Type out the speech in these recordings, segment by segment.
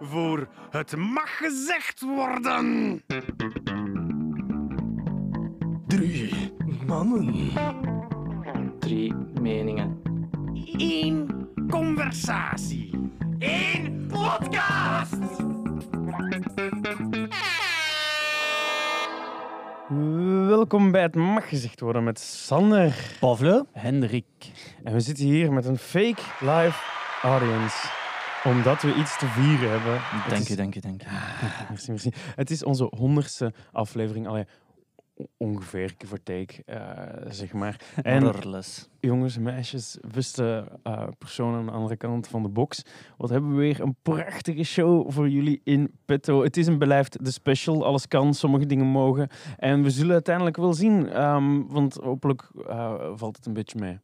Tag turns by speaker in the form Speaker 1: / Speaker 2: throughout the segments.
Speaker 1: Voor het mag gezegd worden.
Speaker 2: Drie mannen.
Speaker 3: Drie meningen.
Speaker 1: Eén conversatie. Eén podcast. Welkom bij het mag gezegd worden met Sander.
Speaker 2: Pavle.
Speaker 3: Hendrik.
Speaker 1: En we zitten hier met een fake live audience. Omdat we iets te vieren hebben. Het
Speaker 3: Denk
Speaker 1: is-
Speaker 3: je, denk je, denk je.
Speaker 1: Ah, Merci, merci. Het is onze honderdste aflevering. Allee, o- ongeveer, give or take, eh, zeg maar. En
Speaker 3: Rorles.
Speaker 1: jongens en meisjes, beste eh personen aan de andere kant van de box. Wat hebben we weer een prachtige show voor jullie in petto. Het is een beleefd de special. Alles kan, sommige dingen mogen. En we zullen uiteindelijk wel zien, ehm, want hopelijk eh, valt het een beetje mee.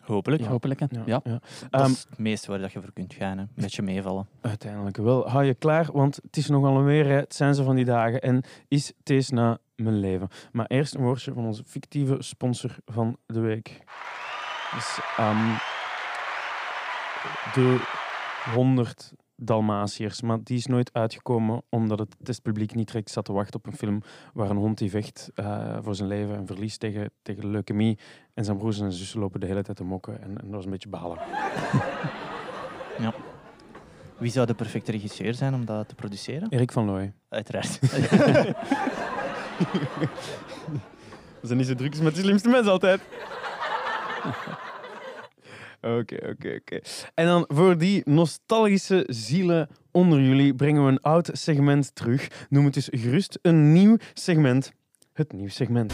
Speaker 3: Hopelijk,
Speaker 1: Ja.
Speaker 3: hopelijk. hè. Ja. Dat
Speaker 1: Ehm,
Speaker 3: is het meeste waar dat je voor kunt gaan. Hè. Een beetje meevallen.
Speaker 1: Uiteindelijk wel. Hou je klaar, want het is nogal een weer. hè. Het zijn ze van die dagen. En is tees na mijn leven. Maar eerst een woordje van onze fictieve sponsor van de week. Dus, ehm, de 100 Dalmatiërs. Maar die is nooit uitgekomen omdat het testpubliek niet direct zat te wachten op een film waar een hond die vecht eh, voor zijn leven en verliest tegen, tegen leukemie. En zijn broers en zijn zussen lopen de hele tijd te mokken. En, en dat was een beetje balen.
Speaker 3: Wie zou de perfecte regisseur zijn om dat te produceren?
Speaker 1: Erik van Looy.
Speaker 3: Uiteraard.
Speaker 1: We zijn niet zo druk met de slimste mensen altijd. Oké, oké, oké. En dan voor die nostalgische zielen onder jullie brengen we een oud segment terug. Noem het dus gerust een nieuw segment. Het nieuw segment.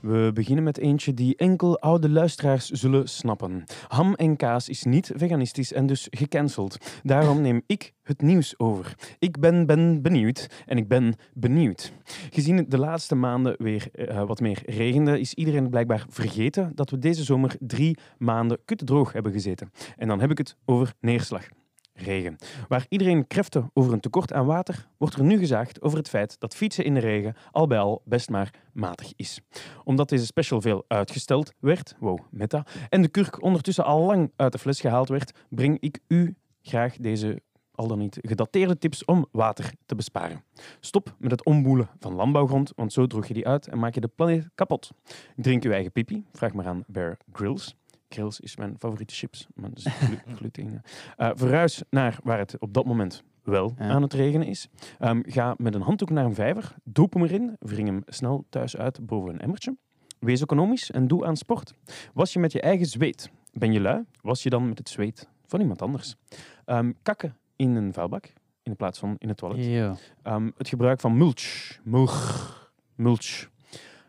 Speaker 1: We beginnen met eentje die enkel oude luisteraars zullen snappen. Ham en kaas is niet veganistisch en dus gecanceld. Daarom neem ik het nieuws over. Ik ben, ben benieuwd en ik ben benieuwd. Gezien het de laatste maanden weer eh, wat meer regende, is iedereen blijkbaar vergeten dat we deze zomer drie maanden kuttedroog hebben gezeten. En dan heb ik het over neerslag. Regen. Waar iedereen krefte over een tekort aan water, wordt er nu gezaagd over het feit dat fietsen in de regen al bij al best maar matig is. Omdat deze special veel uitgesteld werd, wow, meta, en de kurk ondertussen al lang uit de fles gehaald werd, breng ik u graag deze al dan niet gedateerde tips om water te besparen. Stop met het omboelen van landbouwgrond, want zo droeg je die uit en maak je de planeet kapot. Drink uw eigen pipi, vraag maar aan Bear Grylls. Grills is mijn favoriete chips, maar dat is glu- gluten. Eh verhuis naar waar het op dat moment wel
Speaker 3: Ja.
Speaker 1: aan het regenen is. Ehm, ga met een handdoek naar een vijver, doop hem erin, wring hem snel thuis uit boven een emmertje. Wees economisch en doe aan sport. Was je met je eigen zweet. Ben je lui? Was je dan met het zweet van iemand anders? Ehm, kakken in een vuilbak in plaats van in het toilet.
Speaker 3: ja.
Speaker 1: Ehm, het gebruik van mulch. Mulch. Mulch.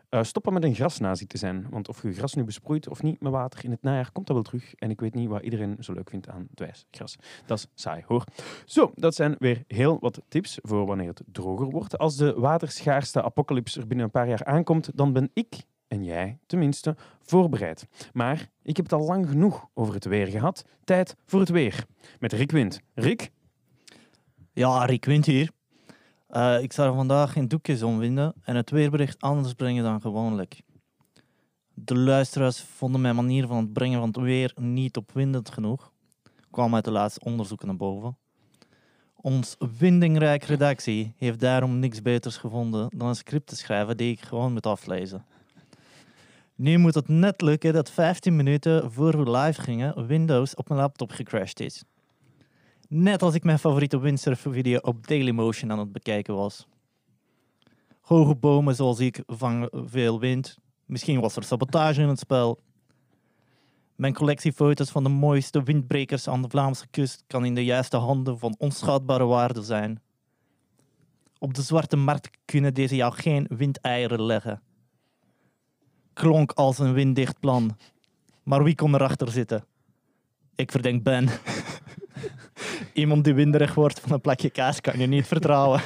Speaker 1: Eh, stoppen met een grasnazi te zijn. Want of je gras nu besproeit of niet met water in het najaar, komt dat wel terug. En ik weet niet wat iedereen zo leuk vindt aan dwijs gras. Dat is saai hoor. Zo, dat zijn weer heel wat tips voor wanneer het droger wordt. Als de waterschaarste apocalyps er binnen een paar jaar aankomt, dan ben ik, en jij tenminste, voorbereid. Maar ik heb het al lang genoeg over het weer gehad. Tijd voor het weer. Met Rick Wind. Rick,
Speaker 3: ja, Rick Wind hier. Eh, ik zou vandaag in doekjes omwinden en het weerbericht anders brengen dan gewoonlijk. De luisteraars vonden mijn manier van het brengen van het weer niet opwindend genoeg. Kwam uit de laatste onderzoeken naar boven. Ons windingrijk redactie heeft daarom niks beters gevonden dan een script te schrijven die ik gewoon moet aflezen. Nu moet het net lukken dat 15 minuten voor we live gingen Windows op mijn laptop gecrashed is. Net als ik mijn favoriete windsurf-video op Dailymotion aan het bekijken was. Hoge bomen zoals ik vangen veel wind. Misschien was er sabotage in het spel. Mijn collectie foto's van de mooiste windbrekers aan de Vlaamse kust kan in de juiste handen van onschatbare waarde zijn. Op de zwarte markt kunnen deze jou geen windeieren leggen. Klonk als een winddicht plan. Maar wie kon erachter zitten? Ik verdenk Ben. Iemand die winderig wordt van een plakje kaas kan je niet vertrouwen.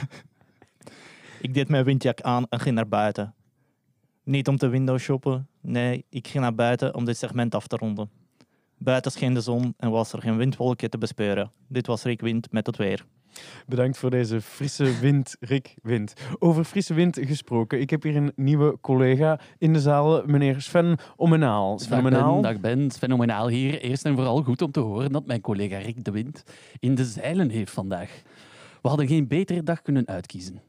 Speaker 3: ik deed mijn windjak aan en ging naar buiten. Niet om te window shoppen, nee, ik ging naar buiten om dit segment af te ronden. Buiten scheen de zon en was er geen windwolkje te bespeuren. Dit was Rick Wind met het weer.
Speaker 1: Bedankt voor deze frisse wind, Rick Wind. Over frisse wind gesproken. Ik heb hier een nieuwe collega in de zaal, meneer Sven Omenaal. Sven
Speaker 4: Dag ben,
Speaker 1: Omenaal.
Speaker 4: dag ben, fenomenaal hier. Eerst en vooral goed om te horen dat mijn collega Rick de Wind in de zeilen heeft vandaag. We hadden geen betere dag kunnen uitkiezen.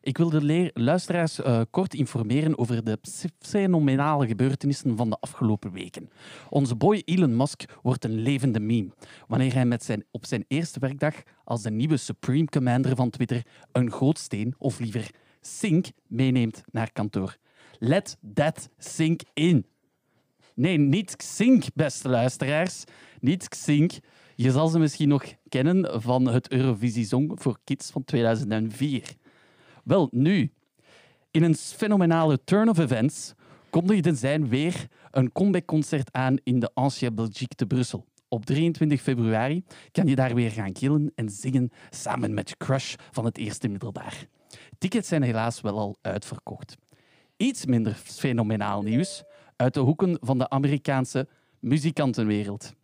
Speaker 4: Ik wil de leer- luisteraars eh, kort informeren over de ps- fenomenale gebeurtenissen van de afgelopen weken. Onze boy Elon Musk wordt een levende meme wanneer hij met zijn, op zijn eerste werkdag als de nieuwe Supreme Commander van Twitter een gootsteen, of liever sink, meeneemt naar kantoor. Let that sink in. Nee, niet Xink, beste luisteraars. Niet Xink. Je zal ze misschien nog kennen van het Eurovisie Song voor Kids van 2004. Wel, nu. In een fenomenale turn of events kondigden zij weer een comebackconcert aan in de Ancien Belgique te Brussel. Op 23 februari kan je daar weer gaan killen en zingen samen met je crush van het eerste middelbaar. Tickets zijn helaas wel al uitverkocht iets minder fenomenaal nieuws uit de hoeken van de Amerikaanse muzikantenwereld.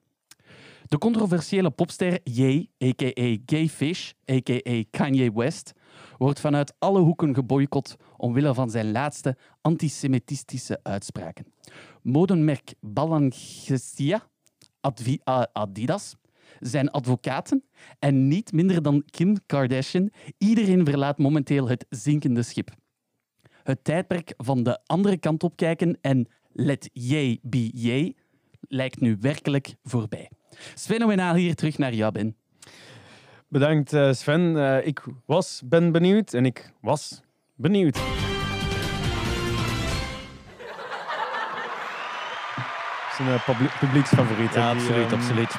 Speaker 4: De controversiële popster Ye, a.k.a. Gayfish, a.k.a. Kanye West, wordt vanuit alle hoeken geboycott omwille van zijn laatste antisemitistische uitspraken. Modenmerk Balenciaga, Advi- A- Adidas, zijn advocaten en niet minder dan Kim Kardashian, iedereen verlaat momenteel het zinkende schip het tijdperk van de andere kant op kijken en let jij be jij lijkt nu werkelijk voorbij. Fenomenaal hier terug naar jou, Ben.
Speaker 1: Bedankt eh, Sven. Eh, ik was, ben benieuwd en ik was benieuwd. Zijn eh, publie- publieksfavoriet. hè,
Speaker 3: Ja,
Speaker 1: die,
Speaker 3: absoluut,
Speaker 1: ehm,
Speaker 3: absoluut.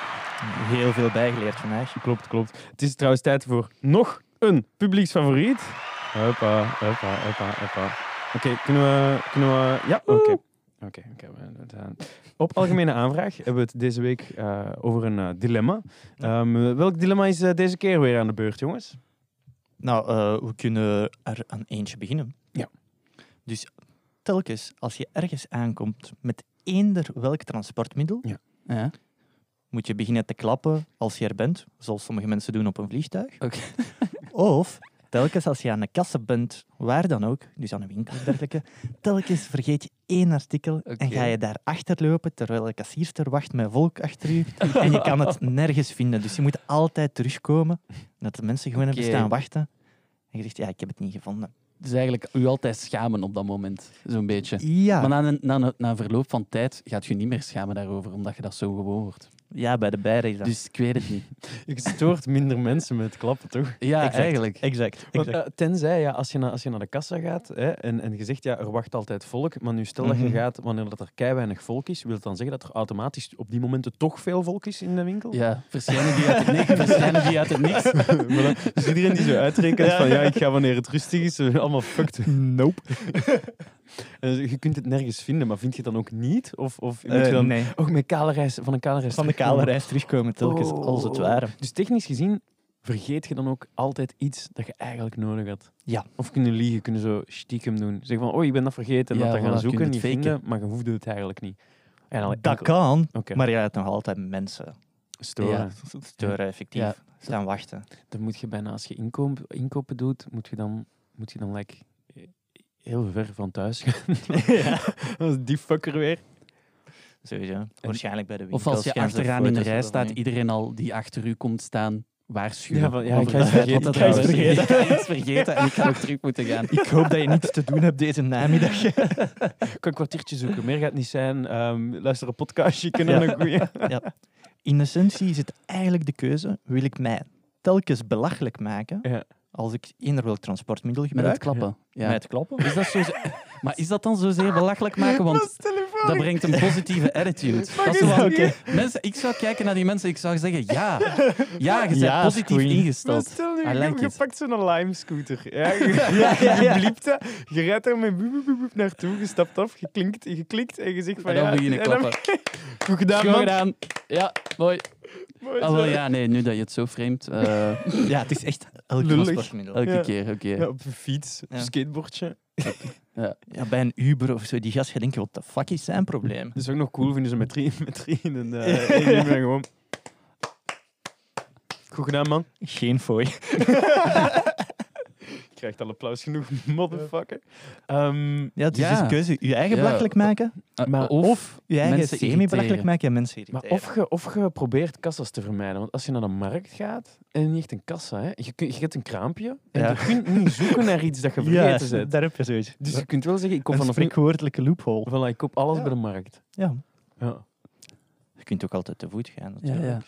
Speaker 3: Heel veel bijgeleerd vandaag.
Speaker 1: Klopt, klopt. Het is trouwens tijd voor nog een publieksfavoriet. Huppa, huppa, huppa, huppa. Oké, kunnen we... Kunnen we... Ja, oké. Oké, oké, we- we gaan. Op algemene aanvraag hebben we het deze week eh, over een eh, dilemma. Ehm, welk dilemma is eh, deze keer weer aan de beurt, jongens?
Speaker 3: Nou, eh, we kunnen er aan eentje beginnen.
Speaker 1: Ja.
Speaker 3: Dus telkens als je ergens aankomt met eender welk transportmiddel,
Speaker 4: Ja.
Speaker 3: moet je beginnen te klappen als je er bent, zoals sommige mensen doen op een vliegtuig.
Speaker 4: Oké.
Speaker 3: Of telkens als je aan de kassa bent, waar dan ook, dus aan een winkel en dergelijke, telkens vergeet je één artikel en
Speaker 4: Oké.
Speaker 3: ga je daar achterlopen terwijl de kassierster wacht met volk achter je en je kan het nergens vinden. Dus je moet altijd terugkomen dat de mensen gewoon
Speaker 4: Oké.
Speaker 3: hebben staan wachten. En je zegt, ja, ik heb het niet gevonden.
Speaker 4: Dus eigenlijk u altijd schamen op dat moment, zo'n beetje. Maar
Speaker 3: Ja,
Speaker 4: na een, na, een, na een verloop van tijd gaat je niet meer schamen daarover, omdat je dat zo gewoon wordt.
Speaker 3: ja bij de bijrijder. dan.
Speaker 4: Dus ik weet het niet.
Speaker 1: Je stoort minder mensen met klappen, toch?
Speaker 4: Ja,
Speaker 3: Exact.
Speaker 4: eigenlijk.
Speaker 3: Exact.
Speaker 1: Want,
Speaker 3: exact.
Speaker 1: eh, tenzij, ja, als, je na, als je naar de kassa gaat hè, en, en je zegt, ja, er wacht altijd volk, maar nu stel dat
Speaker 3: Mhm.
Speaker 1: je gaat wanneer dat er kei weinig volk is, wil het dan zeggen dat er automatisch op die momenten toch veel volk is in de winkel?
Speaker 4: Ja, verschijnen die uit het niks, verschijnen die uit het niks.
Speaker 1: Voilà. Dus iedereen die zo uitrekent van, ja, ik ga wanneer het rustig is, eh, allemaal fucked. Nope. je kunt het nergens vinden, maar vind je het dan ook niet? Of, of moet je
Speaker 3: Eh,
Speaker 1: dan...
Speaker 3: nee.
Speaker 1: Ook met kale reis, van een kale reis
Speaker 3: Van de
Speaker 1: terugkomen?
Speaker 3: kale reis terugkomen telkens,
Speaker 1: Oh.
Speaker 3: als het ware.
Speaker 1: Dus technisch gezien vergeet je dan ook altijd iets dat je eigenlijk nodig had.
Speaker 3: Ja.
Speaker 1: Of kunnen liegen, kunnen zo stiekem doen. Zeg van, oh, ik ben dat vergeten, en dat
Speaker 4: Ja,
Speaker 1: dan
Speaker 4: voilà,
Speaker 1: gaan
Speaker 4: kun je
Speaker 1: zoeken,
Speaker 4: het
Speaker 1: niet
Speaker 4: faken.
Speaker 1: vinden, maar je hoefde het eigenlijk niet. En al-
Speaker 3: Dat kan,
Speaker 1: Oké,
Speaker 3: maar je hebt nog altijd mensen
Speaker 1: storen.
Speaker 4: Ja.
Speaker 3: deuren effectief
Speaker 4: Ja.
Speaker 3: staan wachten.
Speaker 1: Dan moet je bijna, als je inkoop, inkopen doet, moet je dan, moet je dan like, heel ver van thuis gaan. Dat is die fucker weer.
Speaker 3: Sowieso. Waarschijnlijk bij de
Speaker 4: Of
Speaker 3: winkels.
Speaker 4: als je
Speaker 3: gaan ze
Speaker 4: achteraan in de
Speaker 3: foto's
Speaker 4: rij
Speaker 3: hebben van
Speaker 4: staat,
Speaker 3: je.
Speaker 4: iedereen al die achter u komt staan, waarschuwen.
Speaker 1: Ja, van, ja,
Speaker 4: over
Speaker 1: ik ga iets
Speaker 4: het feit
Speaker 1: vergeten,
Speaker 4: dat
Speaker 1: ik
Speaker 4: er
Speaker 1: ga iets vergeten.
Speaker 4: was. Ik ga iets vergeten en ik ga ook terug moeten gaan.
Speaker 3: Ik hoop dat je niets te doen hebt deze namiddag.
Speaker 1: Ik kan een kwartiertje zoeken, meer gaat niet zijn. Ehm, luister een podcastje, kunnen
Speaker 3: Ja.
Speaker 1: een goeie.
Speaker 3: In essentie is het eigenlijk de keuze, wil ik mij telkens belachelijk maken
Speaker 1: Ja.
Speaker 3: als ik eender welk transportmiddel
Speaker 4: Met het
Speaker 3: gebruik?
Speaker 4: klappen. Ja.
Speaker 3: Met klappen.
Speaker 4: Is dat zo maar is dat dan zozeer belachelijk maken? Want dat brengt een positieve attitude. Dat is zo van,
Speaker 3: Oké.
Speaker 4: mensen, ik zou kijken naar die mensen, ik zou zeggen ja. Ja, je bent
Speaker 3: Ja,
Speaker 4: positief
Speaker 3: queen.
Speaker 4: ingesteld.
Speaker 1: Stel nu,
Speaker 4: I like
Speaker 1: je, je
Speaker 4: it.
Speaker 1: pakt zo'n Lime-scooter. Ja, je, je bliept dat, je rijdt daar met boep, boep, boep, boep naartoe, je stapt af, je klinkt, je klikt en je zegt van
Speaker 4: En dan
Speaker 1: ja...
Speaker 4: beginnen
Speaker 1: en dan-
Speaker 4: klappen.
Speaker 1: Goed gedaan,
Speaker 4: Schoon
Speaker 1: man.
Speaker 4: gedaan. Ja, mooi.
Speaker 1: Mooi
Speaker 4: Ah,
Speaker 1: zo.
Speaker 4: wel, ja, nee, nu dat je het zo framed. eh,
Speaker 3: Ja, het is echt elk
Speaker 1: Lullig.
Speaker 3: transportmiddel.
Speaker 4: elke
Speaker 1: Ja.
Speaker 4: keer, elke keer.
Speaker 1: Ja, op een fiets, op een
Speaker 3: Ja.
Speaker 1: skateboardje.
Speaker 3: Ja, bij een Uber of zo, die gast gaat denken, wat de fuck is zijn probleem?
Speaker 1: Dat is ook nog cool, vinden ze met drie, met drie in een... eh, in een- gewoon... Goed gedaan, man.
Speaker 3: Geen fooi.
Speaker 1: Je krijgt al applaus genoeg, motherfucker. Ehm,
Speaker 3: Ja, dus
Speaker 4: Ja.
Speaker 3: is keuze. Je eigen
Speaker 4: Ja.
Speaker 3: belachelijk maken.
Speaker 4: Eh,
Speaker 1: Maar
Speaker 4: of,
Speaker 3: Je eigen
Speaker 4: mensen
Speaker 3: semi-belachelijk
Speaker 4: irriteren.
Speaker 3: maken. Ja, mensen
Speaker 1: maar
Speaker 3: irriteren.
Speaker 1: of je, of je probeert kassas te vermijden. Want als je naar de markt gaat, en niet echt een kassa, hè. Je, kun- je hebt een kraampje en
Speaker 3: Ja.
Speaker 1: je kunt niet zoeken naar iets dat je vergeten bent.
Speaker 3: daar heb je zoiets.
Speaker 1: Dus je kunt wel zeggen, ik koop
Speaker 3: een
Speaker 1: vanaf nu...
Speaker 3: spreekwoordelijke loophole.
Speaker 1: Voilà, ik koop alles
Speaker 3: Ja.
Speaker 1: bij de markt.
Speaker 3: Ja.
Speaker 1: Ja.
Speaker 3: Je kunt ook altijd te voet gaan,
Speaker 4: Ja,
Speaker 3: natuurlijk.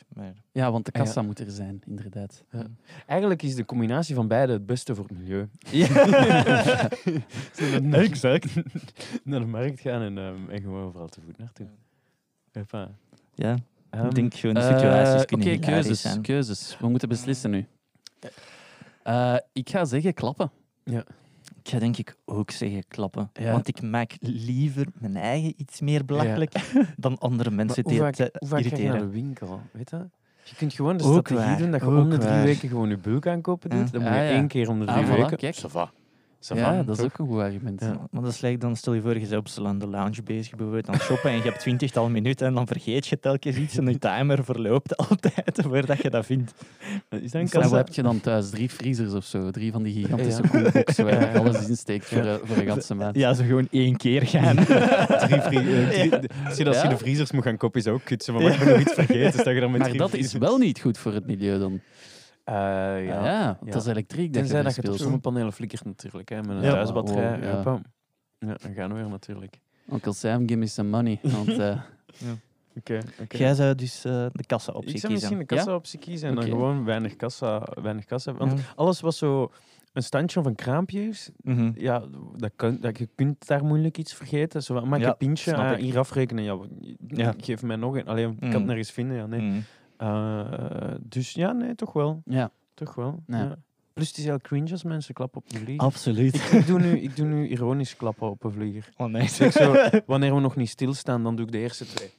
Speaker 4: Ja, want de
Speaker 1: Ah, ja.
Speaker 4: kassa moet er zijn, inderdaad.
Speaker 1: Eigenlijk is de combinatie van beide het beste voor het milieu.
Speaker 3: Maar...
Speaker 1: exact. naar de markt gaan en, ehm, en gewoon vooral te voet naartoe. Hoppa.
Speaker 3: ja,
Speaker 1: Ehm,
Speaker 3: ik denk gewoon
Speaker 4: Eh,
Speaker 3: situaties
Speaker 4: Oké,
Speaker 3: kunnen hilarisch
Speaker 4: keuzes,
Speaker 3: zijn.
Speaker 4: keuzes. We moeten beslissen nu. Eh, ik ga zeggen klappen.
Speaker 3: Ik ga denk ik ook zeggen klappen.
Speaker 4: Ja.
Speaker 3: Want ik maak liever mijn eigen iets meer belachelijk dan andere
Speaker 1: Maar
Speaker 3: mensen
Speaker 1: hoe
Speaker 3: die
Speaker 1: vaak,
Speaker 3: het eh,
Speaker 1: hoe vaak ga je naar
Speaker 3: irriteren.
Speaker 1: de winkel? Weet je? je kunt gewoon de
Speaker 3: Ook
Speaker 1: strategie
Speaker 3: waar,
Speaker 1: doen dat je
Speaker 3: ook
Speaker 1: om de drie
Speaker 3: waar.
Speaker 1: weken gewoon je bulk aankopen doet.
Speaker 3: Ja.
Speaker 1: Dan moet je
Speaker 4: Ah, ja.
Speaker 1: één keer om de drie
Speaker 4: Ah, voilà,
Speaker 1: weken.
Speaker 4: kijk.
Speaker 1: Ça va. Ça va.
Speaker 4: Ja, dat is ook een goed argument.
Speaker 1: Ja.
Speaker 3: Maar dat is like, dan stel je voor, je bent op zo'n de lounge bezig bijvoorbeeld aan het shoppen en je hebt twintigtal minuten en dan vergeet je telkens iets en die timer verloopt altijd voordat je dat vindt. Dus
Speaker 1: Is dat een
Speaker 4: En wat
Speaker 1: kassa?
Speaker 4: heb je dan thuis? Drie vriezers of zo? Drie van die gigantische
Speaker 1: Ja.
Speaker 4: koelboxen waar je
Speaker 1: Ja.
Speaker 4: alles insteekt voor, eh, voor een ganse maand.
Speaker 3: Ja, zo gewoon één keer gaan.
Speaker 1: Drie vrie- eh, drie- Als je dat- als je
Speaker 4: Ja?
Speaker 1: de vriezers moet gaan kopen, is dat ook kut. zo van, Maar ik ben nog iets vergeten. Dus dat je dan met
Speaker 4: Maar
Speaker 1: drie
Speaker 4: dat is
Speaker 1: vriezers-
Speaker 4: wel niet goed voor het milieu dan.
Speaker 1: Eh,
Speaker 4: Ja,
Speaker 1: ja.
Speaker 4: want dat is elektriek. Dat
Speaker 1: Tenzij dat je het op
Speaker 4: speelt.
Speaker 1: zonnepanelen flikkert natuurlijk. Hè, met een
Speaker 3: Ja.
Speaker 1: thuisbatterij.
Speaker 4: Oh, ja.
Speaker 1: Hoppa. Ja, dan gaan we weer natuurlijk.
Speaker 4: Uncle Sam, give me some money. Want, eh,
Speaker 1: Oké. oké.
Speaker 3: Jij zou dus eh, de kassa-optie
Speaker 1: Ik
Speaker 3: kiezen.
Speaker 1: zou misschien een
Speaker 4: Ja?
Speaker 1: kassa-optie kiezen en
Speaker 4: Oké.
Speaker 1: dan gewoon weinig kassa, weinig kassa. Want
Speaker 3: Ja.
Speaker 1: alles was zo een standje van kraampjes.
Speaker 3: Mhm.
Speaker 1: Ja, dat kan, dat, je kunt daar moeilijk iets vergeten. Zo, van, maak
Speaker 3: Ja,
Speaker 1: een pintje,
Speaker 3: snap
Speaker 1: ah,
Speaker 3: ik.
Speaker 1: hier afrekenen. Ja, wat-
Speaker 3: Ja.
Speaker 1: Geef mij nog een. Alleen, ik kan het
Speaker 3: Mm.
Speaker 1: nergens vinden. Ja, nee.
Speaker 3: Mm.
Speaker 1: Eh, dus ja, nee, toch wel.
Speaker 4: ja.
Speaker 1: Toch wel.
Speaker 4: Ja.
Speaker 1: ja. Plus het is heel cringe als mensen klappen op de vlieger.
Speaker 3: Absoluut.
Speaker 1: Ik doe, nu, ik doe nu ironisch klappen op een vlieger.
Speaker 3: Oh nee.
Speaker 1: Zeg zo, wanneer we nog niet stilstaan, dan doe ik de eerste twee.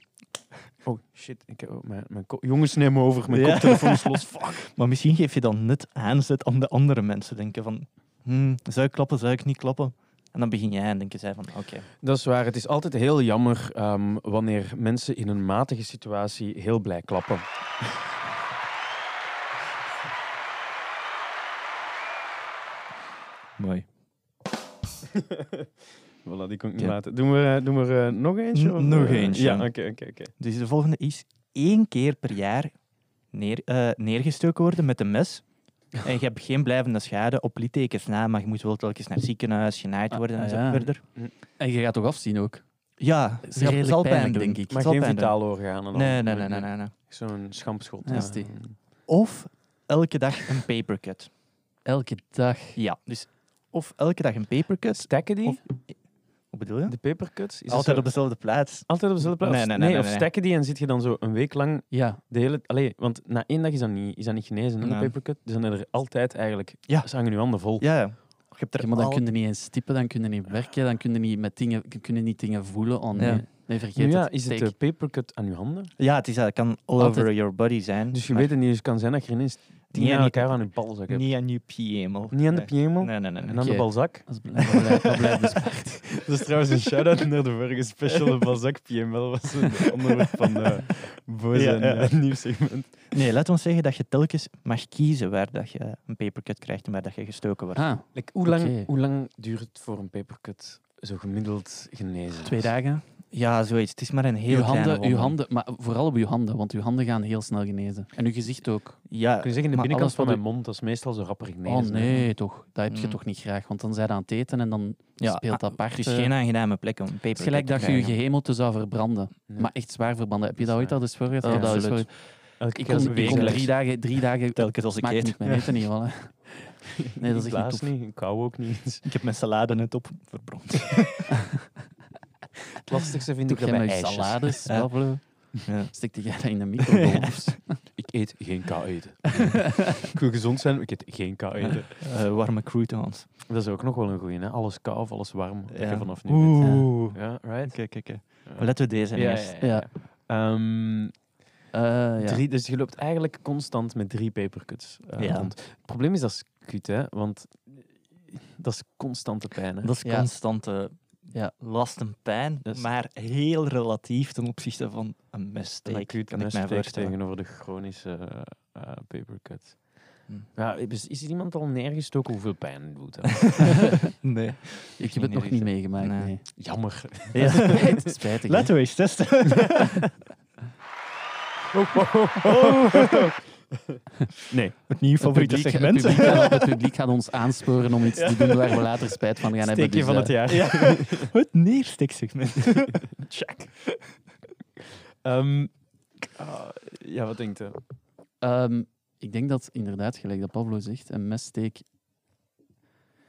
Speaker 1: Oh shit, ik, heb- oh, mijn, mijn ko- jongens neem me over, mijn
Speaker 3: Ja.
Speaker 1: koptelefoon is los. Fuck.
Speaker 3: Maar misschien geef je dan net aanzet aan de andere mensen. Denken van, hmm, zou ik klappen, zou ik niet klappen? En dan begin jij en denken zij van, oké.
Speaker 1: Dat is waar. Het is altijd heel jammer ehm, wanneer mensen in een matige situatie heel blij klappen.
Speaker 3: Mooi.
Speaker 1: Voilà, die kon ik niet
Speaker 3: niet Ja.
Speaker 1: laten. Doen we, doen we nog eentje?
Speaker 3: N- of, nog eh, eentje.
Speaker 1: Ja,
Speaker 3: ja,
Speaker 1: oké,
Speaker 3: oké,
Speaker 1: oké, oké.
Speaker 3: Dus de volgende is één keer per jaar neer, eh, neergestoken worden met een mes. En je hebt geen blijvende schade op littekens na, maar je moet wel telkens naar het ziekenhuis, genaaid
Speaker 4: Ah,
Speaker 3: worden en
Speaker 4: ah,
Speaker 3: zo
Speaker 4: ja.
Speaker 3: verder.
Speaker 4: En je gaat toch afzien ook?
Speaker 3: Ja,
Speaker 4: is
Speaker 3: het zal-
Speaker 4: redelijk
Speaker 3: zal pijn
Speaker 4: pijnlijk,
Speaker 3: doen.
Speaker 4: denk ik.
Speaker 1: Maar
Speaker 3: Zal
Speaker 1: geen
Speaker 3: pijn doen.
Speaker 1: vitaal organen dan?
Speaker 3: Nee, nee, nee, nee, nee, nee.
Speaker 1: Zo'n schampschot. eh.
Speaker 4: Ja. Nasty.
Speaker 3: Of elke dag een papercut.
Speaker 4: Elke dag.
Speaker 3: Ja, dus of elke dag een papercut.
Speaker 1: Stekken die?
Speaker 3: Of- Wat bedoel je?
Speaker 1: de papercuts? Is dat
Speaker 3: Altijd
Speaker 1: zo-
Speaker 3: op dezelfde plaats.
Speaker 1: Altijd op dezelfde plaats?
Speaker 3: Nee, nee, nee, nee,
Speaker 1: of
Speaker 3: nee.
Speaker 1: stekken die en zit je dan zo een week lang
Speaker 4: Ja.
Speaker 1: de hele... Allee, want na één dag is dat niet, is dat niet genezen, hè, de
Speaker 3: Nee.
Speaker 1: papercut. Dus dan is er altijd eigenlijk...
Speaker 3: Ja.
Speaker 1: Ze hangen je handen vol.
Speaker 3: Ja, ja. Je hebt er
Speaker 4: Ja, maar dan
Speaker 3: al-
Speaker 4: kun je niet eens typen, dan kun je niet werken, dan kun je niet, met dingen, kun je niet dingen voelen. Oh, nee.
Speaker 3: Ja.
Speaker 4: nee, vergeet
Speaker 1: Nu ja,
Speaker 4: het.
Speaker 1: is het
Speaker 4: Take.
Speaker 1: de papercut aan je handen?
Speaker 3: Ja, het is, dat kan all
Speaker 4: Altijd.
Speaker 3: over your body zijn.
Speaker 1: Dus je
Speaker 3: maar
Speaker 1: weet het niet, dus het kan zijn dat je ineens tien
Speaker 3: Nee,
Speaker 1: aan
Speaker 3: niet-
Speaker 1: elkaar aan je balzak hebt.
Speaker 3: Niet aan je piemel.
Speaker 1: Niet aan de
Speaker 3: Nee.
Speaker 1: piemel
Speaker 3: Nee, nee, nee.
Speaker 1: en
Speaker 3: nee.
Speaker 1: aan de
Speaker 4: Oké.
Speaker 1: balzak.
Speaker 4: Dat is blij- dat blijft- dat blijft dus-
Speaker 1: Dat is trouwens een shout-out naar de vorige special de balzak piemel. Dat was een onderwerp van eh Boze
Speaker 3: Ja,
Speaker 1: en
Speaker 3: ja.
Speaker 1: eh, nieuw segment.
Speaker 3: Nee, laat ons zeggen dat je telkens mag kiezen waar dat je een papercut krijgt en waar dat je gestoken wordt.
Speaker 4: Ah,
Speaker 1: hoe,
Speaker 4: lang-
Speaker 1: lang, duurt het voor een papercut zo gemiddeld genezen?
Speaker 4: twee dagen.
Speaker 3: Ja, zoiets. Het is maar een heel
Speaker 4: Uw
Speaker 3: kleine
Speaker 4: handen, uw
Speaker 3: wond.
Speaker 4: handen, maar vooral op uw handen, want uw handen gaan heel snel genezen. En uw gezicht ook.
Speaker 3: Ja,
Speaker 1: Kun je zeggen, de
Speaker 3: maar
Speaker 1: binnenkant
Speaker 4: alles
Speaker 1: van
Speaker 4: wat
Speaker 1: mijn mond, dat is meestal zo rapper genezen.
Speaker 4: oh nee, toch. Dat heb je
Speaker 3: Mm.
Speaker 4: toch niet graag, want dan zijn je aan het eten en dan
Speaker 3: Ja,
Speaker 4: speelt dat
Speaker 3: ah,
Speaker 4: apart.
Speaker 3: het is
Speaker 4: eh,
Speaker 3: geen aangename plek om een
Speaker 4: het
Speaker 3: papercut
Speaker 4: is gelijk
Speaker 3: te
Speaker 4: dat je je
Speaker 3: krijgen.
Speaker 4: gehemelte zou verbranden.
Speaker 1: Nee.
Speaker 4: Maar echt zwaar verbranden. Heb je
Speaker 1: Dat
Speaker 4: dat
Speaker 1: is
Speaker 4: ooit al eens voor gehad?
Speaker 3: Ja,
Speaker 4: Ik heb dat al eens
Speaker 3: absoluut.
Speaker 4: voor-
Speaker 1: Elke
Speaker 4: Ik
Speaker 1: keer als
Speaker 4: kon,
Speaker 1: een
Speaker 4: ik kon drie dagen, drie dagen
Speaker 3: Telkens als ik
Speaker 4: smaakt
Speaker 3: eet.
Speaker 4: niet mijn eten niet, voilà. Nee, dat is echt niet
Speaker 1: Klaas
Speaker 4: tof.
Speaker 1: niet, ik kou ook niet.
Speaker 3: Ik heb mijn salade net op verbrand.
Speaker 1: Het lastigste vind
Speaker 4: Doe
Speaker 1: ik dat
Speaker 4: jij
Speaker 1: bij
Speaker 4: met
Speaker 1: ijsjes.
Speaker 4: salades,
Speaker 3: Ja.
Speaker 4: babbelen?
Speaker 3: Ja.
Speaker 4: Stik jij dat in de microgolf? of zo?
Speaker 1: Ik eet geen kou eten. ik wil gezond zijn, ik eet geen kou eten.
Speaker 3: Eh, warme croutons.
Speaker 1: Dat is ook nog wel een goeie, hè? Alles kou of alles warm, dat je
Speaker 3: Ja.
Speaker 1: vanaf nu weet.
Speaker 3: Oeh.
Speaker 1: Ja, right?
Speaker 3: Kijk, kijk, kijk.
Speaker 1: Ja.
Speaker 3: Maar Laten we deze
Speaker 1: Ja,
Speaker 3: eerst.
Speaker 1: ja, ja, ja. Ehm,
Speaker 4: Eh, ja.
Speaker 1: drie, dus je loopt eigenlijk constant met drie papercuts eh,
Speaker 3: Ja.
Speaker 1: rond. Het probleem is dat is kut, hè? Want dat is constante pijn. Hè?
Speaker 3: Dat is
Speaker 4: Ja.
Speaker 3: constante
Speaker 4: Ja. Dus-
Speaker 3: last en pijn,
Speaker 1: Dat is-
Speaker 3: maar heel relatief ten opzichte van een missteek.
Speaker 1: Een acute
Speaker 3: kan ik mij
Speaker 1: messteek
Speaker 3: voorstellen.
Speaker 1: tegenover de chronische eh, eh, papercut.
Speaker 3: Hm.
Speaker 1: Ja, is, is er iemand al neergestoken hoeveel pijn het doet? hè?
Speaker 3: Nee.
Speaker 4: Ik heb het nog niet meegemaakt.
Speaker 3: Nee.
Speaker 4: Nee.
Speaker 1: Jammer.
Speaker 3: Ja.
Speaker 4: Spijt, spijtig. hè.
Speaker 3: Laten we eens testen.
Speaker 4: Oh,
Speaker 2: Nee.
Speaker 3: Het nieuwe favoriete
Speaker 4: het
Speaker 3: segment.
Speaker 4: publiek, Het publiek, gaat, het publiek gaat ons aansporen om iets te doen waar we later spijt van gaan hebben.
Speaker 1: Steekje van
Speaker 4: Dus, eh,
Speaker 1: het jaar.
Speaker 3: Ja. Het neersteksegment.
Speaker 1: Check. Ehm, ah, ja, wat denkt u?
Speaker 4: ehm, ik denk dat inderdaad, gelijk dat Pablo zegt, een messteek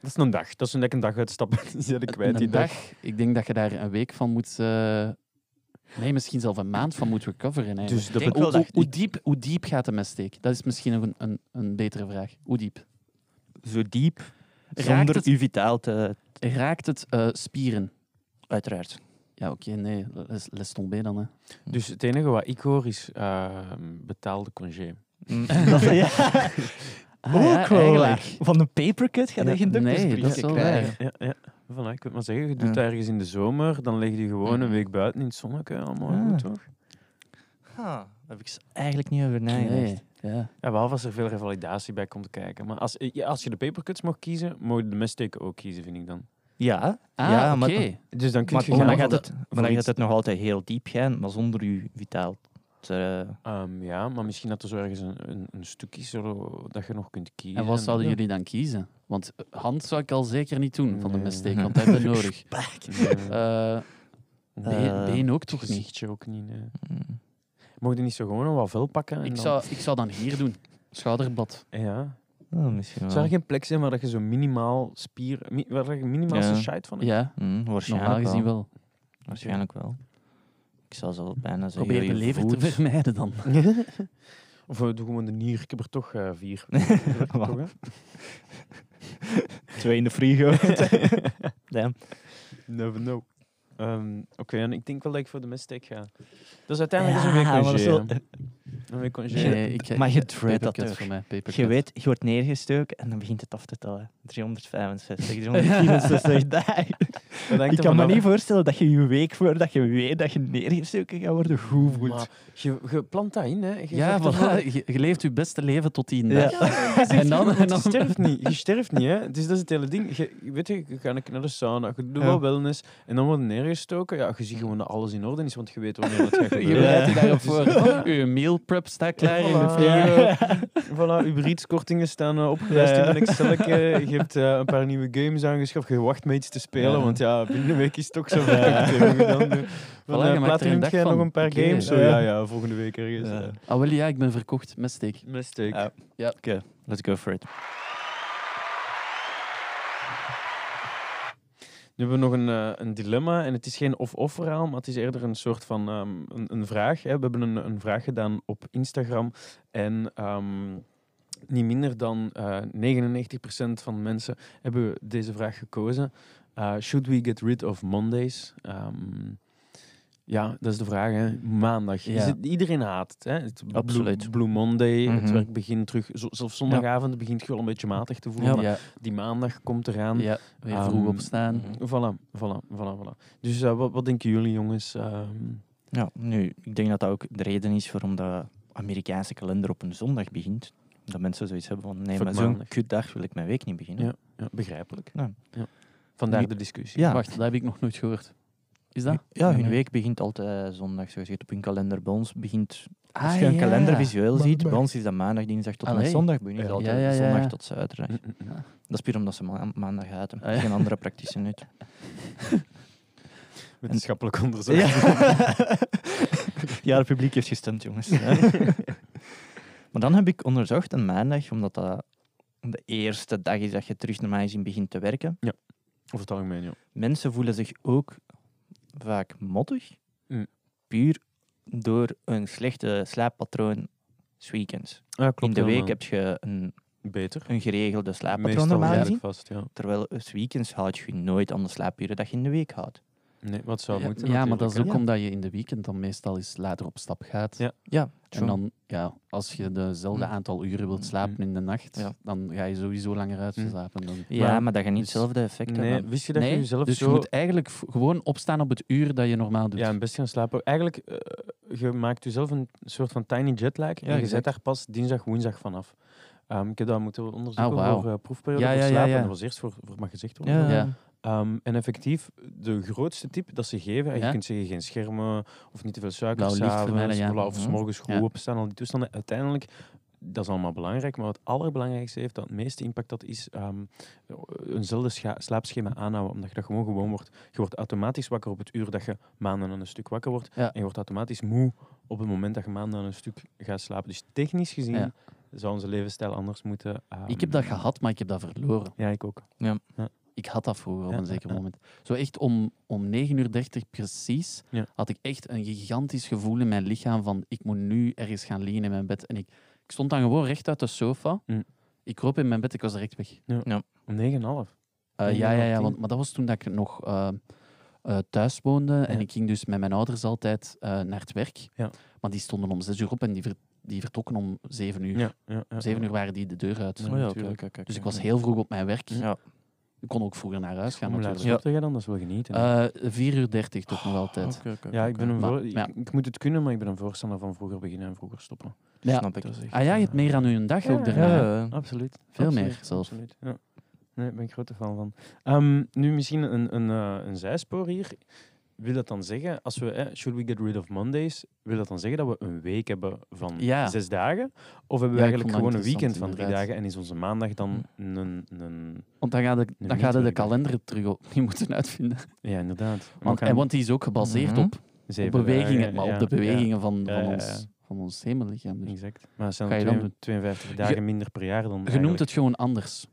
Speaker 2: Dat is een dag. Dat is een lekker dag uitstappen. Die zet ik kwijt
Speaker 4: een
Speaker 2: die dag.
Speaker 4: dag. Ik denk dat je daar een week van moet. eh, nee, misschien zelf een maand van moet recoveren. eigenlijk.
Speaker 2: Dus dat
Speaker 3: denk
Speaker 2: betekent-
Speaker 3: wel
Speaker 4: hoe, hoe,
Speaker 3: dat-
Speaker 4: hoe diep, hoe diep gaat de messteek? Dat is misschien nog een, een, een betere vraag. Hoe diep?
Speaker 3: Zo diep.
Speaker 4: Raakt
Speaker 3: Zonder
Speaker 4: het-
Speaker 3: u vitaal te...
Speaker 4: Raakt het eh, spieren?
Speaker 3: Uiteraard.
Speaker 4: Ja, oké, nee. Les, les tombé dan. Hè.
Speaker 1: Dus het enige wat ik hoor is eh, betaalde congé.
Speaker 3: Dat, ja.
Speaker 4: Ah,
Speaker 3: Ook
Speaker 4: Mm. ja,
Speaker 3: wel
Speaker 4: eigenlijk.
Speaker 3: waar. Oh, Van een papercut gaat hij dus geen
Speaker 4: Nee, dat is
Speaker 3: doktersbriefje
Speaker 4: wel
Speaker 3: krijgen.
Speaker 4: waar.
Speaker 1: Ja, ja. Voilà, ik wil maar zeggen, je doet
Speaker 3: Ja.
Speaker 1: het ergens in de zomer, dan leg je gewoon een week buiten in het zonnetje. Allemaal
Speaker 3: Ja.
Speaker 1: goed, toch?
Speaker 3: Ah, daar heb ik ze eigenlijk niet over
Speaker 4: Nee,
Speaker 3: nagedacht.
Speaker 4: ja.
Speaker 1: Ja, behalve als er veel revalidatie bij komt kijken. Maar als, eh, ja, als je de papercuts mag kiezen, mogen de messteken ook kiezen, vind ik dan.
Speaker 3: Ja,
Speaker 4: Ah,
Speaker 3: Ja, maar-
Speaker 4: oké.
Speaker 1: Dus dan kun
Speaker 3: maar,
Speaker 1: je...
Speaker 3: maar
Speaker 1: gaan
Speaker 3: dan gaat
Speaker 1: voor
Speaker 3: het, maar dan gaat het nog altijd heel diep gaan, maar zonder u vitaal te...
Speaker 1: de- Ehm, ja, maar misschien dat er zo ergens een, een, een stuk is zo, dat je nog kunt kiezen.
Speaker 4: En wat zouden jullie dan kiezen? Want hand zou ik al zeker niet doen van de
Speaker 1: Nee.
Speaker 4: messteek, want dat hebben we nodig.
Speaker 1: Nee.
Speaker 4: Eh,
Speaker 3: Eh,
Speaker 4: been, been ook toch niet? Mm.
Speaker 1: Gezichtje ook niet, nee. Mocht je niet zo gewoon een wafel pakken? En
Speaker 4: Ik
Speaker 1: dan-
Speaker 4: zou, ik zou dan hier doen. Schouderblad.
Speaker 1: Ja.
Speaker 3: Oh, misschien wel.
Speaker 1: Zou er geen plek zijn waar dat je zo minimaal spier... mi- waar dat je minimaal
Speaker 3: Ja.
Speaker 1: zijn shite van hebt?
Speaker 4: Ja,
Speaker 3: Mm, waarschijnlijk,
Speaker 4: normaal gezien wel.
Speaker 3: waarschijnlijk wel. Ik zou zo bijna zeggen...
Speaker 4: Probeer de
Speaker 3: je
Speaker 4: lever
Speaker 3: voet.
Speaker 4: te vermijden dan.
Speaker 1: Of eh, doe gewoon de nier. Ik heb er toch eh, vier.
Speaker 3: Wat?
Speaker 1: Toch, hè?
Speaker 3: Twee in de frigo. Damn.
Speaker 1: Never know. Ehm, Oké, en ik denk wel dat ik voor de mistake ga. Dat is uiteindelijk dus
Speaker 3: Ja, maar dat is
Speaker 1: een
Speaker 3: wel-
Speaker 1: week congé. hè. Een week congé.
Speaker 3: Je-
Speaker 4: Nee, ik,
Speaker 3: maar je
Speaker 4: eh,
Speaker 3: dreadt dat
Speaker 4: papercut
Speaker 3: toch?
Speaker 4: voor mij. papercut.
Speaker 3: Je weet, je wordt neergestoken en dan begint het af te tellen. 365, 364 dagen.
Speaker 1: Dat hangt
Speaker 3: Ik
Speaker 1: er
Speaker 3: kan me
Speaker 1: vanaf.
Speaker 3: niet voorstellen dat je je week voordat je weet dat je neergestoken gaat worden, goed voelt.
Speaker 1: Maar je, je plant dat in, hè. Je
Speaker 4: Ja,
Speaker 1: zegt ervoor-
Speaker 4: voilà. Je, je leeft je beste leven tot die
Speaker 3: Ja.
Speaker 4: dag.
Speaker 1: Je zegt
Speaker 4: En dan-
Speaker 1: gewoon,
Speaker 4: en
Speaker 1: want
Speaker 4: dan-
Speaker 1: Je sterft niet. Je sterft niet, hè. Dus dat is het hele ding. Je, je weet je, je gaat naar de sauna, je doet
Speaker 3: Ja.
Speaker 1: wel wellness, en dan wordt neergestoken. Ja, je ziet gewoon dat alles in orde is, want je weet wanneer dat gaat
Speaker 4: Je
Speaker 1: gebeuren. Dus,
Speaker 4: bereidt je daarop voor. Oh. Je meal prep staat klaar in de
Speaker 1: Voilà.
Speaker 4: frigo.
Speaker 1: Voilà, Uber Eats kortingen staan eh, opgelijst
Speaker 3: Ja, ja.
Speaker 1: in een Excelletje. Je hebt eh, een paar nieuwe games aangeschaft. Je wacht met iets te spelen,
Speaker 3: Ja.
Speaker 1: want ja, binnen een week is het toch zo.
Speaker 3: Ja.
Speaker 1: Dan, eh, van,
Speaker 4: je
Speaker 1: eh,
Speaker 4: maakt er
Speaker 1: Platinum
Speaker 4: een dag
Speaker 1: jij
Speaker 4: van.
Speaker 1: nog een paar
Speaker 4: Oké.
Speaker 1: games? Zo,
Speaker 3: Ja.
Speaker 1: ja, ja, volgende week ergens.
Speaker 3: Ja.
Speaker 1: eh.
Speaker 4: Ah, wel ja, ik ben verkocht. Met steek.
Speaker 1: Mistake.
Speaker 3: Ja. Oké, let's go for it.
Speaker 1: Nu hebben we nog een, eh, een dilemma. En het is geen of-of verhaal, maar het is eerder een soort van ehm, een, een vraag. Hè. We hebben een, een vraag gedaan op Instagram. En ehm, niet minder dan eh 99% van mensen hebben deze vraag gekozen. Eh, should we get rid of Mondays? Ehm, ja, dat is de vraag. Hè. Maandag.
Speaker 4: Ja.
Speaker 1: Is het, iedereen haat het. Hè? het Blue-
Speaker 3: Absoluut.
Speaker 1: Blue Monday. Het
Speaker 3: Mhm.
Speaker 1: werk begint terug. zo- Zelfs zondagavond begint je wel een beetje matig te voelen. maar
Speaker 4: Ja,
Speaker 1: Die maandag komt eraan.
Speaker 4: ja, weer
Speaker 1: Ehm,
Speaker 4: vroeg opstaan.
Speaker 1: Voilà, voilà, voilà, voilà. Dus eh, wat, wat denken jullie, jongens? Ehm,
Speaker 3: Ja, nu, ik denk dat dat ook de reden is waarom de Amerikaanse kalender op een zondag begint. Dat mensen zoiets hebben van, nee,
Speaker 1: Fuck
Speaker 3: maar zo'n
Speaker 1: maandag.
Speaker 3: kutdag wil ik mijn week niet beginnen.
Speaker 1: ja, begrijpelijk.
Speaker 3: Ja.
Speaker 1: Vandaar
Speaker 3: Nu-
Speaker 1: de discussie.
Speaker 3: Ja,
Speaker 4: Wacht, dat heb ik nog nooit gehoord. Is dat?
Speaker 3: ja hun
Speaker 1: Nee.
Speaker 3: week begint altijd eh, zondag, zoals je het op hun kalender bij ons begint. Als
Speaker 4: Ah,
Speaker 3: je een
Speaker 4: ja.
Speaker 3: kalender visueel
Speaker 4: Maar-
Speaker 3: ziet, bij
Speaker 4: maar-
Speaker 3: ons is Ah, dat maandag, dinsdag tot en met
Speaker 4: Allee.
Speaker 3: zondag. Bij hun is
Speaker 1: Ja.
Speaker 3: altijd
Speaker 4: Ja, ja, ja, ja.
Speaker 3: zondag tot zaterdag.
Speaker 1: Mm, mm, mm.
Speaker 3: Hm. Dat is puur omdat ze ma- maandag uit
Speaker 4: Ah, ja.
Speaker 3: Geen andere praktische nut.
Speaker 1: Wetenschappelijk onderzoek.
Speaker 3: Ja. ja, het publiek heeft gestemd, jongens. Ja. maar dan heb ik onderzocht een maandag, omdat dat de eerste dag is dat je terug normaal gezien begint te werken.
Speaker 1: Over het algemeen, ja.
Speaker 3: Mensen voelen zich ook vaak mottig,
Speaker 1: Mm.
Speaker 3: puur door een slechte slaappatroon 's weekends.
Speaker 1: ja klopt,
Speaker 3: In de week
Speaker 1: helemaal.
Speaker 3: heb je een,
Speaker 1: Beter.
Speaker 3: een geregelde slaappatroon
Speaker 1: Meestal
Speaker 3: normaal
Speaker 1: eigenlijk
Speaker 3: gezien,
Speaker 1: vast, ja.
Speaker 3: terwijl 's weekends houd je nooit aan de slaapuren dat je in de week houdt.
Speaker 1: Nee, wat zou
Speaker 4: ja,
Speaker 1: moeten
Speaker 4: ja, maar dat is
Speaker 1: natuurlijk,
Speaker 4: ook
Speaker 3: hè.
Speaker 4: omdat je in de weekend dan meestal eens later op stap gaat.
Speaker 1: Ja.
Speaker 3: Ja,
Speaker 4: En dan, ja, als je dezelfde
Speaker 3: Mm.
Speaker 4: aantal uren wilt slapen in de nacht,
Speaker 3: Ja.
Speaker 4: dan ga je sowieso langer
Speaker 1: Mm.
Speaker 4: uitslapen. Dan.
Speaker 3: ja,
Speaker 1: maar-
Speaker 3: maar dat je niet
Speaker 4: dus-
Speaker 3: hetzelfde effect
Speaker 1: hè. Nee,
Speaker 3: hebt.
Speaker 1: wist je dat je
Speaker 4: Nee,
Speaker 1: jezelf
Speaker 4: dus
Speaker 1: zo...
Speaker 4: je moet eigenlijk v- gewoon opstaan op het uur dat je normaal doet.
Speaker 1: Ja, en best gaan slapen. Eigenlijk, eh, je maakt jezelf een soort van tiny jetlag en je
Speaker 4: exact.
Speaker 1: zet daar pas dinsdag, woensdag vanaf. Ehm, ik heb dat moeten onderzoeken
Speaker 4: Ah, wauw.
Speaker 1: voor eh, proefperiode
Speaker 4: Ja,
Speaker 1: voor
Speaker 4: ja, ja,
Speaker 1: slapen.
Speaker 4: ja.
Speaker 1: Dat was eerst voor, voor mijn gezicht. worden.
Speaker 3: Ja.
Speaker 4: Ja.
Speaker 1: Ehm, en effectief, de grootste tip dat ze geven, en
Speaker 4: Ja.
Speaker 1: je kunt zeggen geen schermen of niet te veel
Speaker 4: Blauw
Speaker 1: suiker,
Speaker 4: licht vermijden,
Speaker 1: s'avonds,
Speaker 4: ja.
Speaker 1: voilà, of s
Speaker 4: Mhm.
Speaker 1: morgens goed
Speaker 4: Ja.
Speaker 1: opstaan, al die toestanden. Uiteindelijk, dat is allemaal belangrijk, maar het allerbelangrijkste heeft, dat het meeste impact dat is, ehm, eenzelfde scha- slaapschema aanhouden, omdat je dat gewoon gewoon wordt. Je wordt automatisch wakker op het uur dat je maanden aan een stuk wakker wordt,
Speaker 4: Ja.
Speaker 1: en je wordt automatisch moe op het moment dat je maanden aan een stuk gaat slapen. Dus technisch gezien
Speaker 4: Ja.
Speaker 1: zou onze levensstijl anders moeten...
Speaker 4: Ik
Speaker 1: ehm,
Speaker 4: heb dat gehad, maar ik heb dat verloren.
Speaker 1: Ja, ik ook.
Speaker 4: Ik had dat vroeger op
Speaker 1: Ja,
Speaker 4: een
Speaker 1: ja,
Speaker 4: zeker
Speaker 1: ja.
Speaker 4: moment. Zo echt om, om 9.30 uur precies
Speaker 1: Ja.
Speaker 4: had ik echt een gigantisch gevoel in mijn lichaam van ik moet nu ergens gaan liggen in mijn bed. En ik, ik stond dan gewoon recht uit de sofa.
Speaker 1: Mm.
Speaker 4: Ik kroop in mijn bed, ik was direct weg.
Speaker 1: Om negen en een half.
Speaker 4: Eh,
Speaker 1: Negen
Speaker 4: ja,
Speaker 1: en
Speaker 4: ja,
Speaker 1: half
Speaker 4: ja
Speaker 1: tien.
Speaker 4: want, maar dat was toen dat ik nog eh, eh, thuis woonde. En ik ging dus met mijn ouders altijd eh, naar het werk.
Speaker 1: Ja.
Speaker 4: Maar die stonden om zes uur op en die, ver- die vertrokken om zeven uur.
Speaker 1: Ja, ja, ja.
Speaker 4: Om zeven uur waren die de deur uit.
Speaker 1: Ja,
Speaker 3: Oh ja, oké,
Speaker 1: natuurlijk.
Speaker 3: oké, oké,
Speaker 4: Dus ik
Speaker 3: oké.
Speaker 4: was heel vroeg op mijn werk.
Speaker 3: Ja.
Speaker 4: Ik kon ook vroeger naar huis gaan
Speaker 1: Hoe laat
Speaker 4: natuurlijk.
Speaker 1: stopte jij dan? Dat is wel genieten. hè?
Speaker 4: Eh 4 uur 30 toch
Speaker 1: Oh,
Speaker 4: nog altijd.
Speaker 3: Oké, oké,
Speaker 1: ja,
Speaker 3: oké,
Speaker 1: ik, ben
Speaker 3: oké.
Speaker 1: een
Speaker 4: maar-
Speaker 1: voor- ik-
Speaker 4: ja.
Speaker 1: ik, moet het kunnen, maar ik ben een voorstander van vroeger beginnen en vroeger stoppen.
Speaker 4: Ja.
Speaker 3: Snap ik.
Speaker 4: Ah ja, je hebt meer aan uw dag ook
Speaker 3: Ja,
Speaker 4: daarna.
Speaker 3: ja, ja.
Speaker 1: Absoluut.
Speaker 4: Mm. Veel
Speaker 1: Absoluut,
Speaker 4: meer zelfs.
Speaker 1: Absoluut. Ja. Nee, daar ben ik grote fan van. Ehm, nu misschien een, een, eh, een zijspoor hier. Wil dat dan zeggen, als we, eh, should we get rid of Mondays, wil dat dan zeggen dat we een week hebben van
Speaker 4: Ja.
Speaker 1: zes dagen? Of hebben we
Speaker 4: Ja, ik vond
Speaker 1: eigenlijk
Speaker 4: dat
Speaker 1: gewoon een
Speaker 4: interessant,
Speaker 1: weekend van drie
Speaker 4: inderdaad. Mm.
Speaker 1: dagen en is onze maandag dan een... een
Speaker 4: Want dan gaat de,
Speaker 1: Nu
Speaker 4: dan
Speaker 1: niet
Speaker 4: gaat de
Speaker 1: werken.
Speaker 4: kalender terug opnieuw moeten uitvinden.
Speaker 1: ja, inderdaad. Maar
Speaker 4: Want,
Speaker 1: we
Speaker 4: en,
Speaker 1: gaan
Speaker 4: want die is ook gebaseerd
Speaker 3: Mhm.
Speaker 4: op, op
Speaker 1: zeven
Speaker 4: bewegingen,
Speaker 1: dagen,
Speaker 4: maar
Speaker 1: ja,
Speaker 4: op de
Speaker 1: ja.
Speaker 4: bewegingen van,
Speaker 1: Ja,
Speaker 4: van,
Speaker 1: ja, ja.
Speaker 4: Ons, van ons hemellichaam. Dus.
Speaker 1: Exact. Maar het zijn
Speaker 4: Ga je dan
Speaker 1: twee-
Speaker 4: doen?
Speaker 1: 52 dagen minder per jaar dan
Speaker 4: Je noemt het gewoon anders.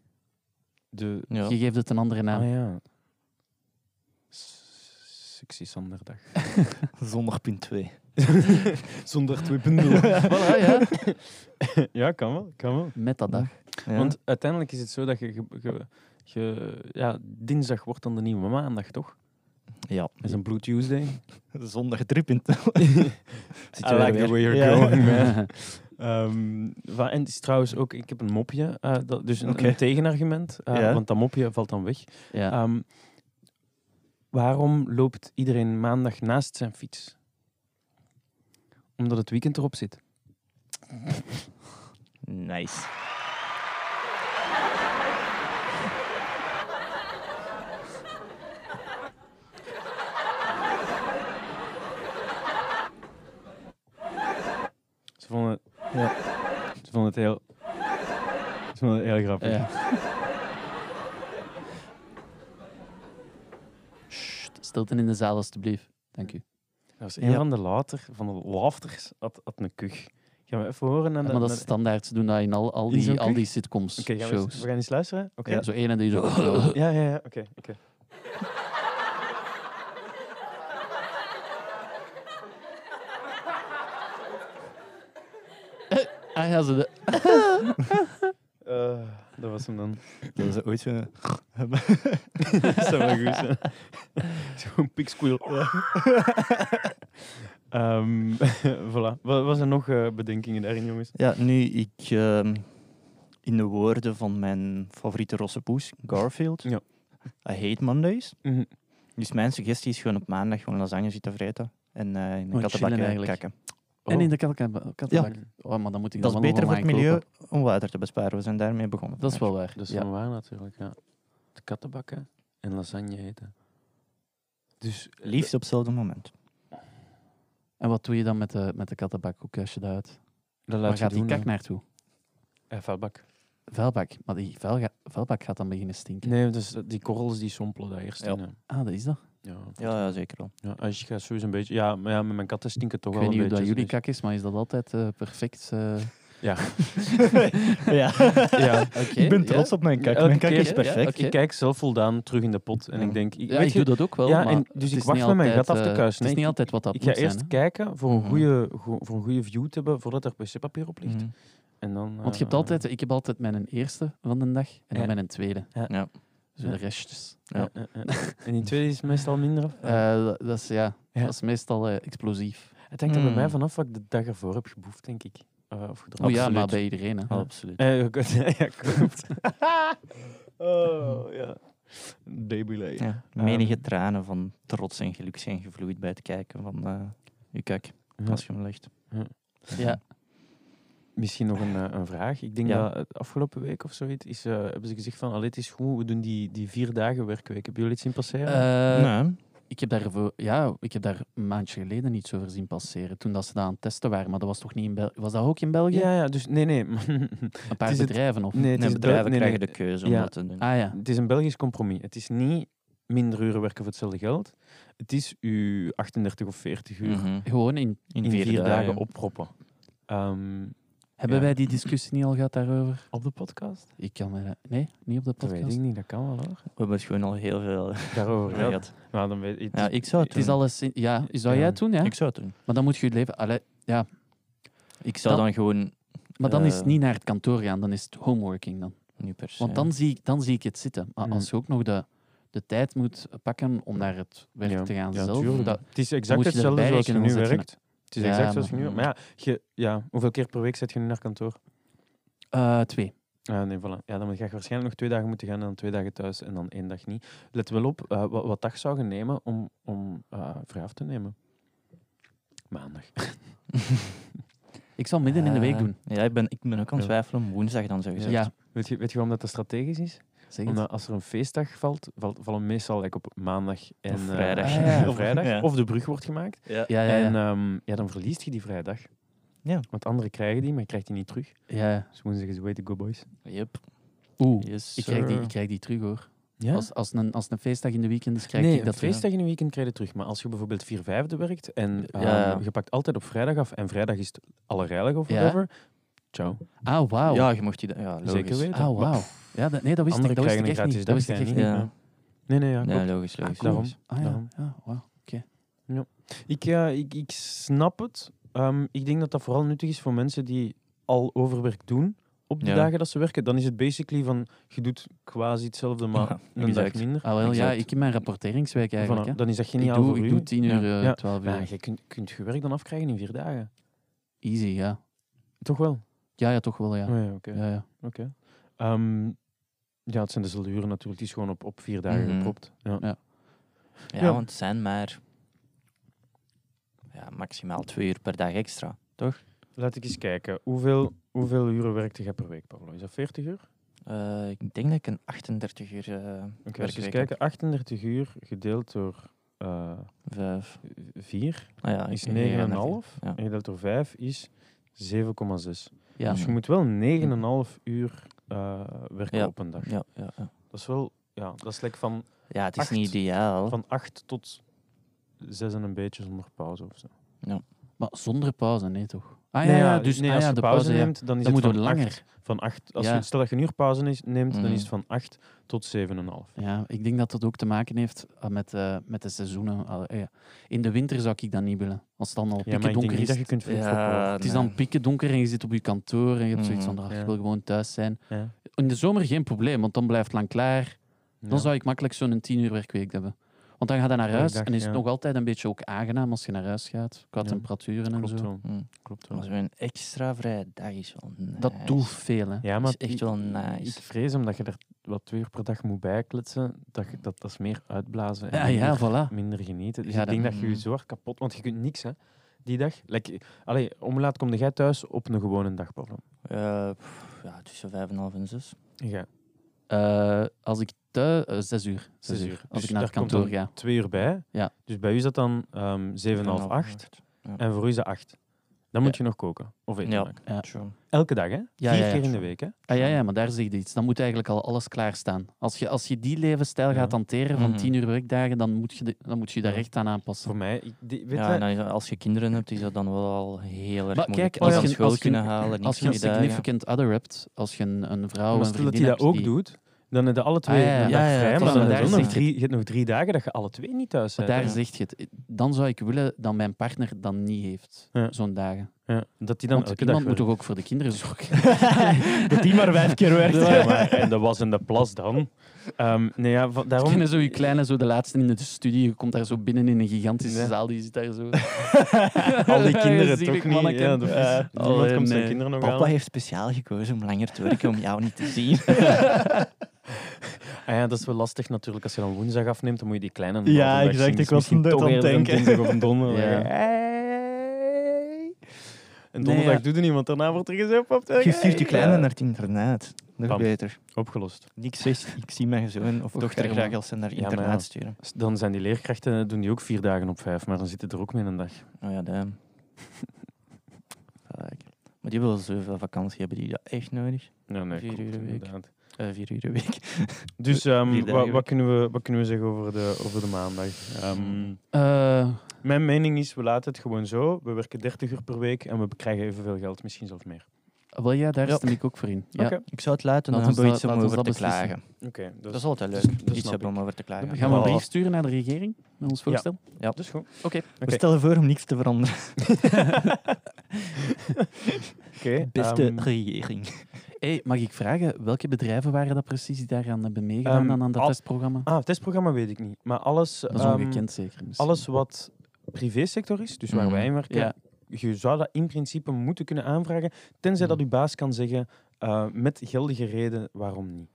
Speaker 1: de...
Speaker 3: Ja.
Speaker 4: Je geeft het een andere naam.
Speaker 1: Ah ja. S- Sexy zonder dag.
Speaker 3: Zondag punt 2.
Speaker 1: zonder 2.0.
Speaker 4: voilà, ja.
Speaker 1: ja, kan wel. Kan wel.
Speaker 4: Met dat dag.
Speaker 1: Want uiteindelijk is het zo dat je... ge- ge- ge- ja, dinsdag wordt dan de nieuwe maandag, toch?
Speaker 3: Ja.
Speaker 1: Dat is een Blue Tuesday.
Speaker 3: Zondag 3 punt.
Speaker 1: I
Speaker 3: jij
Speaker 1: like the
Speaker 3: weer.
Speaker 1: way you're
Speaker 3: Ja.
Speaker 1: going, man. Ehm, wa- en het is trouwens ook... Ik heb een mopje. eh, dat, dus een,
Speaker 3: Oké.
Speaker 1: een tegenargument. eh,
Speaker 3: Ja.
Speaker 1: Want dat mopje valt dan weg.
Speaker 4: Ja.
Speaker 3: Ah.
Speaker 1: Ehm, waarom loopt iedereen maandag naast zijn fiets? Omdat het weekend erop zit.
Speaker 3: Nice.
Speaker 1: Ze vonden het,
Speaker 3: Ja.
Speaker 1: ze vonden het heel... Ze vonden het heel grappig.
Speaker 4: Ja. Sst, stilte in de zaal, alstublieft. Dank u.
Speaker 1: Dat was een
Speaker 3: Ja.
Speaker 1: van de later, van de lafters, had, had een kuch. Gaan we even horen? Naar de,
Speaker 4: maar dat is
Speaker 1: naar de-
Speaker 4: standaard. Ze doen dat in al, al
Speaker 1: Is
Speaker 4: die,
Speaker 1: ook
Speaker 4: al die
Speaker 1: echt?
Speaker 4: sitcoms,
Speaker 1: Oké, gaan we, eens-
Speaker 4: shows.
Speaker 1: we gaan eens luisteren. Oké.
Speaker 4: Ja, Zo één en die zo...
Speaker 1: Ja, ja, ja. Oké, oké.
Speaker 4: Ah ja, ze de-
Speaker 1: Eh, dat was hem dan.
Speaker 3: Dat is ooit zo.
Speaker 1: dat zou wel goed zijn. Zo'n pig squeal. Ehm, voilà. Wat was er nog eh, bedenkingen daarin, jongens?
Speaker 3: Ja, nu ik ehm, in de woorden van mijn favoriete rosse poes, Garfield.
Speaker 1: Ja.
Speaker 3: I hate Mondays.
Speaker 1: Mhm.
Speaker 3: Dus mijn suggestie is gewoon op maandag gewoon lasagne zitten vreten. En eh in de
Speaker 4: Gewoon chillen
Speaker 3: kattenbakken
Speaker 4: eigenlijk.
Speaker 3: kijken.
Speaker 4: En in de kattenbak. kattenbak.
Speaker 1: Ja.
Speaker 4: Oh, maar dan moet ik
Speaker 3: Dat is
Speaker 4: dan
Speaker 3: beter
Speaker 4: wel
Speaker 3: voor het
Speaker 4: online
Speaker 3: milieu
Speaker 4: kopen.
Speaker 3: om water te besparen. We zijn daarmee begonnen.
Speaker 4: Dat is wel waar.
Speaker 1: Dat is
Speaker 4: ja.
Speaker 1: van waar natuurlijk, ja. De kattenbakken en lasagne eten. Dus eh,
Speaker 3: Liefst op hetzelfde moment.
Speaker 4: En wat doe je dan met de, met de kattenbak ook als je dat uit?
Speaker 1: dat
Speaker 4: Waar
Speaker 1: laat
Speaker 4: gaat
Speaker 1: je
Speaker 4: die
Speaker 1: doen, hè.
Speaker 4: kak naartoe?
Speaker 1: Eh, vuilbak.
Speaker 4: Vuilbak. Maar die vuil ga- vuilbak gaat dan beginnen stinken.
Speaker 1: Nee, dus dat- die korrels die sompelen daar eerst
Speaker 3: Ja.
Speaker 1: in. hè.
Speaker 4: Ah, dat is dat.
Speaker 1: Ja.
Speaker 3: Ja, ja zeker wel.
Speaker 1: Ja, als je gaat sowieso een beetje... Ja, maar ja, met mijn katten stinken toch
Speaker 4: Ik
Speaker 1: wel
Speaker 4: weet
Speaker 1: een
Speaker 4: niet hoe
Speaker 1: beetje.
Speaker 4: dat jullie
Speaker 1: dus-
Speaker 4: kak is, maar is dat altijd eh, perfect? eh?
Speaker 3: ja.
Speaker 1: dus- Ja.
Speaker 3: Ik ben
Speaker 4: ja.
Speaker 3: trots op mijn kak.
Speaker 1: Elke
Speaker 3: Mijn kak
Speaker 1: keer,
Speaker 3: is
Speaker 4: ja,
Speaker 3: perfect.
Speaker 4: oké.
Speaker 1: Ik kijk zelf voldaan terug in de pot en
Speaker 3: Ja.
Speaker 1: ik denk... Ik,
Speaker 4: Ja,
Speaker 1: weet
Speaker 4: ik
Speaker 1: je,
Speaker 4: doe dat ook wel.
Speaker 1: ja,
Speaker 4: maar
Speaker 1: en dus
Speaker 4: het
Speaker 1: ik
Speaker 4: is
Speaker 1: wacht
Speaker 4: niet
Speaker 1: met mijn
Speaker 4: altijd,
Speaker 1: gat af te
Speaker 4: eh,
Speaker 1: kuisen,
Speaker 4: Het
Speaker 1: hè.
Speaker 4: is niet altijd wat dat
Speaker 1: ik ga
Speaker 4: moet zijn,
Speaker 1: eerst
Speaker 4: hè.
Speaker 1: kijken voor een,
Speaker 3: Mhm.
Speaker 1: goede, go- voor een goede view te hebben voordat er wc-papier op ligt.
Speaker 3: Mhm.
Speaker 1: En dan,
Speaker 4: Mm. Want je hebt
Speaker 1: eh,
Speaker 4: altijd, ik heb altijd mijn eerste van de dag en dan
Speaker 1: Ja.
Speaker 4: mijn tweede.
Speaker 1: Ja.
Speaker 3: Ja.
Speaker 4: Zo de restjes.
Speaker 3: Ja.
Speaker 1: eh, eh, eh. En die tweede is meestal minder af.
Speaker 4: Eh, dat, dat is, ja,
Speaker 1: Ja.
Speaker 4: dat is meestal eh, explosief.
Speaker 1: Het hangt er bij mij
Speaker 3: Mm.
Speaker 1: vanaf wat ik de dag ervoor heb geboefd, denk ik. Eh, of gedronken.
Speaker 4: hmm. Oh ja, maar bij iedereen. Hè.
Speaker 1: Ja.
Speaker 3: Absoluut.
Speaker 1: Eh, ja, klopt. ja, klopt. oh, ja. Debulé.
Speaker 3: Ja. Menige tranen van trots en geluk zijn gevloeid bij het kijken van eh uw kak.
Speaker 2: Ja.
Speaker 3: als je hem legt.
Speaker 4: Ja.
Speaker 1: Misschien nog een, eh, een vraag. Ik denk
Speaker 3: Ja.
Speaker 1: dat het afgelopen week of zoiets is, eh, hebben ze gezegd van, allee, het is goed, we doen die, die vier dagen werkweek. Hebben jullie iets zien passeren?
Speaker 4: Eh,
Speaker 3: nee.
Speaker 4: ik, heb daar voor, ja, ik heb daar een maandje geleden iets over zien passeren. Toen dat ze dat aan het testen waren. Maar dat was toch niet in België? Was dat ook in België?
Speaker 1: ja, ja, dus nee, nee.
Speaker 4: Een paar
Speaker 1: het is het-
Speaker 4: bedrijven of...
Speaker 1: nee, het
Speaker 3: Nee,
Speaker 1: is
Speaker 3: bedrijven
Speaker 1: Bel- nee,
Speaker 3: krijgen
Speaker 1: nee.
Speaker 3: de keuze om
Speaker 1: Ja.
Speaker 3: dat te doen.
Speaker 4: Ah ja.
Speaker 1: Het is een Belgisch compromis. Het is niet minder uren werken voor hetzelfde geld. Het is uw 38 of 40 uur
Speaker 3: Mhm.
Speaker 4: Gewoon in...
Speaker 3: In,
Speaker 1: in
Speaker 3: vier, dagen.
Speaker 1: opproppen. Ehm,
Speaker 4: Hebben
Speaker 1: Ja.
Speaker 4: wij die discussie niet al gehad daarover?
Speaker 1: op de podcast?
Speaker 4: Ik kan me... dat- Nee, niet op de
Speaker 1: Dat weet
Speaker 4: podcast.
Speaker 1: ik niet, dat kan wel hoor.
Speaker 3: We hebben het gewoon al heel veel
Speaker 1: Daarover
Speaker 3: over
Speaker 1: gehad.
Speaker 3: gehad.
Speaker 1: Maar dan weet
Speaker 3: Ja, ik zou het
Speaker 4: Het is
Speaker 3: doen.
Speaker 4: alles... in- Ja, zou
Speaker 1: Ja.
Speaker 4: jij het doen? Ja?
Speaker 3: Ik zou het doen.
Speaker 4: Maar dan moet je het leven... Allee,
Speaker 3: Ik zou
Speaker 4: Dan-
Speaker 3: dan gewoon
Speaker 4: maar dan is het
Speaker 3: Eh.
Speaker 4: niet naar het kantoor gaan, dan is het homeworking dan.
Speaker 3: nu per se.
Speaker 4: Want dan zie ik, dan zie ik het zitten. Maar
Speaker 1: Mm.
Speaker 4: als je ook nog de, de tijd moet pakken om naar het werk
Speaker 1: Ja,
Speaker 4: te gaan
Speaker 1: ja,
Speaker 4: zelf,
Speaker 1: tuurlijk.
Speaker 4: dat,
Speaker 1: Het is exact
Speaker 4: moet je
Speaker 1: hetzelfde
Speaker 4: erbij
Speaker 1: zoals je nu
Speaker 4: rekenen, anders
Speaker 1: werkt. Het is
Speaker 4: Ja,
Speaker 1: exact zoals je
Speaker 4: maar-
Speaker 1: nu Maar ja, je, ja, hoeveel keer per week zet je nu naar kantoor?
Speaker 4: eh, twee.
Speaker 1: Ah, nee, voilà. Ja, dan ga je waarschijnlijk nog twee dagen moeten gaan en dan twee dagen thuis en dan één dag niet. Let wel op eh, wat, wat dag zou je nemen om, om eh, vrij af te nemen. Maandag.
Speaker 4: Ik zal midden in de week
Speaker 3: Eh,
Speaker 4: doen.
Speaker 3: Ja, ik ben, ik ben ook aan het
Speaker 1: Ja.
Speaker 3: twijfelen om woensdag dan zo gezegd.
Speaker 4: Ja,
Speaker 1: Weet je, weet je waarom dat, dat strategisch is?
Speaker 4: zeg het.
Speaker 1: Omdat als er een feestdag valt, valt vallen meestal like, op maandag en
Speaker 3: Of
Speaker 1: eh,
Speaker 3: vrijdag.
Speaker 1: ah,
Speaker 4: Ja.
Speaker 1: of, vrijdag.
Speaker 3: Ja.
Speaker 1: of de brug wordt gemaakt.
Speaker 3: Ja.
Speaker 4: Ja, ja, ja.
Speaker 1: En ehm, ja, dan verliest je die vrijdag.
Speaker 3: Ja.
Speaker 1: Want anderen krijgen die, maar je krijgt die niet terug.
Speaker 4: ja, ja.
Speaker 1: Dus woensdag is way to go, boys.
Speaker 3: Yep.
Speaker 4: Oeh,
Speaker 3: Yes,
Speaker 4: ik krijg, die,
Speaker 1: sir.
Speaker 4: ik krijg die terug hoor.
Speaker 1: Ja?
Speaker 4: Als, als, een, als een feestdag in de weekend is, krijg
Speaker 1: nee,
Speaker 4: ik dat
Speaker 1: dat feestdag in een weekend krijg je terug. Maar als je bijvoorbeeld 4 vijfde werkt en ehm,
Speaker 3: ja.
Speaker 1: je pakt altijd op vrijdag af en vrijdag is het allerrijlig of
Speaker 4: Ja.
Speaker 1: whatever. Ciao.
Speaker 4: terug. Ah, wauw.
Speaker 3: Ja, je mocht die... da- Ja, logisch.
Speaker 1: Zeker weten.
Speaker 4: Ah, wauw. Ja, dat, nee, dat wist
Speaker 1: Anderen
Speaker 4: ik, dat wist
Speaker 1: krijgen
Speaker 4: ik
Speaker 1: een
Speaker 4: echt
Speaker 1: gratis
Speaker 4: niet. Dat
Speaker 1: dag,
Speaker 4: wist ik
Speaker 1: jij
Speaker 4: echt
Speaker 1: niet?
Speaker 4: niet.
Speaker 3: Ja.
Speaker 1: Nee, nee, ja,
Speaker 3: Ja,
Speaker 1: klopt.
Speaker 3: logisch,
Speaker 4: Ah,
Speaker 3: logisch.
Speaker 4: cool.
Speaker 1: Daarom.
Speaker 4: Ah, ja.
Speaker 1: Daarom.
Speaker 4: ja, wauw. Oké.
Speaker 1: Ik, ja, ik, ik snap het. Ehm, ik denk dat dat vooral nuttig is voor mensen die al overwerk doen op de
Speaker 3: Ja.
Speaker 1: dagen dat ze werken. Dan is het basically van, je doet quasi hetzelfde, maar
Speaker 3: Ja,
Speaker 1: een dag
Speaker 3: exact.
Speaker 1: minder.
Speaker 4: Ah, wel, ja,
Speaker 3: Exact.
Speaker 4: ik in mijn rapporteringswijk
Speaker 1: Voilà,
Speaker 4: eigenlijk. hè.
Speaker 1: dan is dat
Speaker 4: Ik
Speaker 1: geniaal
Speaker 4: doe,
Speaker 1: voor
Speaker 4: ik
Speaker 1: u.
Speaker 4: doe 10
Speaker 1: Ja.
Speaker 4: uur, eh,
Speaker 1: Ja.
Speaker 4: 12
Speaker 1: Maar
Speaker 4: uur.
Speaker 1: je kunt, kunt je werk dan afkrijgen in vier dagen.
Speaker 4: Easy, ja.
Speaker 1: Toch wel?
Speaker 4: Ja, ja, toch wel, ja.
Speaker 1: Oh ja, oké.
Speaker 4: Ja, ja.
Speaker 1: Ehm, ja, het zijn dezelfde uren natuurlijk. Het is gewoon op, op vier dagen
Speaker 3: Mhm.
Speaker 1: gepropt. Ja.
Speaker 3: Ja,
Speaker 1: Ja.
Speaker 3: want het zijn maar... Ja, maximaal twee uur per dag extra.
Speaker 1: Laat ik eens kijken. Hoeveel, hoeveel uren werkte jij per week, Pablo? Is dat 40 uur?
Speaker 3: Eh, ik denk dat ik een 38 uur eh
Speaker 1: Oké,
Speaker 3: werkweek
Speaker 1: eens
Speaker 3: heb.
Speaker 1: kijken. 38 uur gedeeld door eh
Speaker 3: Vijf.
Speaker 1: 4
Speaker 3: Ah, ja,
Speaker 1: is 9,5.
Speaker 3: ik- Ja.
Speaker 1: En gedeeld door 5 is 7,6.
Speaker 4: ja.
Speaker 1: Dus je moet wel 9,5 uur eh, werken
Speaker 3: Ja.
Speaker 1: op een dag.
Speaker 3: Ja, ja, ja.
Speaker 1: Dat is wel... Ja, dat is like van,
Speaker 3: ja, het is
Speaker 1: Acht.
Speaker 3: niet ideaal.
Speaker 1: van 8 tot 6 en een beetje zonder pauze of zo.
Speaker 4: Maar zonder pauze, nee toch? Ah ja,
Speaker 1: Nee,
Speaker 4: ja, dus
Speaker 1: nee,
Speaker 4: ah,
Speaker 1: als
Speaker 4: ja,
Speaker 1: je
Speaker 4: de
Speaker 1: pauze,
Speaker 4: pauze, ja.
Speaker 1: neemt, dan is
Speaker 4: Dan
Speaker 1: het
Speaker 4: moeten
Speaker 1: van
Speaker 4: we
Speaker 1: langer.
Speaker 4: langer.
Speaker 1: van acht, als
Speaker 4: Ja. Mm.
Speaker 1: je, stel dat je een uur pauze is- neemt, dan
Speaker 3: Mhm.
Speaker 1: is het van 8 tot 7,5.
Speaker 4: Ja, ik denk dat dat ook te maken heeft eh, met, eh, met de seizoenen. Al- eh, ja. In de winter zou ik dat niet willen. Als het dan al
Speaker 1: Ja,
Speaker 4: pikken
Speaker 1: maar ik denk
Speaker 4: donker
Speaker 1: niet
Speaker 4: is.
Speaker 1: dat je kunt vroeg voetballen.
Speaker 4: Het is dan pikken donker en je zit op je kantoor en je hebt zoiets van,
Speaker 3: Mhm,
Speaker 4: "Ah,
Speaker 1: ja.
Speaker 4: ik wil gewoon thuis zijn.
Speaker 1: Ja.
Speaker 4: In de zomer geen probleem, want dan blijft het lang klaar.
Speaker 1: Ja.
Speaker 4: Dan zou ik makkelijk zo'n 10 uur werkweek hebben. Want dan ga je naar
Speaker 1: Ja, ik
Speaker 4: huis
Speaker 1: dacht,
Speaker 4: en is het
Speaker 1: ja.
Speaker 4: nog altijd een beetje ook aangenaam als je naar huis gaat. Qua
Speaker 1: Ja.
Speaker 4: temperaturen en
Speaker 1: Klopt
Speaker 4: zo.
Speaker 1: wel.
Speaker 3: Mm.
Speaker 1: Klopt wel.
Speaker 3: Maar zo'n extra vrije dag is wel nice.
Speaker 4: Dat doet veel, hè.
Speaker 1: Ja,
Speaker 3: Dat
Speaker 1: maar
Speaker 3: is echt wel nice.
Speaker 1: ik vrees omdat je er wat twee uur per dag moet bijkletsen, dat, je- dat, dat is meer uitblazen en
Speaker 4: Ja, ja,
Speaker 1: minder,
Speaker 4: voilà.
Speaker 1: minder genieten. Dus
Speaker 4: Ja,
Speaker 1: ik denk
Speaker 4: dat-
Speaker 1: dat je je zo hard kapot... Want je kunt niks, hè, die dag. Like, allee, om laat kom jij thuis op een gewone dag, Pablo.
Speaker 3: Eh, pff, ja, tussen vijf en half en zes.
Speaker 1: Ja,
Speaker 4: Eh, als ik thuis... eh, zes uur. Zes
Speaker 1: Zes
Speaker 4: uur.
Speaker 1: uur.
Speaker 4: Als
Speaker 1: Dus
Speaker 4: ik naar het
Speaker 1: daar komt
Speaker 4: kantoor
Speaker 1: dan-
Speaker 4: ga.
Speaker 1: twee uur bij.
Speaker 4: Ja.
Speaker 1: Dus bij u is dat dan ehm 7,5, 8. En voor u is dat 8. Dan moet je nog koken. Of eten
Speaker 3: Ja.
Speaker 1: maken.
Speaker 4: Ja.
Speaker 3: True.
Speaker 1: Elke dag, hè?
Speaker 4: ja,
Speaker 1: Vier
Speaker 4: ja,
Speaker 1: keer in de
Speaker 4: sure.
Speaker 1: week, hè?
Speaker 4: Ah, ja, ja, maar daar zeg je iets. Dan moet eigenlijk al alles klaarstaan. Als je, als je die levensstijl
Speaker 1: Ja.
Speaker 4: gaat hanteren van
Speaker 3: Mhm.
Speaker 4: tien uur werkdagen, dan moet je, de- dan moet je daar
Speaker 1: Ja.
Speaker 4: echt aan aanpassen.
Speaker 1: Voor mij, ik, die- weet
Speaker 3: Ja,
Speaker 1: je-
Speaker 3: en dan is dat- als je kinderen hebt, is dat dan wel al heel erg
Speaker 4: Maar
Speaker 3: moeilijk.
Speaker 4: kijk,
Speaker 3: Niet
Speaker 4: als
Speaker 3: van
Speaker 4: je-
Speaker 3: school
Speaker 4: als je-
Speaker 3: kunnen halen,
Speaker 4: Als
Speaker 3: niks
Speaker 4: je een
Speaker 3: van die dagen.
Speaker 4: significant other hebt, als je een, een vrouw
Speaker 1: maar
Speaker 4: een
Speaker 1: stel dat
Speaker 4: vriendin
Speaker 1: hij dat
Speaker 4: hebt
Speaker 1: ook
Speaker 4: die-
Speaker 1: doet, dan heb je alle twee
Speaker 4: Ah, ja, ja.
Speaker 1: een dag
Speaker 3: Ja, ja,
Speaker 1: vrij,
Speaker 3: het
Speaker 1: maar
Speaker 3: is
Speaker 1: dan
Speaker 3: wel
Speaker 1: heb je
Speaker 3: daar
Speaker 1: nog
Speaker 3: zegt-
Speaker 1: drie, je hebt nog drie dagen dat je alle twee niet thuis
Speaker 4: Maar
Speaker 1: bent.
Speaker 4: daar
Speaker 1: hè.
Speaker 4: zeg je het. Dan zou ik willen dat mijn partner dat niet heeft,
Speaker 1: Ja.
Speaker 4: zo'n dagen.
Speaker 1: Ja, dat die dan
Speaker 4: Want
Speaker 1: elke
Speaker 4: iemand
Speaker 1: dag
Speaker 4: moet toch
Speaker 1: werkt.
Speaker 4: ook voor de kinderen zorgen?
Speaker 3: dat die maar vijf keer werkt.
Speaker 1: Ja, maar, en dat was in de plas dan. Ehm, nee, ja, va-
Speaker 4: Daarom...
Speaker 1: daarom...
Speaker 4: Kennen zo je kleine, zo de laatste in de studie, je komt daar zo binnen in een gigantische
Speaker 1: Ja.
Speaker 4: zaal, die zit daar zo...
Speaker 1: Al die kinderen
Speaker 4: Zielig
Speaker 1: toch niet.
Speaker 4: manneken.
Speaker 1: Ja, dat is,
Speaker 4: Eh,
Speaker 1: niemand
Speaker 4: oh,
Speaker 1: komt zijn
Speaker 4: nee.
Speaker 1: kinderen nog
Speaker 3: Papa
Speaker 1: aan.
Speaker 3: heeft speciaal gekozen om langer te werken om jou niet te zien.
Speaker 1: Ah, ja, dat is wel lastig natuurlijk. Als je dan woensdag afneemt, dan moet je die kleine
Speaker 3: Ja, exact, ik was
Speaker 1: een
Speaker 3: net aan het
Speaker 1: Een
Speaker 3: denken.
Speaker 1: dinsdag of een donderdag.
Speaker 4: Ja.
Speaker 1: ja. En
Speaker 4: Nee,
Speaker 1: donderdag
Speaker 4: ja.
Speaker 1: doet er niemand. Daarna wordt er gezegd op de...
Speaker 3: Je stuurt je kleine
Speaker 1: Ja.
Speaker 3: naar het internet. Nog
Speaker 1: Bam.
Speaker 3: beter.
Speaker 1: Opgelost.
Speaker 3: Niks zegt, ik zie mijn zoon of
Speaker 4: Och,
Speaker 3: dochter
Speaker 4: Herman.
Speaker 3: graag als ze naar
Speaker 1: Ja, maar
Speaker 3: internet
Speaker 1: ja.
Speaker 3: sturen.
Speaker 1: S- Dan zijn die leerkrachten, eh, doen die ook vier dagen op vijf, maar dan zitten er ook mee een dag.
Speaker 3: Oh ja, damn. Fuck. Maar die willen zoveel vakantie hebben, die dat echt nodig.
Speaker 1: Nee, nee,
Speaker 3: Vier
Speaker 1: klopt,
Speaker 3: uur een week.
Speaker 1: inderdaad.
Speaker 3: Eh, vier uur een week.
Speaker 1: Dus ehm,
Speaker 3: Vier dagen
Speaker 1: wa-
Speaker 3: week.
Speaker 1: wat, kunnen we, wat kunnen we zeggen over de, over de maandag? Ehm,
Speaker 4: Eh,
Speaker 1: mijn mening is, we laten het gewoon zo. We werken 30 uur per week en we krijgen evenveel geld, misschien zelfs meer.
Speaker 4: wel ja, daar
Speaker 3: Ja.
Speaker 4: stem ik ook voor in. Ja.
Speaker 1: Oké.
Speaker 3: Ik zou het laten, dan
Speaker 4: Laat ons
Speaker 3: hebben we
Speaker 4: dat-
Speaker 3: iets om
Speaker 4: laat ons
Speaker 3: over te
Speaker 4: dat beslissen.
Speaker 3: klagen.
Speaker 1: Oké,
Speaker 3: Dat
Speaker 1: dat
Speaker 3: is
Speaker 1: is
Speaker 3: altijd leuk.
Speaker 1: dat snap
Speaker 3: iets hebben om over te klagen.
Speaker 4: Gaan we een
Speaker 3: Oh,
Speaker 4: brief sturen naar de regering met ons voorstel?
Speaker 1: dus goed.
Speaker 4: Oké.
Speaker 3: We stellen voor om niks te veranderen.
Speaker 1: Oké,
Speaker 3: Beste
Speaker 1: ehm,
Speaker 3: regering.
Speaker 4: Hey, mag ik vragen, welke bedrijven waren dat precies die daaraan hebben meegedaan
Speaker 1: Ehm,
Speaker 4: aan- aan dat
Speaker 1: al-
Speaker 4: testprogramma?
Speaker 1: ah, het testprogramma weet ik niet. Maar alles,
Speaker 4: Dat is
Speaker 1: ehm,
Speaker 4: ongekend zeker. misschien.
Speaker 1: alles wat privésector is, dus waar
Speaker 3: Mhm.
Speaker 1: wij in werken,
Speaker 4: Ja.
Speaker 1: je zou dat in principe moeten kunnen aanvragen, tenzij dat
Speaker 4: Hmm.
Speaker 3: Mhm.
Speaker 1: uw baas kan zeggen, eh, met geldige reden, waarom niet.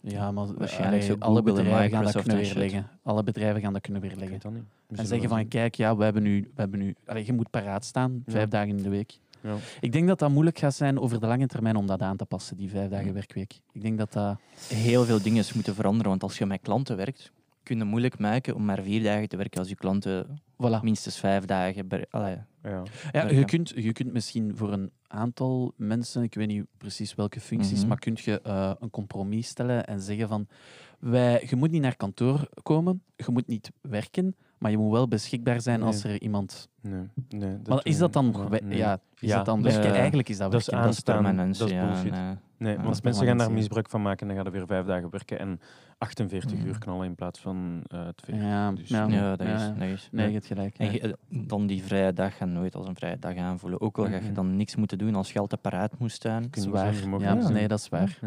Speaker 4: Ja, maar eh,
Speaker 3: Waarschijnlijk
Speaker 4: allee,
Speaker 3: zo
Speaker 4: alle
Speaker 3: Google en
Speaker 4: bedrijven gaan dat
Speaker 3: Microsoft
Speaker 4: kunnen
Speaker 3: en shit. dus
Speaker 4: weerleggen. Alle bedrijven gaan dat kunnen
Speaker 1: Ik
Speaker 4: weerleggen.
Speaker 1: weet dat niet. We
Speaker 4: En
Speaker 1: zullen
Speaker 4: zeggen
Speaker 1: wel
Speaker 4: van,
Speaker 1: zien.
Speaker 4: kijk, ja, we hebben nu... We hebben nu allee, je moet paraat staan,
Speaker 1: Ja.
Speaker 4: vijf dagen in de week.
Speaker 1: Ja.
Speaker 4: Ik denk dat dat moeilijk gaat zijn over de lange termijn om dat aan te passen, die vijf dagen werkweek. Ik denk dat dat...
Speaker 3: Heel veel dingen moeten veranderen, want als je met klanten werkt, kun je het moeilijk maken om maar vier dagen te werken als je klanten
Speaker 4: Voilà.
Speaker 3: minstens vijf dagen... ber- Allee,
Speaker 1: Ja.
Speaker 4: Ja, je,
Speaker 3: werken.
Speaker 4: kunt, je kunt misschien voor een aantal mensen, ik weet niet precies welke functies,
Speaker 3: Mhm.
Speaker 4: maar kun je eh, een compromis stellen en zeggen van, wij, je moet niet naar kantoor komen, je moet niet werken, maar je moet wel beschikbaar zijn als er iemand...
Speaker 1: Nee, nee, dat
Speaker 4: Maar is
Speaker 1: doen
Speaker 4: dat
Speaker 1: we
Speaker 4: dan...
Speaker 1: niet.
Speaker 4: we-
Speaker 1: nee.
Speaker 4: Ja, is
Speaker 1: Ja,
Speaker 4: dat dan...
Speaker 3: dat is-
Speaker 4: werken? eigenlijk is dat
Speaker 1: dat is
Speaker 4: werken.
Speaker 1: aan-
Speaker 3: dat is
Speaker 1: Aanstaan,
Speaker 3: permanent.
Speaker 1: dat is
Speaker 3: ja,
Speaker 1: bullshit.
Speaker 3: nee.
Speaker 4: Ah,
Speaker 1: Nee, want
Speaker 3: dat is
Speaker 1: mensen gaan daar
Speaker 3: belangrijk, ja.
Speaker 1: misbruik van maken en dan gaan er weer vijf dagen werken en 48
Speaker 3: Mhm.
Speaker 1: uur knallen in plaats van eh 20.
Speaker 4: Hmm. Ja,
Speaker 1: Dus-
Speaker 4: ja,
Speaker 3: Ja, dat is...
Speaker 4: ja.
Speaker 3: Dat is
Speaker 4: Nee, je hebt gelijk.
Speaker 3: En
Speaker 4: ja.
Speaker 3: je- eh, dan die vrije dag gaan nooit als een vrije dag aanvoelen. Ook al ga je
Speaker 1: Mhm.
Speaker 3: dan niks moeten doen als je altijd paraat moest staan.
Speaker 1: Kun je
Speaker 4: Zwaar.
Speaker 1: zelf mogen
Speaker 4: Ja,
Speaker 1: doen.
Speaker 4: nee, dat is waar.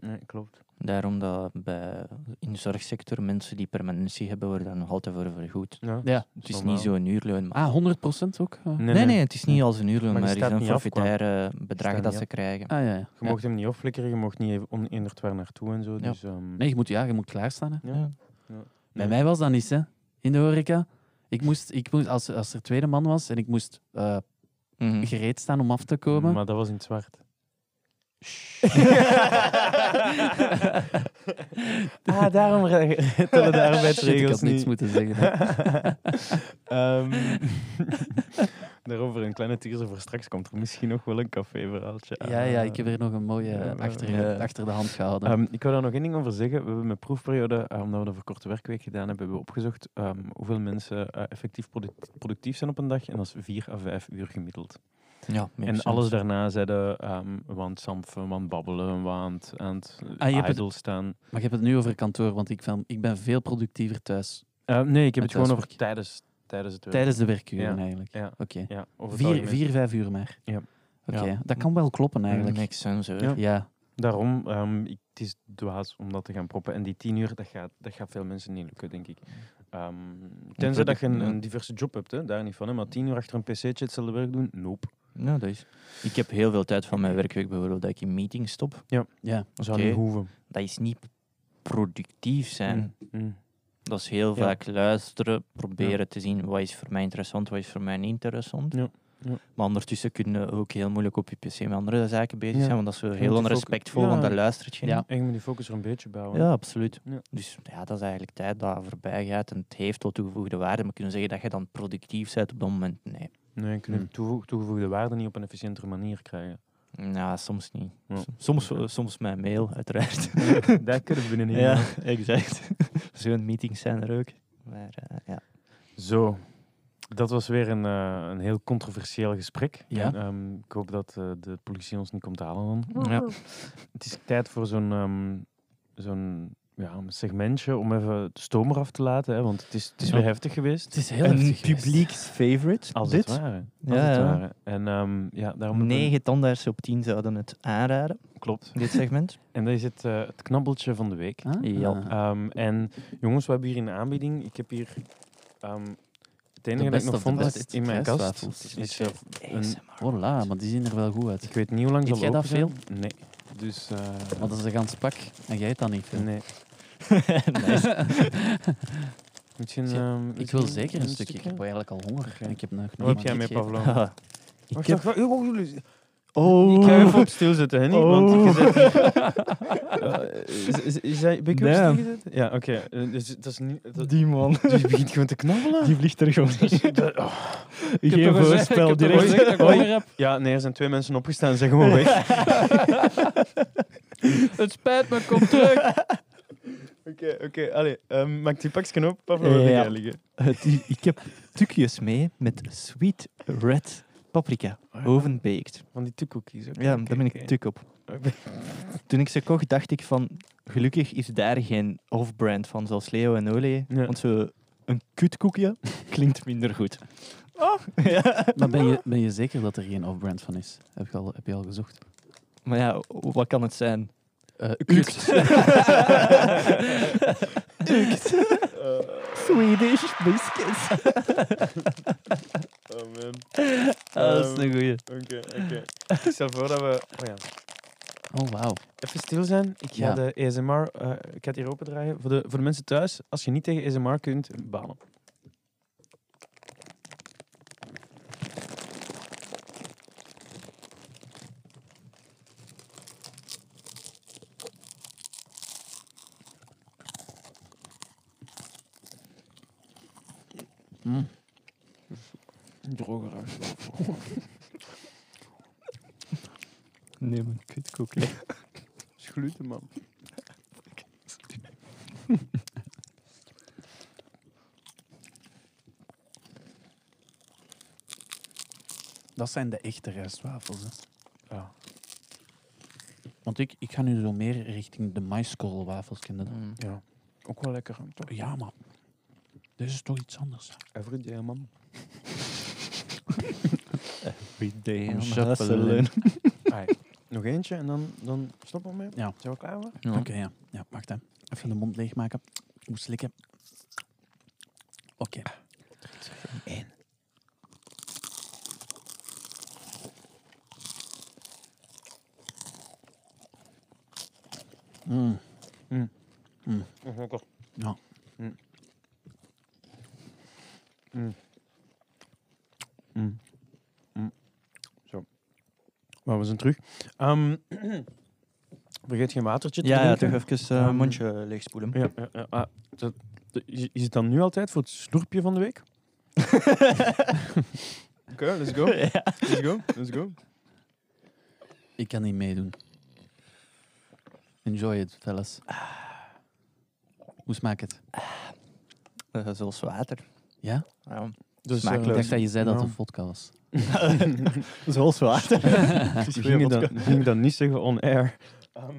Speaker 1: Nee, klopt.
Speaker 3: Daarom dat bij, in de zorgsector mensen die permanentie hebben, worden daar nog altijd voor vergoed.
Speaker 1: Ja.
Speaker 4: Ja.
Speaker 3: Het is niet
Speaker 1: normaal.
Speaker 3: zo'n uurloon. Maar...
Speaker 4: Ah, 100% ook? eh.
Speaker 1: Nee,
Speaker 3: nee, nee, het is niet als een uurloon,
Speaker 1: Maar
Speaker 3: maar,
Speaker 1: die
Speaker 3: het is
Speaker 1: staat
Speaker 3: een
Speaker 1: niet af,
Speaker 3: forfaitaire
Speaker 1: staat
Speaker 3: bedrag
Speaker 1: niet
Speaker 3: dat
Speaker 1: af.
Speaker 3: ze krijgen.
Speaker 4: Ah, ja, ja.
Speaker 1: Je mocht hem niet opflikkeren, je mocht niet even oneindigd waar naartoe en zo.
Speaker 3: Ja.
Speaker 1: Dus, ehm,
Speaker 4: Nee, je moet, ja, je moet klaarstaan. Hè.
Speaker 1: ja.
Speaker 3: Ja.
Speaker 4: Bij mij was dat niet, hè. In de horeca. Ik moest, ik moest, als, als er tweede man was en ik moest eh,
Speaker 3: Mhm.
Speaker 4: gereed staan om af te komen...
Speaker 1: Maar dat was in het zwart. ah, daarom re- tellen de
Speaker 4: Shit, ik
Speaker 1: arbeidsregels
Speaker 4: had niets
Speaker 1: niet.
Speaker 4: moeten zeggen. hè.
Speaker 1: Ehm, daarover een kleine teaser voor straks komt er misschien nog wel een café-verhaaltje aan.
Speaker 4: Ja, ja, ik heb er nog een mooie eh,
Speaker 1: Ja, maar-
Speaker 4: achter,
Speaker 3: Ja.
Speaker 4: achter de hand gehouden.
Speaker 1: Ehm, ik wil daar nog één ding over zeggen. We hebben met proefperiode, eh, omdat we dat voor korte werkweek gedaan hebben, hebben we opgezocht ehm, hoeveel mensen eh, effectief product- productief zijn op een dag. En dat is 4 à 5 uur gemiddeld.
Speaker 3: Ja, makes
Speaker 1: en
Speaker 3: sense.
Speaker 1: alles daarna zeiden ehm want samfen, want babbelen, want aan het
Speaker 4: Ah, je hebt het-
Speaker 1: idle staan.
Speaker 4: maar je hebt het nu over kantoor, want ik, van, ik ben veel productiever thuis.
Speaker 1: Eh, nee, ik heb het
Speaker 4: Het
Speaker 1: gewoon over
Speaker 4: huiswerk.
Speaker 1: tijdens, tijdens het werk.
Speaker 4: Tijdens de werkuren,
Speaker 1: eh, Ja.
Speaker 4: eigenlijk.
Speaker 1: Ja.
Speaker 4: Oké.
Speaker 1: Ja, over het
Speaker 4: Vier,
Speaker 1: algemeen.
Speaker 4: vier, vijf uur maar.
Speaker 1: Ja. Mm,
Speaker 4: Oké,
Speaker 3: Ja.
Speaker 4: dat kan wel kloppen, eigenlijk.
Speaker 3: Makes sense, hoor.
Speaker 1: Ja.
Speaker 4: Ja.
Speaker 1: Daarom, ehm, ik- het is dwaas om dat te gaan proppen. En die tien uur, dat gaat, dat gaat veel mensen niet lukken, denk ik. Ehm, tenzij dat je een,
Speaker 3: ja.
Speaker 1: een diverse job hebt, hè, daar niet van. Hè, maar tien uur achter een pc'tje hetzelfde werk doen, nope.
Speaker 3: Ja, dat is. Ik heb heel veel tijd van mijn werkweek bijvoorbeeld dat ik in meetings stop.
Speaker 4: ja.
Speaker 1: Zou
Speaker 3: Oké.
Speaker 1: niet hoeven.
Speaker 3: Dat is niet productief zijn.
Speaker 1: Mm.
Speaker 3: Dat is heel
Speaker 1: Ja.
Speaker 3: vaak luisteren, proberen te zien wat is voor mij interessant, wat is voor mij niet interessant.
Speaker 1: Ja, ja.
Speaker 3: Maar ondertussen kun je ook heel moeilijk op je pc met andere zaken bezig
Speaker 1: Ja.
Speaker 3: zijn, want dat is wel
Speaker 1: moet
Speaker 3: heel
Speaker 1: je focussen.
Speaker 3: onrespectvol,
Speaker 1: Ja.
Speaker 3: want daar luistert je
Speaker 4: Ja.
Speaker 3: niet.
Speaker 1: En je moet die focus er een beetje bouwen.
Speaker 3: Ja, absoluut.
Speaker 1: Ja.
Speaker 3: Dus ja, dat is eigenlijk tijd dat voorbij gaat en het heeft wel toegevoegde waarde. Maar kunnen zeggen dat je dan productief bent op dat moment? Nee.
Speaker 1: Nee, je kunt
Speaker 4: Mm.
Speaker 1: de toegevo- toegevoegde waarde niet op een efficiëntere manier krijgen.
Speaker 3: Nou, soms niet.
Speaker 1: Ja.
Speaker 3: S- Soms, wel- soms met mail, uiteraard.
Speaker 1: Daar kunnen we binnen niet.
Speaker 3: ja, exact. Zo'n meetings zijn er ook. Maar eh, ja.
Speaker 1: Zo, dat was weer een, eh, een heel controversieel gesprek.
Speaker 4: Ja.
Speaker 1: En, ehm, ik hoop dat eh, de politie ons niet komt halen dan.
Speaker 4: Oh,
Speaker 3: Ja.
Speaker 1: Het is tijd voor zo'n ehm, zo'n ja, een segmentje om even het stoom eraf te laten. Hè, want het is, het is
Speaker 4: Ja.
Speaker 1: weer heftig geweest.
Speaker 4: Het is heel heftig geweest.
Speaker 3: favorite,
Speaker 1: Als het ware.
Speaker 3: Ja,
Speaker 1: Als het
Speaker 3: ja.
Speaker 1: ware. En ehm, ja, daarom hebben we-
Speaker 3: Negen tandartsen op 10 zouden het aanraden,
Speaker 1: Klopt.
Speaker 3: dit segment.
Speaker 1: En dat is het, eh, het knabbeltje van de week.
Speaker 4: Ah,
Speaker 3: Ja.
Speaker 4: ah.
Speaker 1: Ehm, en jongens, we hebben hier een aanbieding. Ik heb hier ehm, het enige
Speaker 4: best
Speaker 1: dat ik
Speaker 4: of
Speaker 1: nog
Speaker 4: de
Speaker 1: vond
Speaker 4: best.
Speaker 1: is in mijn kast.
Speaker 4: Kruiswafels.
Speaker 1: is, eh, een,
Speaker 4: Voilà, maar die zien er wel goed uit.
Speaker 1: ik weet niet hoe lang ze
Speaker 4: Eet
Speaker 1: al
Speaker 4: jij dat
Speaker 1: open zijn. Nee. Dus... eh,
Speaker 4: Maar dat is een gans pak en jij het dan niet. veel.
Speaker 1: nee. Misschien,
Speaker 4: Zie-
Speaker 1: ehm,
Speaker 4: Ik
Speaker 1: misschien
Speaker 4: wil
Speaker 1: ehm,
Speaker 4: zeker een stukje. Ik heb eigenlijk al honger.
Speaker 1: Oké.
Speaker 4: en Ik heb nog
Speaker 1: Wat heb
Speaker 4: niemand
Speaker 1: jij mee,
Speaker 4: gegeten.
Speaker 1: Pavlo?
Speaker 3: Ik
Speaker 1: Oh. Wacht,
Speaker 3: heb...
Speaker 1: wacht, wacht. Oh, oh, oh.
Speaker 3: Oh.
Speaker 1: Ik ga even op stilzetten, hè, niet? Want je
Speaker 3: Oh.
Speaker 1: zet... Eh, is- is- is hij- ben ik weer op
Speaker 3: Damn.
Speaker 1: stilgezet? Ja, oké. Eh, Dus dat is niet... dat-
Speaker 3: Die man,
Speaker 1: dus je begint gewoon te knabbelen?
Speaker 3: die vliegt er gewoon in. oh. Geen voorspel,
Speaker 1: gezegd dat
Speaker 3: direct.
Speaker 1: ik honger
Speaker 3: Hoi.
Speaker 1: Ja, nee, er zijn twee mensen opgestaan. Zeg gewoon weg.
Speaker 4: Het spijt me, kom terug.
Speaker 1: Oké, oké. Allee, ehm, maak die pakjes op.
Speaker 3: Ja.
Speaker 1: Pavlov, ja. liggen.
Speaker 3: Het- i- Eh, ik heb tukjes mee met sweet red paprika, ovenbaked.
Speaker 1: Van die tukkoekies. oké,
Speaker 3: Oh. Ja,
Speaker 1: oké,
Speaker 3: daar ben ik
Speaker 1: oké.
Speaker 3: tuk op. Toen ik ze kocht, dacht ik van... Gelukkig is daar geen off-brand van, zoals Leo en Olé.
Speaker 1: Ja.
Speaker 3: Want zo een kutkoekje klinkt minder goed. Oh. Ja.
Speaker 4: Maar ben je, ben je zeker dat er geen off-brand van is? Heb je al, heb je al gezocht?
Speaker 3: Maar ja, wat kan het zijn?
Speaker 4: Eh
Speaker 3: Ukt.
Speaker 1: Eh,
Speaker 3: Swedish biscuits.
Speaker 1: Oh man.
Speaker 3: dat is een goeie.
Speaker 1: Oké, oké. Ik stel voor dat we... Oh ja.
Speaker 4: Oh, wauw.
Speaker 1: Even stil zijn. Ik ga
Speaker 4: Ja.
Speaker 1: de ASMR... eh, ik ga het hier opendraaien. Voor de, voor de mensen thuis, als je niet tegen ASMR kunt, balen. Droger
Speaker 3: Nee, mijn kutkoekje.
Speaker 1: Gluten, man.
Speaker 4: Dat zijn de echte rijstwafels. Hè.
Speaker 1: Ja.
Speaker 4: Want ik, ik ga nu zo meer richting de maiskorrelwafels kennen. dan.
Speaker 3: Mm.
Speaker 1: Ja. Ook wel lekker, toch?
Speaker 4: Ja, maar dit is toch iets anders. hè.
Speaker 1: Everyday, man.
Speaker 3: Every day
Speaker 4: I'm
Speaker 3: I'm
Speaker 4: shuffling.
Speaker 3: hustling.
Speaker 1: Nog eentje en dan, dan stoppen we mee.
Speaker 4: Ja.
Speaker 1: Zijn we klaar voor?
Speaker 4: Oké, ja. ja. Wacht, hè. Even de mond leegmaken. Ik moet slikken. Oké. Mm.
Speaker 1: Lekker.
Speaker 4: Ja.
Speaker 1: Mm. Mm. Mm. Mm. Zo. Maar we zijn terug. Ehm, vergeet geen watertje te
Speaker 3: Ja, ja,
Speaker 1: drinken.
Speaker 3: toch even eh,
Speaker 1: Ehm,
Speaker 3: mondje leegspoelen.
Speaker 1: Ja, ja, ja. Ah, dat- dat- is is het dan nu altijd voor het slurpje van de week? Oké, let's go.
Speaker 3: Ja.
Speaker 1: Let's go. Let's go.
Speaker 4: Ik kan niet meedoen. Enjoy it, fellas. Hoe smaakt het?
Speaker 3: Eh, zoals water.
Speaker 4: Ja?
Speaker 3: Ja.
Speaker 1: Dus,
Speaker 3: Smakelijk.
Speaker 4: Ik dacht dat je zei dat het
Speaker 1: ja.
Speaker 4: een vodka was.
Speaker 3: Zoals water.
Speaker 1: Ik ging dat, ging dat niet zeggen on air. Ehm,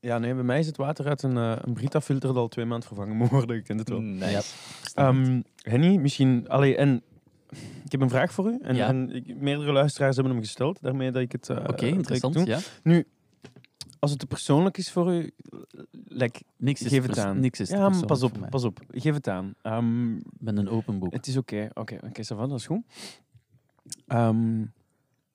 Speaker 1: ja, nee, bij mij is het water uit een, eh, een Brita-filter dat al twee maanden vervangen moet worden. Ik ken het wel.
Speaker 4: Mm,
Speaker 3: Nice.
Speaker 1: Ehm, Henny, misschien... Allee, en ik heb een vraag voor u. En,
Speaker 4: Ja.
Speaker 1: en ik- meerdere luisteraars hebben hem gesteld, daarmee dat ik het... eh,
Speaker 4: Oké,
Speaker 1: dat ik het
Speaker 4: interessant.
Speaker 1: doe.
Speaker 4: Ja.
Speaker 1: Als het te persoonlijk is voor u, like,
Speaker 4: Niks is
Speaker 1: geef het
Speaker 4: pers-
Speaker 1: aan.
Speaker 4: Niks is te
Speaker 1: ja, maar pas
Speaker 4: persoonlijk
Speaker 1: op,
Speaker 4: voor mij.
Speaker 1: pas op. Geef het aan. Ehm,
Speaker 4: Ik ben een open boek.
Speaker 1: het is oké. Oké, oké, ça va, dat is goed. Ehm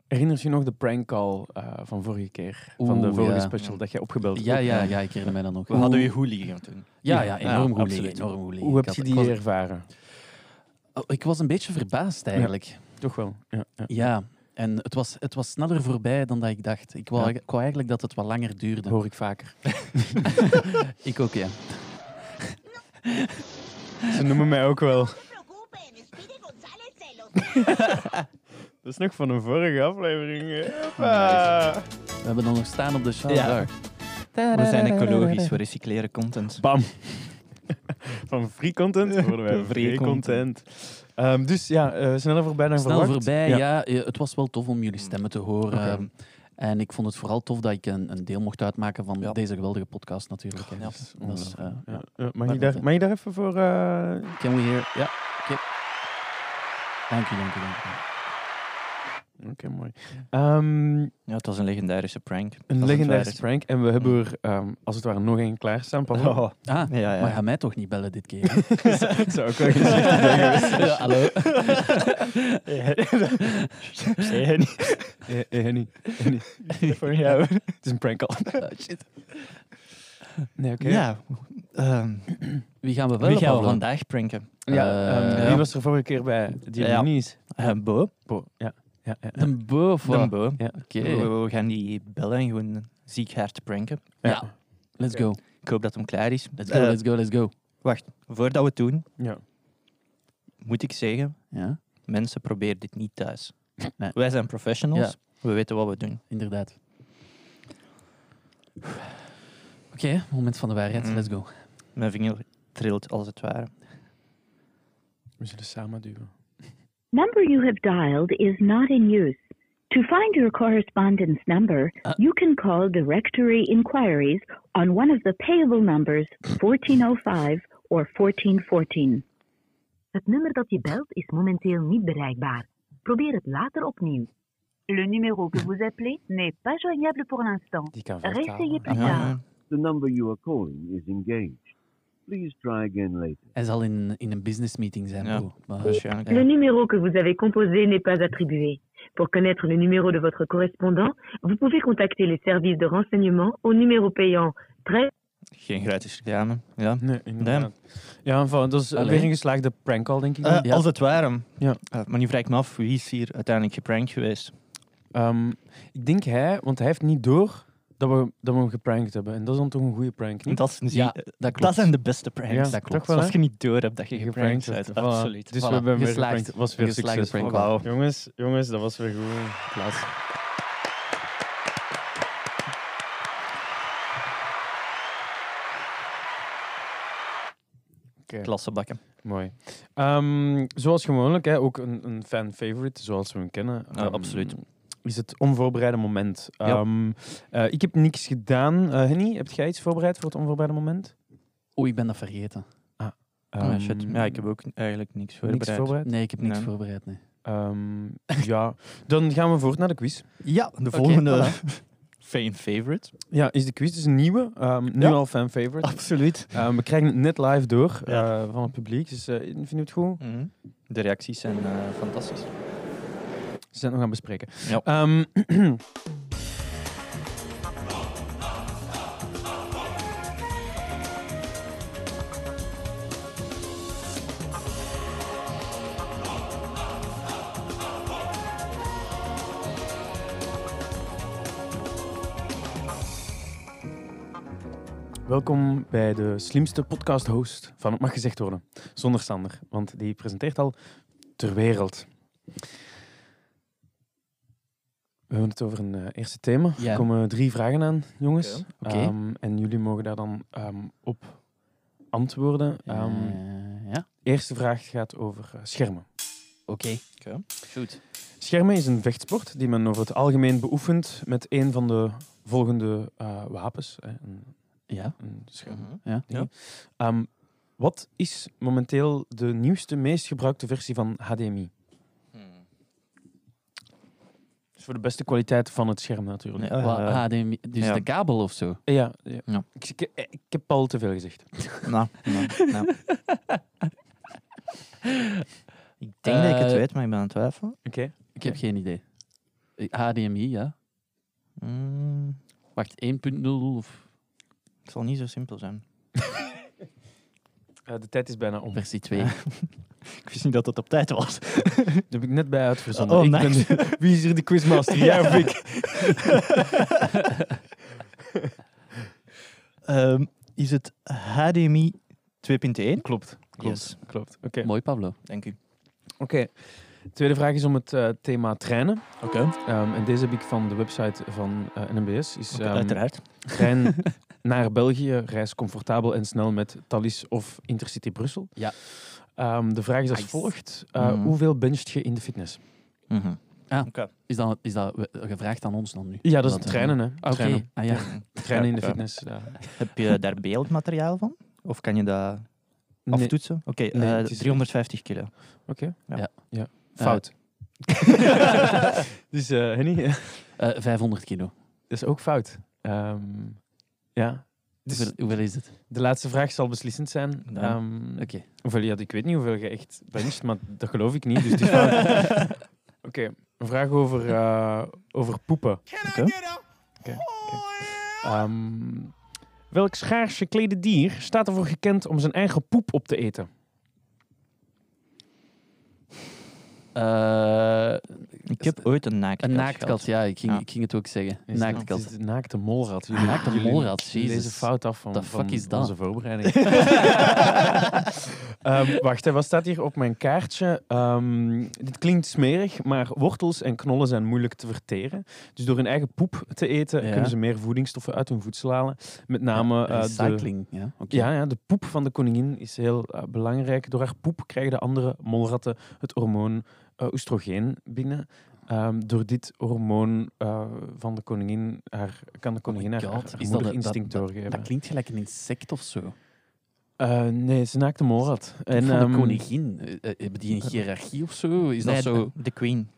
Speaker 1: herinnert je nog de prank call eh, van vorige keer? van de
Speaker 4: Oeh,
Speaker 1: vorige
Speaker 4: ja.
Speaker 1: special, dat eh, jij opgebeld hebt?
Speaker 4: Ja, ja, ja, ik herinner mij dat nog.
Speaker 3: We hadden
Speaker 4: Hoe-
Speaker 3: je goed liggen toen.
Speaker 4: Ja, ja,
Speaker 3: Ja,
Speaker 4: enorm goed
Speaker 3: absoluut.
Speaker 4: liggen, enorm goed liggen.
Speaker 1: Hoe
Speaker 4: Ik
Speaker 1: heb je
Speaker 4: had-
Speaker 1: die eh,
Speaker 4: ik was,
Speaker 1: ervaren?
Speaker 4: oh, ik was een beetje verbaasd eigenlijk. Ja,
Speaker 1: Toch wel. Ja, ja.
Speaker 4: en het was, het was sneller voorbij dan dat ik dacht. Ik wou,
Speaker 1: Ja.
Speaker 4: ik wou eigenlijk dat het wat langer duurde.
Speaker 1: Dat hoor ik vaker.
Speaker 4: Ik ook, ja.
Speaker 1: Ze noemen mij ook wel.
Speaker 5: No se preocupen, Speedy González se los
Speaker 1: Dat is nog van een vorige aflevering. Hoppa.
Speaker 4: We hebben dan nog staan op de show.
Speaker 3: Ja.
Speaker 4: daar.
Speaker 3: We zijn ecologisch, we recycleren content.
Speaker 1: Bam. Van free content worden wij
Speaker 3: Free
Speaker 1: free content. Ehm, dus ja, eh, sneller voorbij dan
Speaker 4: Snel
Speaker 1: verwacht.
Speaker 4: voorbij,
Speaker 1: Ja.
Speaker 4: ja. eh, Het was wel tof om jullie stemmen te horen.
Speaker 3: Oké.
Speaker 4: ehm, En ik vond het vooral tof dat ik een, een deel mocht uitmaken van
Speaker 3: Ja.
Speaker 4: deze geweldige podcast natuurlijk. hè.
Speaker 3: Ja.
Speaker 4: Dus dat is, eh,
Speaker 1: Ja.
Speaker 4: ja.
Speaker 1: Eh, mag, je daar, mag je daar even voor... eh,
Speaker 4: Can we hear? Ja, oké. Dank je, dank je, dank je.
Speaker 1: Oké, mooi. Ehm,
Speaker 3: Ja, het was een legendarische prank. Dat is
Speaker 1: een
Speaker 3: het
Speaker 1: legendarische
Speaker 3: waard.
Speaker 1: prank. En we hebben er, ehm, als het ware, nog één klaarstaan. Pavlov.
Speaker 3: Oh,
Speaker 4: Ah,
Speaker 3: Ja, ja.
Speaker 4: maar ga mij toch niet bellen dit keer. hè?
Speaker 1: Eh. Dat zou ook wel gezicht zijn geweest.
Speaker 4: Ja, hallo.
Speaker 3: Hey, Henny.
Speaker 1: Eh, eh, Henny. Henny.
Speaker 3: Voor jou. Oh,
Speaker 1: Het is een prank al. Nee, oké.
Speaker 3: Ja. ehm,
Speaker 4: Wie gaan we wel
Speaker 3: wie gaan we vandaag pranken?
Speaker 1: Ja,
Speaker 4: Eh,
Speaker 1: ehm,
Speaker 4: ja.
Speaker 1: wie was er vorige keer bij? Die
Speaker 3: Ja.
Speaker 1: Minis.
Speaker 3: Eh, Bo.
Speaker 1: Bo, ja. Ja. ja, ja.
Speaker 4: De beu of
Speaker 3: Dan
Speaker 4: wat?
Speaker 3: beu.
Speaker 1: Ja.
Speaker 4: Oké,
Speaker 3: We, we gaan die bellen en gewoon ziek hard pranken.
Speaker 4: Ja. let's go.
Speaker 3: Ik hoop dat hem klaar is.
Speaker 4: Let's go,
Speaker 3: Eh,
Speaker 4: let's go, let's go.
Speaker 3: Voordat we het doen,
Speaker 1: Ja.
Speaker 3: moet ik zeggen,
Speaker 4: Ja,
Speaker 3: mensen probeer dit niet thuis.
Speaker 4: Nee.
Speaker 3: Wij zijn professionals.
Speaker 4: Ja.
Speaker 3: We weten wat we doen.
Speaker 4: inderdaad. Oké, moment van de waarheid.
Speaker 3: Mm.
Speaker 4: Let's go.
Speaker 3: Mijn vinger trilt als het ware.
Speaker 1: We zullen samen duwen.
Speaker 6: Number you have dialed is not in use. To find your correspondence number,
Speaker 4: Uh.
Speaker 6: you can call Directory Inquiries on one of the payable numbers 1405 or 1414. Het nummer dat je belt is momenteel niet bereikbaar. Probeer het later opnieuw. Le numéro que vous appelez n'est pas joignable pour l'instant.
Speaker 1: Die kan
Speaker 6: Réessayez
Speaker 1: vertalen.
Speaker 6: plus tard.
Speaker 7: The number you are calling is engaged. Please try again later.
Speaker 4: Hij zal in, in een business meeting zijn.
Speaker 3: Dus Ja.
Speaker 4: bro. Maar-
Speaker 3: waarschijnlijk.
Speaker 6: Le numéro que vous avez composé n'est pas attribué. Pour connaître le numéro de votre correspondant, vous pouvez contacter les services de renseignement au numéro payant 13.
Speaker 3: Geen gratis reclame. Ja.
Speaker 1: Nee, inderdaad. Ja, van, dat is eh,
Speaker 4: Allee.
Speaker 1: weer een geslaagde prank call, denk ik.
Speaker 3: Eh,
Speaker 1: dan.
Speaker 4: ja.
Speaker 3: Als het ware.
Speaker 1: Ja.
Speaker 3: Eh, maar nu vraag ik me af, wie is hier uiteindelijk geprankt geweest?
Speaker 1: Ehm, ik denk hij, want hij heeft niet door dat we, dat we hem geprankt hebben. En dat is dan toch een goede prank, niet?
Speaker 3: Dat, is- zie-
Speaker 4: Ja,
Speaker 3: eh,
Speaker 4: dat klopt.
Speaker 3: dat zijn de beste pranks.
Speaker 1: Ja,
Speaker 4: dat klopt.
Speaker 1: toch wel, hè?
Speaker 3: Als je niet door hebt dat je geprankt
Speaker 1: Geprankt,
Speaker 3: bent.
Speaker 1: voilà.
Speaker 3: Absoluut.
Speaker 1: Dus
Speaker 4: Voilà,
Speaker 1: we hebben hem weer
Speaker 4: geslaagd.
Speaker 1: geprankt. was weer
Speaker 4: Een geslaagde
Speaker 1: succes.
Speaker 4: prank
Speaker 1: Wauw.
Speaker 4: call.
Speaker 1: Jongens, jongens, dat was weer goed. Klaas.
Speaker 3: Klassenbakken.
Speaker 1: Mooi. Ehm, zoals gewoonlijk, hè, ook een, een fan-favorite, zoals we hem kennen.
Speaker 3: Ja,
Speaker 1: Ehm,
Speaker 3: absoluut.
Speaker 1: Is het onvoorbereide moment.
Speaker 3: Ja.
Speaker 1: Ehm, eh, ik heb niks gedaan. Eh, Henny, heb jij iets voorbereid voor het onvoorbereide moment?
Speaker 4: Oei, ik ben dat vergeten.
Speaker 3: Oh,
Speaker 1: Ehm,
Speaker 3: shit. Ja, ik heb ook eigenlijk niks voorbereid.
Speaker 1: niks voorbereid.
Speaker 4: Nee, ik heb niks
Speaker 3: Nee.
Speaker 4: voorbereid. Nee.
Speaker 1: Ehm, ja, dan gaan we voort naar de quiz.
Speaker 3: Ja, de
Speaker 4: Oké,
Speaker 3: volgende fan favorite.
Speaker 1: Ja, is de quiz dus een nieuwe? Ehm, nu
Speaker 3: Ja.
Speaker 1: al fan-favorite.
Speaker 3: Absoluut.
Speaker 1: Ehm, we krijgen het net live door
Speaker 3: Ja.
Speaker 1: eh, van het publiek. Dus eh, vind je het goed?
Speaker 3: Mhm. De reacties zijn eh, fantastisch.
Speaker 1: Ze zijn het nog aan het bespreken.
Speaker 3: Ja.
Speaker 1: Ehm, Welkom bij de slimste podcast-host van Het Mag Gezegd Worden, zonder Sander, want die presenteert al ter wereld. We hebben het over een eh, eerste thema.
Speaker 4: Ja.
Speaker 1: Er komen drie vragen aan, jongens.
Speaker 4: Oké.
Speaker 1: Ehm, en jullie mogen daar dan ehm, op antwoorden. Ehm,
Speaker 4: Eh, ja,
Speaker 1: Eerste vraag gaat over eh, schermen.
Speaker 4: oké.
Speaker 3: Oké.
Speaker 4: Goed.
Speaker 1: Schermen is een vechtsport die men over het algemeen beoefent met een van de volgende eh, wapens. Hè. Een,
Speaker 4: Ja,
Speaker 1: een scherm.
Speaker 3: Mhm.
Speaker 4: ja.
Speaker 3: Ja.
Speaker 1: Ehm, wat is momenteel de nieuwste, meest gebruikte versie van HDMI? Dus voor de beste kwaliteit van het scherm natuurlijk. Eh,
Speaker 3: Ja,
Speaker 4: Wat,
Speaker 3: eh,
Speaker 4: HDMI, dus
Speaker 3: ja.
Speaker 4: de kabel of zo.
Speaker 1: Ja, ja.
Speaker 4: Ja.
Speaker 1: Ik, ik, ik heb al te veel gezegd.
Speaker 3: Nou, nou, nou. ik denk dat ik het
Speaker 4: Eh,
Speaker 3: weet, maar ik ben aan het twijfelen.
Speaker 1: Oké.
Speaker 4: Ik heb geen idee. Eh, HDMI, ja.
Speaker 3: Mm,
Speaker 4: Wacht, 1.0 of
Speaker 3: het zal niet zo simpel zijn.
Speaker 1: Eh, de tijd is bijna om.
Speaker 4: versie 2.
Speaker 3: Ik wist niet dat het op tijd was.
Speaker 1: Daar heb ik net bij uitgezonden.
Speaker 3: Oh,
Speaker 1: ik
Speaker 3: nice.
Speaker 1: ben, wie is hier de quizmaster? Jij of ik?
Speaker 3: Ehm, is het HDMI 2.1?
Speaker 1: Klopt, klopt,
Speaker 3: Yes.
Speaker 1: klopt. Oké.
Speaker 4: Mooi, Pablo.
Speaker 3: Dank u.
Speaker 1: Oké. Tweede vraag is om het eh, thema trainen.
Speaker 3: Oké,
Speaker 1: Ehm, en deze heb ik van de website van eh, NMBS. Is, ehm,
Speaker 3: uiteraard.
Speaker 1: Trein naar België, reis comfortabel en snel met Thalys of Intercity Brussel.
Speaker 4: Ja.
Speaker 1: Ehm, de vraag is als
Speaker 4: Nice.
Speaker 1: volgt. Eh,
Speaker 3: Mhm.
Speaker 1: Hoeveel bencht je in de fitness?
Speaker 3: Mhm.
Speaker 4: Ah.
Speaker 3: Oké.
Speaker 4: Is dat, is dat we- gevraagd aan ons dan nu?
Speaker 1: Ja, dat is
Speaker 4: Wat, eh,
Speaker 1: trainen, hè.
Speaker 4: ah, Oké,
Speaker 1: Trainen.
Speaker 4: ah, ja.
Speaker 1: Trainen in de
Speaker 3: Ja.
Speaker 1: fitness. ja.
Speaker 3: Heb je daar beeldmateriaal van? Of kan je dat
Speaker 1: Nee,
Speaker 3: aftoetsen? Oké, eh,
Speaker 1: Nee, het is-
Speaker 3: 350 kilo.
Speaker 1: fout. eh, dus eh Henny, eh,
Speaker 4: Eh, 500 kilo.
Speaker 1: dat is ook fout. Ehm, ja. Dus
Speaker 4: hoeveel, hoeveel is het?
Speaker 1: de laatste vraag zal beslissend zijn.
Speaker 3: Ja.
Speaker 1: Ehm,
Speaker 4: Oké.
Speaker 1: hoeveel, ja, ik weet niet hoeveel je echt bencht, maar dat geloof ik niet. Dus het is fout. Oké, een vraag over, eh, over poepen.
Speaker 3: Oké. Ah.
Speaker 1: Oké, oké. Ehm, welk schaars geklede dier staat ervoor gekend om zijn eigen poep op te eten?
Speaker 4: Eh,
Speaker 3: Ik heb ooit een naakt
Speaker 4: Een naaktkat, ja ik, ging,
Speaker 3: Ja.
Speaker 4: ik ging het ook zeggen.
Speaker 1: Is het-
Speaker 4: naaktkat.
Speaker 1: het is de Naakte molrat. Jullie,
Speaker 4: Naakte
Speaker 1: jullie
Speaker 4: molrat,
Speaker 1: lezen
Speaker 4: jezus.
Speaker 1: fout af van,
Speaker 4: The fuck
Speaker 1: van
Speaker 4: is dat?
Speaker 1: onze voorbereiding. Ehm, wacht, hè, wat staat hier op mijn kaartje? Ehm, dit klinkt smerig, maar wortels en knollen zijn moeilijk te verteren. Dus door hun eigen poep te eten
Speaker 4: Ja.
Speaker 1: kunnen ze meer voedingsstoffen uit hun voedsel halen. Met name eh, de,
Speaker 4: Recycling, ja. oké.
Speaker 1: ja, ja, de poep van de koningin is heel eh, belangrijk. Door haar poep krijgen de andere molratten het hormoon eh oestrogeen binnen. Ehm, door dit hormoon eh, van de koningin haar, kan de koningin haar,
Speaker 4: Oh
Speaker 1: haar
Speaker 4: God, is dat een-
Speaker 1: moederinstinct
Speaker 4: dat-
Speaker 1: doorgeven.
Speaker 4: Dat klinkt gelijk een insect of zo.
Speaker 1: Eh, nee, ze naakte molrat.
Speaker 4: En van
Speaker 1: ehm,
Speaker 4: de koningin, eh, eh, hebben die een hiërarchie of zo? Is dat zo?
Speaker 3: De Queen.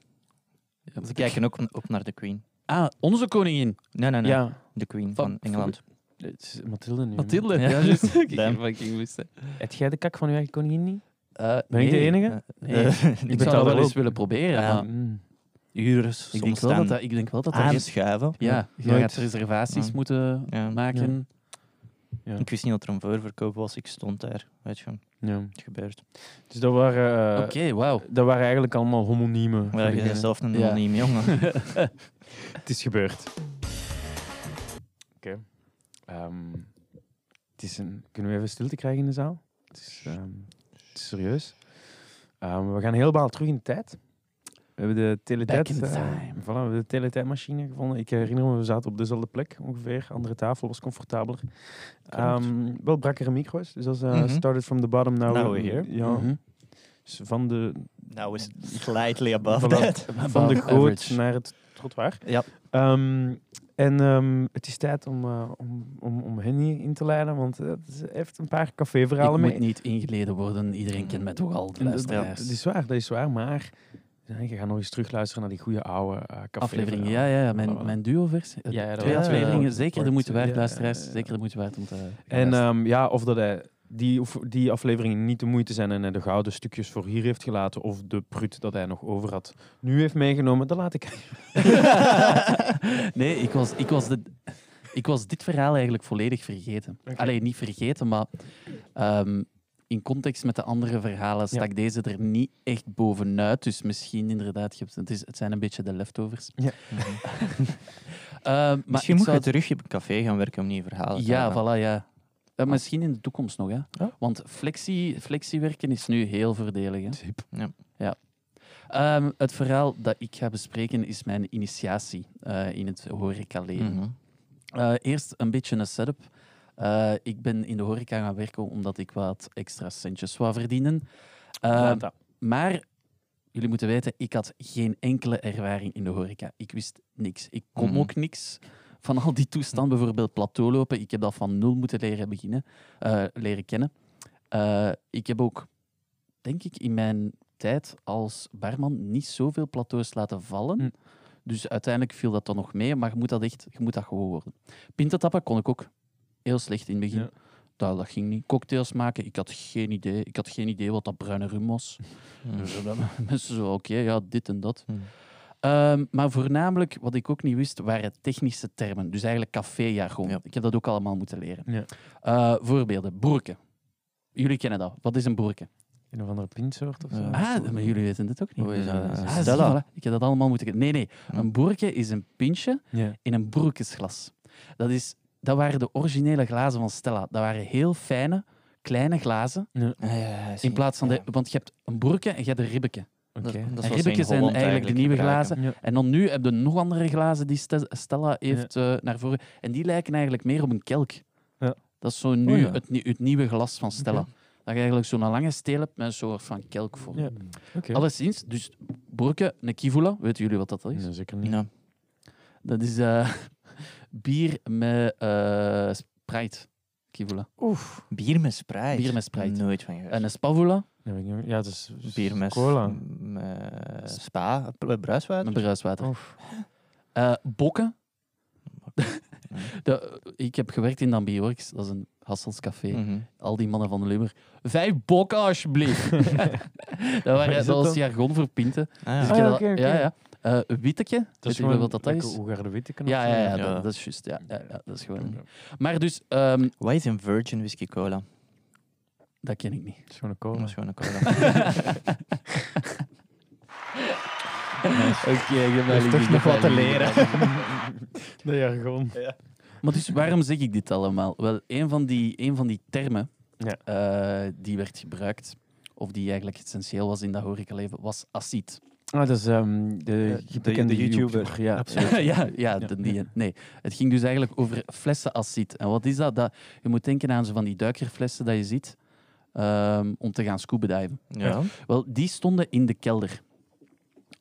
Speaker 4: de-
Speaker 3: Ze kijken ook op naar de Queen.
Speaker 4: Ah, onze koningin.
Speaker 3: Nee, nee, nee.
Speaker 1: Ja,
Speaker 3: De Queen
Speaker 4: Van-
Speaker 3: van, Engeland.
Speaker 1: het is Mathilde nu.
Speaker 4: Mathilde. Ja,
Speaker 3: Ja.
Speaker 4: juist. Ik
Speaker 3: Damn.
Speaker 4: ging fucking wisten.
Speaker 1: Eet jij de kak van je eigen koningin niet?
Speaker 4: Eh,
Speaker 1: Ben ik de
Speaker 4: nee.
Speaker 1: enige?
Speaker 3: Eh,
Speaker 4: Nee.
Speaker 3: eh,
Speaker 4: Ik
Speaker 1: betaal
Speaker 4: zou dat
Speaker 1: wel
Speaker 4: wel eens
Speaker 1: op.
Speaker 4: willen proberen.
Speaker 3: Ja.
Speaker 4: maar
Speaker 1: Mm.
Speaker 3: uren
Speaker 4: Ik
Speaker 3: soms
Speaker 4: denk, wel dat
Speaker 3: staan
Speaker 4: dat, ik denk wel dat dat... is-
Speaker 3: aanschuiven.
Speaker 4: Ja, je
Speaker 1: Nooit. Ah.
Speaker 4: gaat reservaties
Speaker 3: Ja.
Speaker 4: moeten
Speaker 3: Ja.
Speaker 4: maken.
Speaker 3: Ik wist niet dat er een voorverkoop was. Ik stond daar. Weet je,
Speaker 1: Ja.
Speaker 3: het gebeurt.
Speaker 1: Dus dat waren, eh,
Speaker 4: Oké, wauw.
Speaker 1: dat waren eigenlijk allemaal homoniemen. voor
Speaker 3: Maar je
Speaker 1: degene-
Speaker 3: bent zelf een
Speaker 4: Ja.
Speaker 3: anoniem jongen.
Speaker 1: Het is gebeurd. Oké. Ehm, het is een... Kunnen we even stilte krijgen in de zaal? Het is, ehm, het is serieus. Ehm, we gaan helemaal terug in de tijd. We hebben de teletijd,
Speaker 4: in
Speaker 1: eh,
Speaker 4: time.
Speaker 1: voilà, we hebben de teletijdmachine gevonden. Ik herinner me, we zaten op dezelfde plek ongeveer. Andere tafel was comfortabeler. Ehm, wel brakkere micro's. Dus als
Speaker 3: Mhm.
Speaker 1: started from the bottom, now,
Speaker 3: Now we're here.
Speaker 1: Ja.
Speaker 4: Mhm.
Speaker 1: Dus van de,
Speaker 3: Nou is het slightly above
Speaker 1: Voilà.
Speaker 3: that.
Speaker 1: van de
Speaker 4: Above
Speaker 1: goot
Speaker 4: average.
Speaker 1: naar het trottoir.
Speaker 3: Ja.
Speaker 1: Ehm, en ehm, het is tijd om, eh, om, om, om Henny in te leiden, want eh, ze heeft een paar caféverhalen
Speaker 4: Ik
Speaker 1: mee.
Speaker 4: moet niet ingeleden worden. Iedereen kent mij toch al, de
Speaker 1: En dat- dat,
Speaker 4: luisteraars.
Speaker 1: dat is waar, dat is waar, maar ja, je gaat nog eens terugluisteren naar die goede oude eh
Speaker 4: afleveringen.
Speaker 1: caféverhalen.
Speaker 4: Ja, ja, ja, mijn,
Speaker 1: Voilà.
Speaker 4: mijn duo-versie. eh,
Speaker 1: Ja, ja, dat
Speaker 4: twee
Speaker 1: was-
Speaker 4: afleveringen.
Speaker 1: ja,
Speaker 4: zeker de
Speaker 1: kort,
Speaker 4: moeite waard,
Speaker 1: ja,
Speaker 4: luisteraars.
Speaker 1: ja, ja.
Speaker 4: Zeker de moeite waard om te gaan
Speaker 1: En
Speaker 4: luisteren.
Speaker 1: ehm, ja, of dat hij die, of die afleveringen niet de moeite zijn en hij de gouden stukjes voor hier heeft gelaten, of de prut dat hij nog over had nu heeft meegenomen, dat laat ik.
Speaker 4: nee, ik was, ik, was de, ik was dit verhaal eigenlijk volledig vergeten. Alleen niet vergeten, maar ehm, in context met de andere verhalen stak deze er niet echt bovenuit. Dus misschien inderdaad, je hebt- het, is, het zijn een beetje de leftovers.
Speaker 1: Ja.
Speaker 4: Ehm, maar
Speaker 3: Misschien
Speaker 4: ik
Speaker 3: moet
Speaker 4: zou
Speaker 3: je terug in een café gaan werken om die verhalen te
Speaker 4: Ja,
Speaker 3: hebben.
Speaker 4: voilà, ja.
Speaker 3: Ah.
Speaker 4: Eh, misschien in de toekomst nog, hè.
Speaker 1: Ja.
Speaker 4: Want flexie, flexiewerken is nu heel voordelig, hè.
Speaker 3: Ja.
Speaker 4: Ja. Ehm, het verhaal dat ik ga bespreken is mijn initiatie eh, in het horecaleven.
Speaker 3: Mhm.
Speaker 4: Eh, eerst een beetje een setup. Eh, ik ben in de horeca gaan werken omdat ik wat extra centjes wou verdienen. Eh,
Speaker 1: Laat dat.
Speaker 4: maar jullie moeten weten, ik had geen enkele ervaring in de horeca. Ik wist niks. Ik kon
Speaker 3: Mhm.
Speaker 4: ook niks van al die toestand, bijvoorbeeld plateaulopen. Ik heb dat van nul moeten leren, beginnen, eh, leren kennen. Eh, ik heb ook, denk ik, in mijn tijd als barman niet zoveel plateaus laten vallen.
Speaker 1: Hm.
Speaker 4: Dus uiteindelijk viel dat dan nog mee, maar je moet dat echt, je moet dat gewoon worden. Pintatappen kon ik ook heel slecht in het begin.
Speaker 1: Ja.
Speaker 4: Dat, dat ging niet. Cocktails maken, ik had geen idee. Ik had geen idee wat dat bruine rum was.
Speaker 3: Mhm.
Speaker 4: Dus dan mensen zo, oké, ja, dit en dat.
Speaker 3: Mhm.
Speaker 4: Ehm, maar voornamelijk, wat ik ook niet wist, waren technische termen. Dus eigenlijk caféjargon.
Speaker 3: Ja.
Speaker 4: Ik heb dat ook allemaal moeten leren.
Speaker 1: Ja.
Speaker 4: Eh, voorbeelden. Boerken. Jullie kennen dat. Wat is een boerken?
Speaker 1: Een of andere pintsoort of zo.
Speaker 3: Ja.
Speaker 4: Ah, maar jullie weten dit ook niet.
Speaker 3: Hoe is dat?
Speaker 4: Ah, zie,
Speaker 3: Stella.
Speaker 4: voilà. Ik heb dat allemaal moeten... ke- Nee, nee. Een boerken is een pintje
Speaker 1: Ja.
Speaker 4: in een broerkesglas. Dat, is, dat waren de originele glazen van Stella. Dat waren heel fijne, kleine glazen.
Speaker 3: Ah, ja, ja, zie.
Speaker 4: In plaats van de...
Speaker 3: Ja. Dat-
Speaker 4: Want je hebt een boerken en je hebt een ribbeke.
Speaker 1: Oké.
Speaker 3: dat is
Speaker 4: En
Speaker 3: wat ze in
Speaker 4: ribbeken zijn
Speaker 3: Holland
Speaker 4: eigenlijk de nieuwe
Speaker 3: gebruiken.
Speaker 4: glazen.
Speaker 1: Ja.
Speaker 4: En dan nu heb je nog andere glazen die Ste- Stella heeft eh, naar voren. En die lijken eigenlijk meer op een kelk.
Speaker 1: Ja.
Speaker 4: Dat is zo nu
Speaker 1: Oh ja.
Speaker 4: het, nie- het nieuwe glas van Stella. Dat je eigenlijk zo'n lange steel hebt met een soort van kelkvorm.
Speaker 1: Ja. Oké.
Speaker 4: Alleszins, dus Borke, een kivula, weten jullie wat dat is?
Speaker 1: Nee, zeker niet.
Speaker 3: Ja. Nou,
Speaker 4: Dat is eh, bier met eh Sprite. Kivula.
Speaker 1: Oef.
Speaker 3: Bier met Sprite.
Speaker 4: Bier met Sprite.
Speaker 3: Nooit van gehoord.
Speaker 4: En een spavula,
Speaker 1: Ja, weet ik niet. Ja, dat is is
Speaker 3: bier met
Speaker 1: cola.
Speaker 3: m- eh, spa, eh, bruiswater.
Speaker 4: met bruiswater.
Speaker 1: Oef.
Speaker 4: Eh, bokken. De- ik heb gewerkt in Ambiorix, dat is een Hassels café.
Speaker 3: Mhm.
Speaker 4: Al die mannen van de Lummer. Vijf bokken, alsjeblieft. dat
Speaker 1: is
Speaker 4: waren,
Speaker 1: dat
Speaker 4: dat was
Speaker 1: dan?
Speaker 4: jargon voor pinten.
Speaker 3: Ah, ja.
Speaker 4: Dus ik heb
Speaker 1: Ah,
Speaker 4: dat-
Speaker 1: oké, oké.
Speaker 4: ja, ja. Eh, witteke,
Speaker 1: Dat
Speaker 4: weet
Speaker 1: is
Speaker 4: jullie
Speaker 1: gewoon
Speaker 4: wat dat is?
Speaker 1: Hoe de witte kan
Speaker 4: Ja, ja, ja,
Speaker 3: Ja.
Speaker 4: Dat, dat is juist. Ja, ja, ja, dat is gewoon.
Speaker 1: Ja.
Speaker 4: Maar dus, ehm,
Speaker 3: Wat is een virgin whisky cola?
Speaker 4: dat ken ik niet.
Speaker 1: Het is gewoon een
Speaker 3: Dat
Speaker 1: cola.
Speaker 3: is gewoon een cola.
Speaker 4: ik heb
Speaker 3: Heeft toch nog wat te leren.
Speaker 1: De jargon.
Speaker 4: Maar dus waarom zeg ik dit allemaal? Wel, een van die, een van die termen
Speaker 1: Ja.
Speaker 4: eh, die werd gebruikt, of die eigenlijk essentieel was in dat horecaleven, was acid.
Speaker 1: Ah, dat is ehm, de,
Speaker 8: de-
Speaker 1: bekende
Speaker 8: de YouTuber.
Speaker 1: Ja,
Speaker 4: ja, ja, de- die, nee. Het ging dus eigenlijk over flessenacid. En wat is dat? dat? Je moet denken aan zo van die duikerflessen dat je ziet ehm, om te gaan scuba diven.
Speaker 3: Ja.
Speaker 4: Wel, die stonden in de kelder.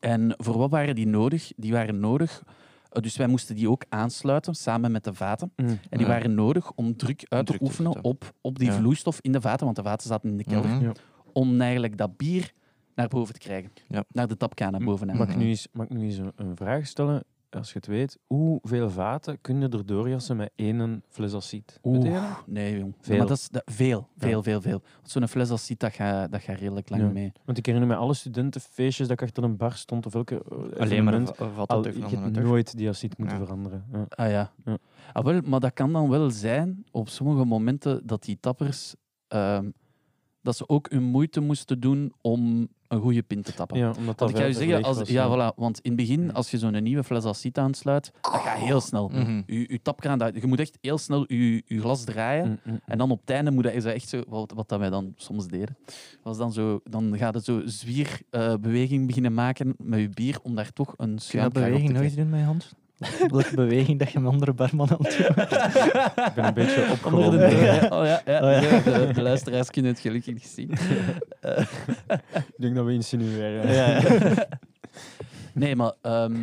Speaker 4: En voor wat waren die nodig? Die waren nodig, eh, dus wij moesten die ook aansluiten samen met de vaten.
Speaker 1: Mm.
Speaker 4: En die
Speaker 3: Ja.
Speaker 4: waren nodig om druk uit
Speaker 8: druk
Speaker 4: te
Speaker 8: te
Speaker 4: oefenen
Speaker 8: zetten.
Speaker 4: op, op die
Speaker 3: Ja.
Speaker 4: vloeistof in de vaten, want de vaten zaten in de kelder.
Speaker 3: Mhm.
Speaker 4: Om eigenlijk dat bier naar boven te krijgen.
Speaker 3: Ja.
Speaker 4: Naar de tapkaan naar bovenaan.
Speaker 1: Mag ik nu eens, mag ik nu eens een, een vraag stellen? Als je het weet, hoeveel vaten kun je er doorjassen met één fles acid? Weet
Speaker 4: Oeh,
Speaker 1: jij dat?
Speaker 4: Nee, jong.
Speaker 1: Veel.
Speaker 4: Maar dat is dat- veel, veel, veel, veel. Want zo'n fles als ziet, dat gaat dat gaat redelijk lang
Speaker 1: Ja.
Speaker 4: mee.
Speaker 1: Want ik herinner me alle studentenfeestjes dat ik achter een bar stond of elke eh,
Speaker 3: Alleen maar
Speaker 1: evenement.
Speaker 3: wat
Speaker 1: Al,
Speaker 3: dat
Speaker 1: je
Speaker 3: ook
Speaker 1: hebt
Speaker 3: nog
Speaker 1: nooit die acid moeten
Speaker 3: Ja.
Speaker 1: veranderen. Ja.
Speaker 4: Ah ja.
Speaker 1: Ja.
Speaker 4: Ah, wel, maar dat kan dan wel zijn op sommige momenten dat die tappers ehm, dat ze ook hun moeite moesten doen om een goede pint te tappen.
Speaker 1: Ja, omdat dat
Speaker 4: Want ik ga je
Speaker 1: water
Speaker 4: zeggen,
Speaker 1: leeg
Speaker 4: als,
Speaker 1: was,
Speaker 4: ja, voilà, want in het begin, als je zo'n nieuwe fles acid aansluit, dat gaat heel snel.
Speaker 3: Mhm.
Speaker 4: Je, je tapkraan, dat- je moet echt heel snel je, je glas draaien.
Speaker 1: Mm, mm.
Speaker 4: En dan op het einde moet dat, is dat echt zo, wat, wat dat wij dan soms deden, was dan zo, dan gaat het zo zwierbeweging beginnen maken met je bier om daar toch een
Speaker 3: Kun je dat
Speaker 4: schuimkraag op te
Speaker 3: beweging nooit
Speaker 4: krijgen.
Speaker 3: doen met je hand? Welke beweging dat je met andere barman aan het doen bent?
Speaker 1: Ik ben een beetje
Speaker 4: Onder de
Speaker 1: opgewonden.
Speaker 4: bril,
Speaker 1: Ik
Speaker 4: hè. Oh ja, ja.
Speaker 3: Oh ja.
Speaker 4: De, de luisteraars kunnen het gelukkig niet zien.
Speaker 1: denk dat we insinueren.
Speaker 4: eh. Nee, maar, ehm,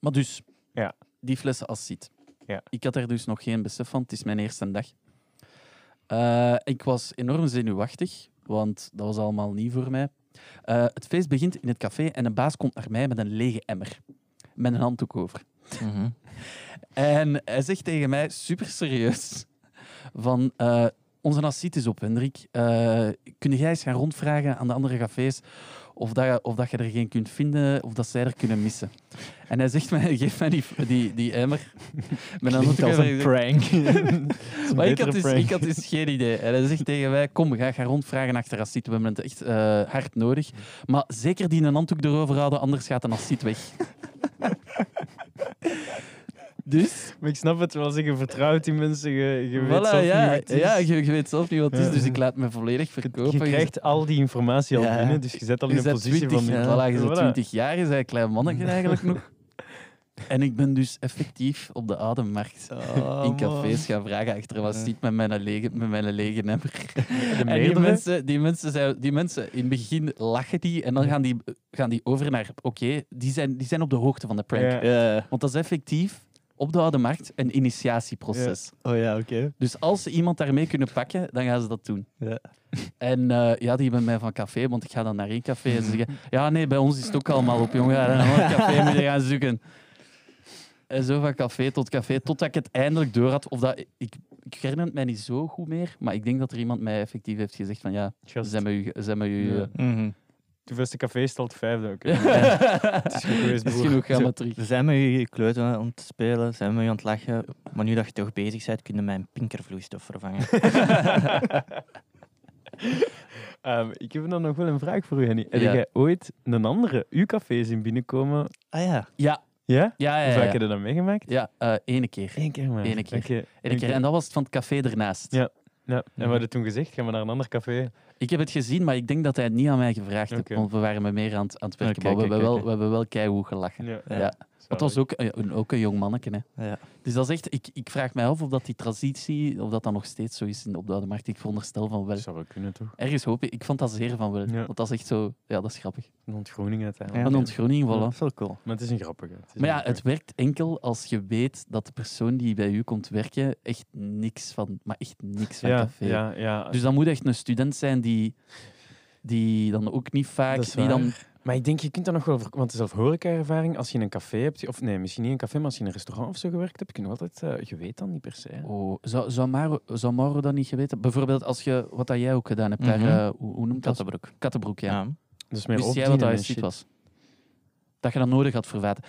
Speaker 4: maar dus,
Speaker 1: Ja.
Speaker 4: die flessen acid.
Speaker 1: Ja.
Speaker 4: Ik had er dus nog geen besef van. Het is mijn eerste dag. Eh, ik was enorm zenuwachtig, want dat was allemaal nieuw voor mij. Eh, het feest begint in het café en een baas komt naar mij met een lege emmer. Met een handdoek over.
Speaker 3: Mhm.
Speaker 4: En hij zegt tegen mij, super serieus, van eh, onze acid is op, Hendrik. Eh kun jij eens gaan rondvragen aan de andere cafés of dat, je- of dat je er geen kunt vinden of dat zij er kunnen missen? En hij zegt mij, geef mij die, die, die emmer. Met een
Speaker 3: Klinkt
Speaker 4: andere
Speaker 3: als een prank.
Speaker 4: maar ik had, dus, ik had dus geen idee. En hij zegt tegen mij, kom, we gaan gaan rondvragen achter acid. We hebben het echt eh, hard nodig. Maar zeker die een handdoek erover houden, anders gaat een acid weg. dus...
Speaker 1: Maar ik snap het wel, als je vertrouwt die mensen, je, je weet
Speaker 4: Voilà,
Speaker 1: zelf
Speaker 4: ja,
Speaker 1: niet wat het is.
Speaker 4: ja je, je weet zelf niet wat het is,
Speaker 1: Ja.
Speaker 4: dus ik laat me volledig verkopen.
Speaker 1: Je krijgt al die informatie al
Speaker 3: Ja.
Speaker 1: binnen, dus je zet al in
Speaker 4: je
Speaker 1: een
Speaker 4: bent
Speaker 1: positie
Speaker 4: 20,
Speaker 1: van...
Speaker 4: ja, voilà, je bent 20 jaar, je bent een klein mannetje eigenlijk nog. En ik ben dus effectief op de ademmarkt
Speaker 3: Oh,
Speaker 1: Oh,
Speaker 4: in cafés gaan vragen achter wat ziet met mijn lege, met mijn lege emmer. En die
Speaker 1: meerdere?
Speaker 4: mensen, die, mensen zijn, die mensen, in het begin lachen die en dan gaan die, gaan die over naar, oké, die, zijn, die zijn op de hoogte van de prank.
Speaker 1: Ja.
Speaker 3: Ja.
Speaker 4: Want dat is effectief op de oude markt een initiatieproces.
Speaker 3: Oh ja, oké.
Speaker 4: Dus als ze iemand daarmee kunnen pakken, dan gaan ze dat doen.
Speaker 3: Ja.
Speaker 4: En eh, ja, die hebben mij van café, want ik ga dan naar één café en ze zeggen: Ja, nee, bij ons is het ook allemaal op, jongen. Ga naar Een ander café moeten gaan zoeken. En zo van café tot café, totdat ik het eindelijk door had. Of dat, ik, ik herinner het mij niet zo goed meer, maar ik denk dat er iemand mij effectief heeft gezegd: van ja, zijn met u. Zijn met u eh,
Speaker 3: Mhm.
Speaker 1: De beste café stelt vijfde, oké. Het is goed geweest,
Speaker 4: Het is
Speaker 1: broer.
Speaker 4: genoeg, ga maar terug.
Speaker 3: We zijn met je kleuter aan het spelen, zijn met je aan het lachen. Maar nu dat je toch bezig bent, kunnen mijn pinkervloeistof vervangen.
Speaker 1: Ehm, ik heb dan nog wel een vraag voor u, Henny. Heb
Speaker 4: Ja.
Speaker 1: jij ooit een andere uw café zien binnenkomen?
Speaker 3: Ah ja.
Speaker 4: Ja,
Speaker 1: Ja?
Speaker 4: ja,
Speaker 1: Hoe
Speaker 4: ja.
Speaker 1: vaak
Speaker 4: ja,
Speaker 1: heb
Speaker 4: ja.
Speaker 1: je dat meegemaakt?
Speaker 4: ja eh, ene keer.
Speaker 1: Eén keer maar.
Speaker 4: Eén keer.
Speaker 1: Oké,
Speaker 4: Ene keer. En dat was het van het café ernaast.
Speaker 1: Ja. Ja. En we hadden toen gezegd, gaan we naar een ander café?
Speaker 4: Ik heb het gezien, maar ik denk dat hij het niet aan mij gevraagd heeft.
Speaker 1: Oké.
Speaker 4: Want we waren met meer aan het, aan het werken.
Speaker 3: Oké,
Speaker 4: maar we,
Speaker 3: oké,
Speaker 4: hebben wel,
Speaker 3: oké.
Speaker 4: we hebben wel keihoed gelachen.
Speaker 1: Ja.
Speaker 4: Ja. Want dat was ook eh, een, ook een jong manneke. Hè.
Speaker 3: ja.
Speaker 4: Dus dat is echt, ik, ik vraag mij af of dat die transitie, of dat dan nog steeds zo is in de opdouwde markt. Ik veronderstel van wel.
Speaker 1: Dat zou wel kunnen, toch?
Speaker 4: Ergens hoop ik, ik vond dat zeer van wel.
Speaker 1: Ja.
Speaker 4: Want dat is echt zo, ja, dat is grappig.
Speaker 1: Een ontgroening uiteindelijk.
Speaker 4: Een ontgroening,
Speaker 3: Dat
Speaker 4: voilà.
Speaker 3: is wel cool.
Speaker 1: Maar het is een grappige. Het is
Speaker 4: Maar
Speaker 1: een
Speaker 4: ja, het
Speaker 1: grappige.
Speaker 4: werkt enkel als je weet dat de persoon die bij u komt werken echt niks van, maar echt niks van café.
Speaker 1: ja, ja, ja.
Speaker 4: Dus dan moet echt een student zijn die, die dan ook niet vaak,
Speaker 1: Dat is
Speaker 4: die dan
Speaker 1: Maar ik denk, je kunt dat nog wel... ver- Want zelf horeca-ervaring, als je in een café hebt... Of nee, misschien niet in een café, maar als je in een restaurant of zo gewerkt hebt, kun je nog altijd... eh, je weet dan niet per se. hè.
Speaker 4: Oh, zou, zou, Maro, zou Mauro dat niet geweten? Bijvoorbeeld als je, wat dat jij ook gedaan hebt,
Speaker 3: Mhm.
Speaker 4: daar, eh, hoe, hoe noemt dat?
Speaker 3: Kattenbroek.
Speaker 4: Kattenbroek, ja.
Speaker 3: Ja.
Speaker 1: Dus meer
Speaker 4: Wist jij
Speaker 1: opdienen
Speaker 4: wat dat
Speaker 1: en
Speaker 4: je ziet
Speaker 1: shit.
Speaker 4: was? Dat je dat nodig had voor water.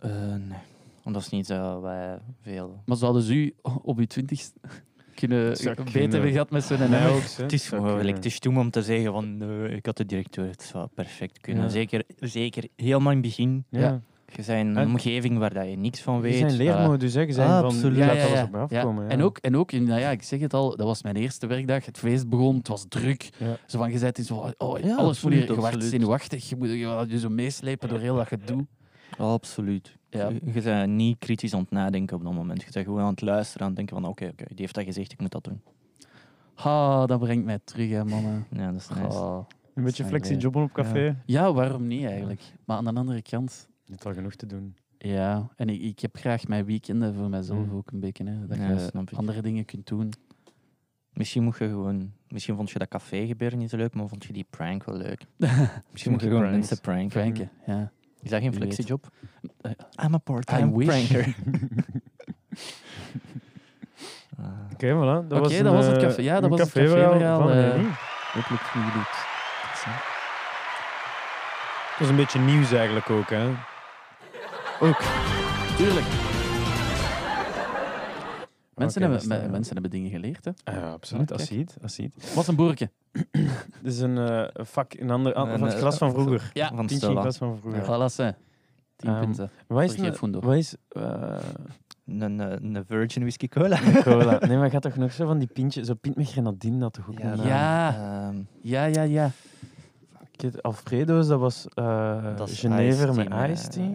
Speaker 3: Eh, nee. Want dat is niet zo wij veel...
Speaker 4: Maar zouden ze u op je twintigste... kunnen
Speaker 1: zou
Speaker 4: beter
Speaker 1: kunnen.
Speaker 4: hebben gehad met zo'n
Speaker 1: Mij
Speaker 4: nummer.
Speaker 1: ook, hè.
Speaker 3: Het is
Speaker 1: Zou
Speaker 3: mogelijk.
Speaker 1: kunnen.
Speaker 3: Het is toen om te zeggen van nee, ik had de directeur, het zou perfect kunnen.
Speaker 1: Ja.
Speaker 3: Zeker, zeker helemaal in het begin.
Speaker 1: Ja.
Speaker 3: Je bent in een
Speaker 1: En-
Speaker 3: omgeving waar dat je niks van
Speaker 1: Je
Speaker 3: weet.
Speaker 1: zijn leermodus, hè. Je zijn van,
Speaker 3: absoluut.
Speaker 1: je
Speaker 3: Ja,
Speaker 1: laat
Speaker 3: ja,
Speaker 1: alles op me afkomen. Ja.
Speaker 4: En ook, en ook in, nou ja, ik zeg het al, dat was mijn eerste werkdag. Het feest begon, het was druk.
Speaker 1: Ja.
Speaker 4: Zo van gezet is, oh,
Speaker 3: Ja,
Speaker 4: oh, alles moet hier
Speaker 3: absoluut,
Speaker 4: je wordt
Speaker 3: absoluut.
Speaker 4: zenuwachtig. Je moet je, je zo meeslepen door heel dat gedoe.
Speaker 3: Absoluut.
Speaker 4: Ja.
Speaker 3: Je, je bent niet kritisch aan het nadenken op dat moment. Je bent gewoon aan het luisteren, aan het denken van oké, oké, die heeft dat gezegd, ik moet dat doen.
Speaker 4: Ha, dat brengt mij terug, hè, mannen.
Speaker 3: Ja, dat is nice.
Speaker 4: Ah.
Speaker 1: Een beetje
Speaker 3: zijn
Speaker 1: flexi-jobben op café.
Speaker 4: Ja, waarom niet eigenlijk? Maar aan de andere kant,
Speaker 1: Je hebt al genoeg te doen.
Speaker 4: ja. En ik, ik heb graag mijn weekenden voor mezelf
Speaker 1: Mm.
Speaker 4: ook een beetje. Hè, dat
Speaker 3: Ja,
Speaker 4: je
Speaker 3: snap ik.
Speaker 4: andere dingen kunt doen.
Speaker 3: Misschien moet je gewoon... Misschien vond je dat café gebeuren niet zo leuk, maar vond je die prank wel leuk. Misschien moet je gewoon
Speaker 1: prankt.
Speaker 3: mensen pranken.
Speaker 4: Franken, ja.
Speaker 3: Is dat geen
Speaker 4: Wie weet.
Speaker 3: flexiejob?
Speaker 4: Eh,
Speaker 3: I'm a part-time
Speaker 4: I wish.
Speaker 3: pranker. Ah.
Speaker 1: Oké, voilà. Dat
Speaker 4: Oké,
Speaker 1: was,
Speaker 4: dat
Speaker 1: een,
Speaker 4: was het
Speaker 1: eh,
Speaker 4: café- ja, dat
Speaker 1: een
Speaker 4: was het
Speaker 1: caféverhaal
Speaker 4: caféverhaal,
Speaker 1: van
Speaker 4: eh.
Speaker 1: Henri.
Speaker 4: Hopelijk vliegen jullie het.
Speaker 1: Dat is een beetje nieuws eigenlijk ook, hè.
Speaker 4: Tuurlijk. Mensen,
Speaker 1: Oké, dat
Speaker 4: hebben,
Speaker 1: is dan,
Speaker 4: me-
Speaker 3: eh,
Speaker 1: ja.
Speaker 4: mensen hebben dingen geleerd, hè.
Speaker 1: Ah, ja, absoluut.
Speaker 4: Ah, kijk.
Speaker 1: Assiet, assiet.
Speaker 4: Wat een boerke.
Speaker 1: Dit is een eh, vak, een ander,
Speaker 3: Een,
Speaker 1: van het
Speaker 3: eh,
Speaker 1: glas van vroeger.
Speaker 4: Ja,
Speaker 3: Van
Speaker 1: Tientje in
Speaker 3: Stella.
Speaker 1: glas van vroeger.
Speaker 4: Voilà, hè. Tien
Speaker 1: Ehm,
Speaker 4: punten.
Speaker 1: Wat is,
Speaker 4: Voor Geert
Speaker 1: een,
Speaker 4: Voendorp.
Speaker 1: wat is eh,
Speaker 3: Een, eh, een Virgin Whisky Cola.
Speaker 1: cola? Nee, maar gaat toch nog zo van die pintje, zo pint met grenadine dat toch ook
Speaker 3: Ja,
Speaker 1: niet? eh?
Speaker 4: Ja.
Speaker 3: Ehm,
Speaker 4: Ja, ja, ja.
Speaker 1: Ik weet, Alfredo's, dat was eh
Speaker 3: dat is
Speaker 1: Genever
Speaker 3: iced
Speaker 1: met
Speaker 3: tea,
Speaker 1: iced tea.
Speaker 3: eh,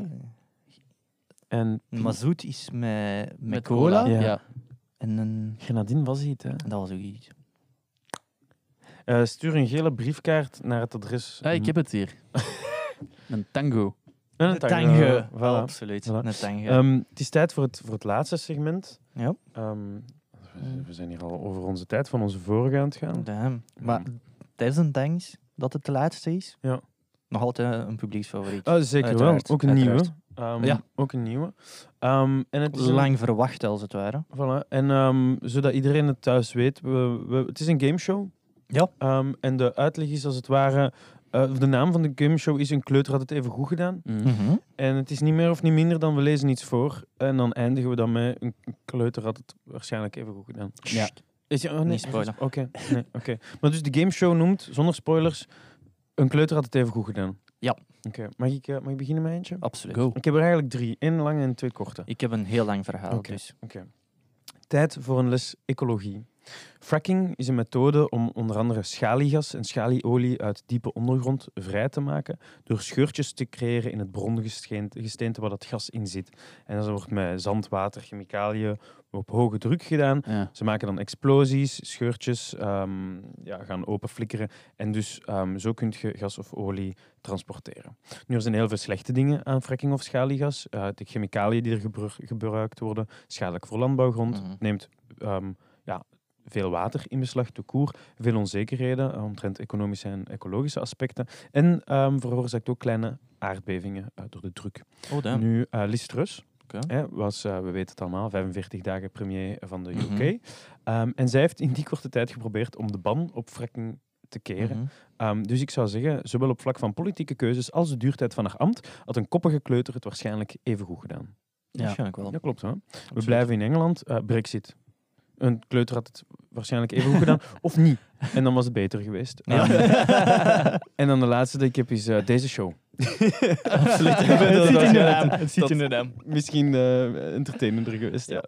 Speaker 1: En
Speaker 3: Een mazoet is met, met,
Speaker 4: Met
Speaker 3: cola.
Speaker 4: cola. Ja.
Speaker 1: Ja.
Speaker 3: En een,
Speaker 1: grenadine was iets, hè.
Speaker 3: dat was ook iets.
Speaker 1: Eh, stuur een gele briefkaart naar het adres. Hm.
Speaker 4: Ah, ik heb het hier. een tango.
Speaker 1: een
Speaker 3: Tange.
Speaker 1: eh, Voilà.
Speaker 3: Absoluut.
Speaker 1: Voilà.
Speaker 3: Een tange.
Speaker 1: Ehm, het is tijd voor het, voor het laatste segment.
Speaker 3: ja.
Speaker 1: Ehm,
Speaker 3: Hm.
Speaker 1: we- we zijn hier al over onze tijd van onze vorige aan het gaan. Hm.
Speaker 3: Damn. Maar tijdens een tangs dat het de laatste is.
Speaker 1: Ja.
Speaker 3: Nog altijd eh, een publieksfavoriet.
Speaker 1: Oh, zeker
Speaker 3: Uiteraard,
Speaker 1: wel. Ook een
Speaker 3: uiteraard.
Speaker 1: nieuwe. Ehm,
Speaker 3: Ja.
Speaker 1: Ook een nieuwe. Ehm, en het is een-
Speaker 3: Lang verwacht als het ware.
Speaker 1: Voilà. En ehm, zodat iedereen het thuis weet, we, we- het is een gameshow.
Speaker 3: Ja.
Speaker 1: Ehm, en de uitleg is als het ware, eh, of de naam van de gameshow is Een kleuter had het even goed gedaan.
Speaker 4: Mm.
Speaker 3: Mhm.
Speaker 1: En het is niet meer of niet minder dan we lezen iets voor. En dan eindigen we dan met Een kleuter had het waarschijnlijk even goed gedaan.
Speaker 4: Ja.
Speaker 1: Is je, oh, nee,
Speaker 3: Niet spoilen.
Speaker 1: Oké, nee, oké. Maar dus de gameshow noemt, zonder spoilers, Een kleuter had het even goed gedaan.
Speaker 3: Ja.
Speaker 1: Oké, mag, ik, eh, mag ik beginnen met eentje?
Speaker 3: Absoluut.
Speaker 4: Go.
Speaker 1: Ik heb er eigenlijk drie. één lange en twee korte.
Speaker 3: Ik heb een heel lang verhaal.
Speaker 1: Oké.
Speaker 3: Dus.
Speaker 1: Tijd voor een les ecologie. Fracking is een methode om onder andere schaliegas en schalieolie uit diepe ondergrond vrij te maken door scheurtjes te creëren in het brongesteente waar dat gas in zit. En dat wordt met zand, water, chemicaliën op hoge druk gedaan.
Speaker 4: Ja.
Speaker 1: Ze maken dan explosies, scheurtjes, ehm, ja, gaan open flikkeren. En dus ehm, zo kun je gas of olie transporteren. Nu, er zijn heel veel slechte dingen aan fracking of schaliegas. Eh, de chemicaliën die er gebru- gebruikt worden, schadelijk voor landbouwgrond,
Speaker 3: Mhm.
Speaker 1: neemt ehm, ja, veel water in beslag, de koer, veel onzekerheden eh, omtrent economische en ecologische aspecten. En ehm, veroorzaakt ook kleine aardbevingen eh, door de druk.
Speaker 3: Oh, damn.
Speaker 1: Nu, eh Liz Truss,
Speaker 3: Oké.
Speaker 1: hè, was, eh, we weten het allemaal, 45 dagen premier van de UK.
Speaker 3: Mhm.
Speaker 1: Ehm, en zij heeft in die korte tijd geprobeerd om de ban op fracking te keren.
Speaker 3: Mhm.
Speaker 1: Ehm, dus ik zou zeggen, zowel op vlak van politieke keuzes als de duurtijd van haar ambt, had een koppige kleuter het waarschijnlijk even goed gedaan.
Speaker 3: Waarschijnlijk wel.
Speaker 1: Dat klopt, hè? We
Speaker 3: Absoluut.
Speaker 1: blijven in Engeland. eh, Brexit. Een kleuter had het waarschijnlijk even goed gedaan, of niet. En dan was het beter geweest.
Speaker 3: Ja.
Speaker 1: Ehm, en dan de laatste die ik heb is eh, deze show.
Speaker 3: Absoluut.
Speaker 1: Ik bedoel,
Speaker 3: Het zit in de
Speaker 1: dat-
Speaker 3: naam. Het zit in de naam.
Speaker 1: Misschien eh, entertainender geweest, ja.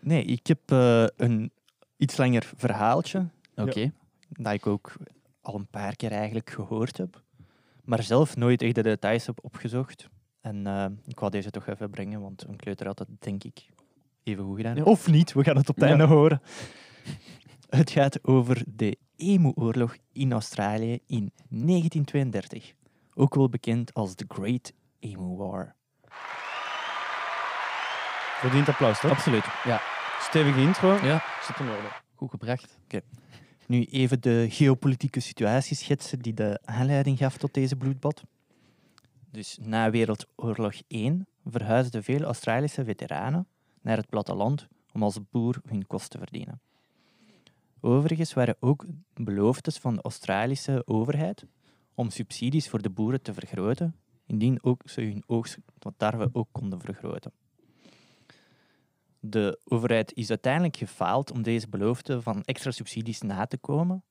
Speaker 3: Nee, ik heb eh, een iets langer verhaaltje
Speaker 4: Oké.
Speaker 3: dat ik ook al een paar keer eigenlijk gehoord heb, maar zelf nooit echt de details heb opgezocht. En eh, ik wou deze toch even brengen, want een kleuter had dat denk ik even goed gedaan.
Speaker 1: Ja.
Speaker 3: Of niet, we gaan het op het
Speaker 1: Ja.
Speaker 3: einde horen. Het gaat over de Emu-oorlog in Australië in 1932, ook wel bekend als de Great Emu War.
Speaker 1: Verdient applaus, toch?
Speaker 3: Absoluut.
Speaker 1: Stevige intro.
Speaker 4: Ja.
Speaker 1: Zit in orde.
Speaker 4: Goed gebracht.
Speaker 3: Nu even de geopolitieke situatie schetsen die de aanleiding gaf tot deze bloedbad. Dus na Wereldoorlog I verhuisden veel Australische veteranen naar het platteland om als boer hun kost te verdienen. Overigens waren ook beloftes van de Australische overheid om subsidies voor de boeren te vergroten, indien ook ze hun oogst van tarwe ook konden vergroten. De overheid is uiteindelijk gefaald om deze belofte van extra subsidies na te komen.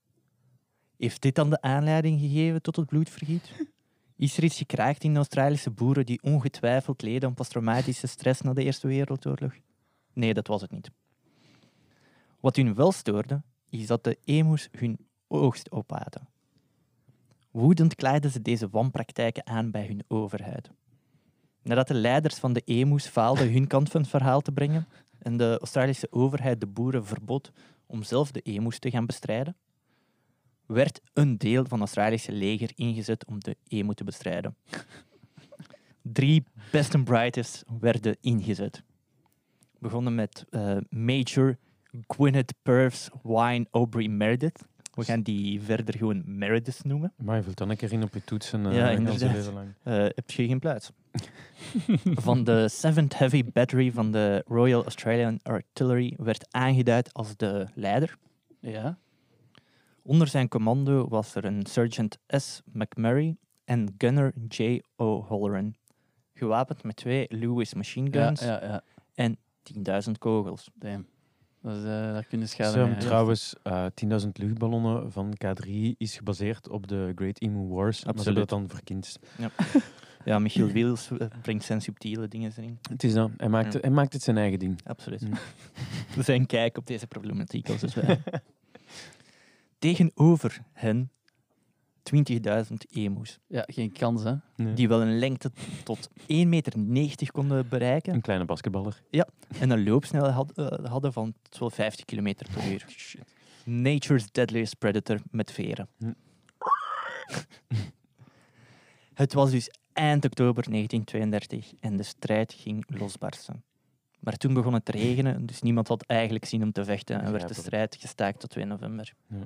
Speaker 3: Heeft dit dan de aanleiding gegeven tot het bloedvergiet? Is er iets gekraakt in de Australische boeren die ongetwijfeld leden aan posttraumatische stress na de Eerste Wereldoorlog? Nee, dat was het niet. Wat hun wel stoorde, is dat de emoes hun oogst opaten. Woedend klaagden ze deze wanpraktijken aan bij hun overheid. Nadat de leiders van de emoes faalden hun kant van het verhaal te brengen en de Australische overheid de boeren verbod om zelf de emoes te gaan bestrijden, werd een deel van het Australische leger ingezet om de emo te bestrijden. Drie best and brightest werden ingezet. Begonnen met eh, Major Gwyneth Purves Wine Aubrey Meredith. We gaan die verder gewoon Meredith noemen.
Speaker 1: Maar je vult dan een keer in op je toetsen.
Speaker 3: Ja,
Speaker 1: ja,
Speaker 3: inderdaad.
Speaker 1: lang.
Speaker 3: Eh, heb je geen plaats. van de 7th Heavy Battery van de Royal Australian Artillery werd aangeduid als de leider.
Speaker 4: Ja.
Speaker 3: Onder zijn commando was er een sergeant S. McMurray en gunner J. O'Halloran, gewapend met twee Lewis machine
Speaker 4: Ja,
Speaker 3: guns
Speaker 4: ja, ja.
Speaker 3: en 10.000 kogels.
Speaker 4: Damn. Dat is, eh, daar kunnen
Speaker 1: Sam,
Speaker 4: schade mee. hè.
Speaker 1: trouwens, eh 10.000 luchtballonnen van K3 is gebaseerd op de Great Emu Wars. Maar ze hebben
Speaker 3: Absoluut.
Speaker 1: dat dan verkinst.
Speaker 3: Ja, Michiel Wiels eh, brengt zijn subtiele dingen erin.
Speaker 1: Het is dat. Hij maakt,
Speaker 3: Ja.
Speaker 1: hij maakt het zijn eigen ding.
Speaker 3: Absoluut.
Speaker 1: Mm.
Speaker 3: Zijn kijk op deze problematiek als het ware. Tegenover hen 20.000 emoes,
Speaker 4: Ja, geen kans, hè.
Speaker 3: die wel een lengte tot 1,90 meter konden bereiken.
Speaker 1: Een kleine basketballer.
Speaker 3: en een loopsnelheid had- eh, hadden van 1250 km per uur. Nature's deadliest predator met veren.
Speaker 1: Hm.
Speaker 3: Het was dus eind oktober 1932 en de strijd ging losbarsten. Maar toen begon het te regenen, dus niemand had eigenlijk zin om te vechten en werd de
Speaker 1: Begrijpelijk.
Speaker 3: strijd gestaakt tot 2 november.
Speaker 1: Ja.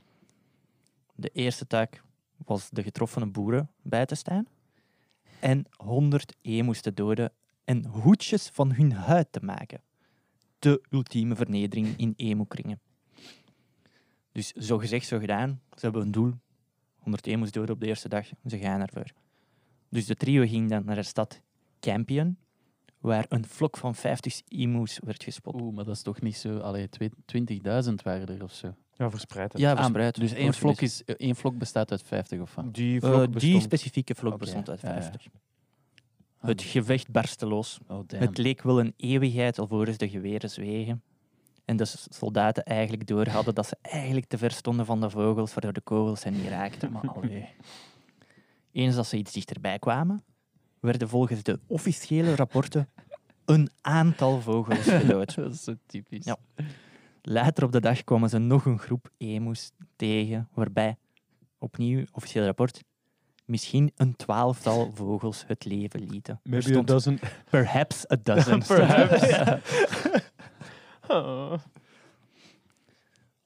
Speaker 3: De eerste taak was de getroffen boeren bij te staan en 100 emoes te doden en hoedjes van hun huid te maken. De ultieme vernedering in emo-kringen. Dus zo gezegd, zo gedaan. Ze hebben een doel. 100 emo's dood op de eerste dag. Ze gaan ervoor. Dus de trio ging dan naar de stad Campion, waar een vlok van 50 emo's werd gespot.
Speaker 4: Oeh, maar dat is toch niet zo... Allee, twee- 20.000 waren er of zo.
Speaker 1: Ja, verspreid.
Speaker 3: Ja,
Speaker 4: Ah,
Speaker 3: verspreid.
Speaker 4: dus één
Speaker 3: Wordt
Speaker 4: vlok,
Speaker 3: gemist.
Speaker 4: is, eh, één vlok bestaat uit 50 of wat?
Speaker 1: Die
Speaker 3: Eh,
Speaker 1: vlog
Speaker 3: die
Speaker 1: bestond.
Speaker 3: specifieke vlok
Speaker 4: Oké,
Speaker 3: bestond uit
Speaker 4: ja, ja. Ah,
Speaker 3: 50. Het gevecht barstte los.
Speaker 4: Oh, damn.
Speaker 3: Het leek wel een eeuwigheid alvorens de geweren zwegen. En de s- soldaten eigenlijk door hadden dat ze eigenlijk te ver stonden van de vogels, waardoor de kogels hen niet raakten. Maar allee. Eens dat ze iets dichterbij kwamen, werden volgens de officiële rapporten een aantal vogels gedood.
Speaker 4: Dat is zo typisch.
Speaker 3: Ja. Later op de dag kwamen ze nog een groep emoes tegen, waarbij, opnieuw officieel rapport, misschien een twaalftal vogels het leven lieten. Er
Speaker 1: Maybe a
Speaker 3: stond
Speaker 1: dozen.
Speaker 3: Perhaps a dozen.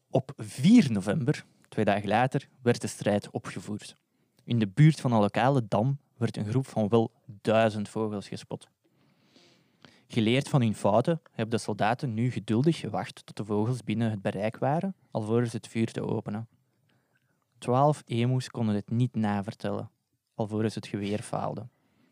Speaker 3: Op 4 november, twee dagen later, werd de strijd opgevoerd. In de buurt van een lokale dam werd een groep van wel duizend vogels gespot. Geleerd van hun fouten hebben de soldaten nu geduldig gewacht tot de vogels binnen het bereik waren, alvorens het vuur te openen. Twaalf emoes konden het niet navertellen, alvorens het geweer faalde.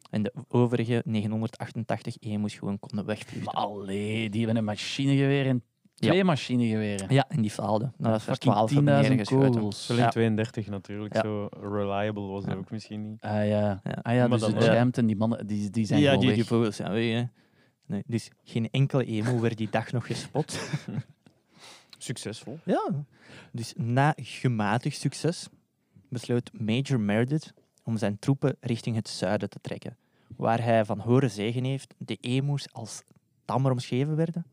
Speaker 3: En de overige 988 emoes gewoon konden wegvluchten.
Speaker 4: Maar allee, die hebben een machinegeweer en twee machinegeweren.
Speaker 3: Ja, en die faalde. Nou, dat was
Speaker 4: Fucking
Speaker 3: 12 hebben
Speaker 4: 10.000
Speaker 3: neergeschoten.
Speaker 4: kogels.
Speaker 1: Alleen
Speaker 3: Ja.
Speaker 1: 32 natuurlijk.
Speaker 3: Ja.
Speaker 1: Zo reliable was dat
Speaker 3: Ja.
Speaker 1: ook misschien niet.
Speaker 4: Ah ja.
Speaker 3: Ja.
Speaker 4: Ah ja,
Speaker 1: Maar
Speaker 4: dus
Speaker 1: dan
Speaker 4: het
Speaker 1: wel.
Speaker 4: ruimte en die mannen, die, die zijn
Speaker 3: ja,
Speaker 4: gewoon
Speaker 3: die,
Speaker 4: weg.
Speaker 3: die vogels zijn weg. Hè. Nee, dus geen enkele emo werd die dag nog gespot.
Speaker 1: Succesvol.
Speaker 3: ja. Dus na gematigd succes besloot Major Meredith om zijn troepen richting het zuiden te trekken, waar hij van horen zegen heeft de emo's als tammer omschreven werden.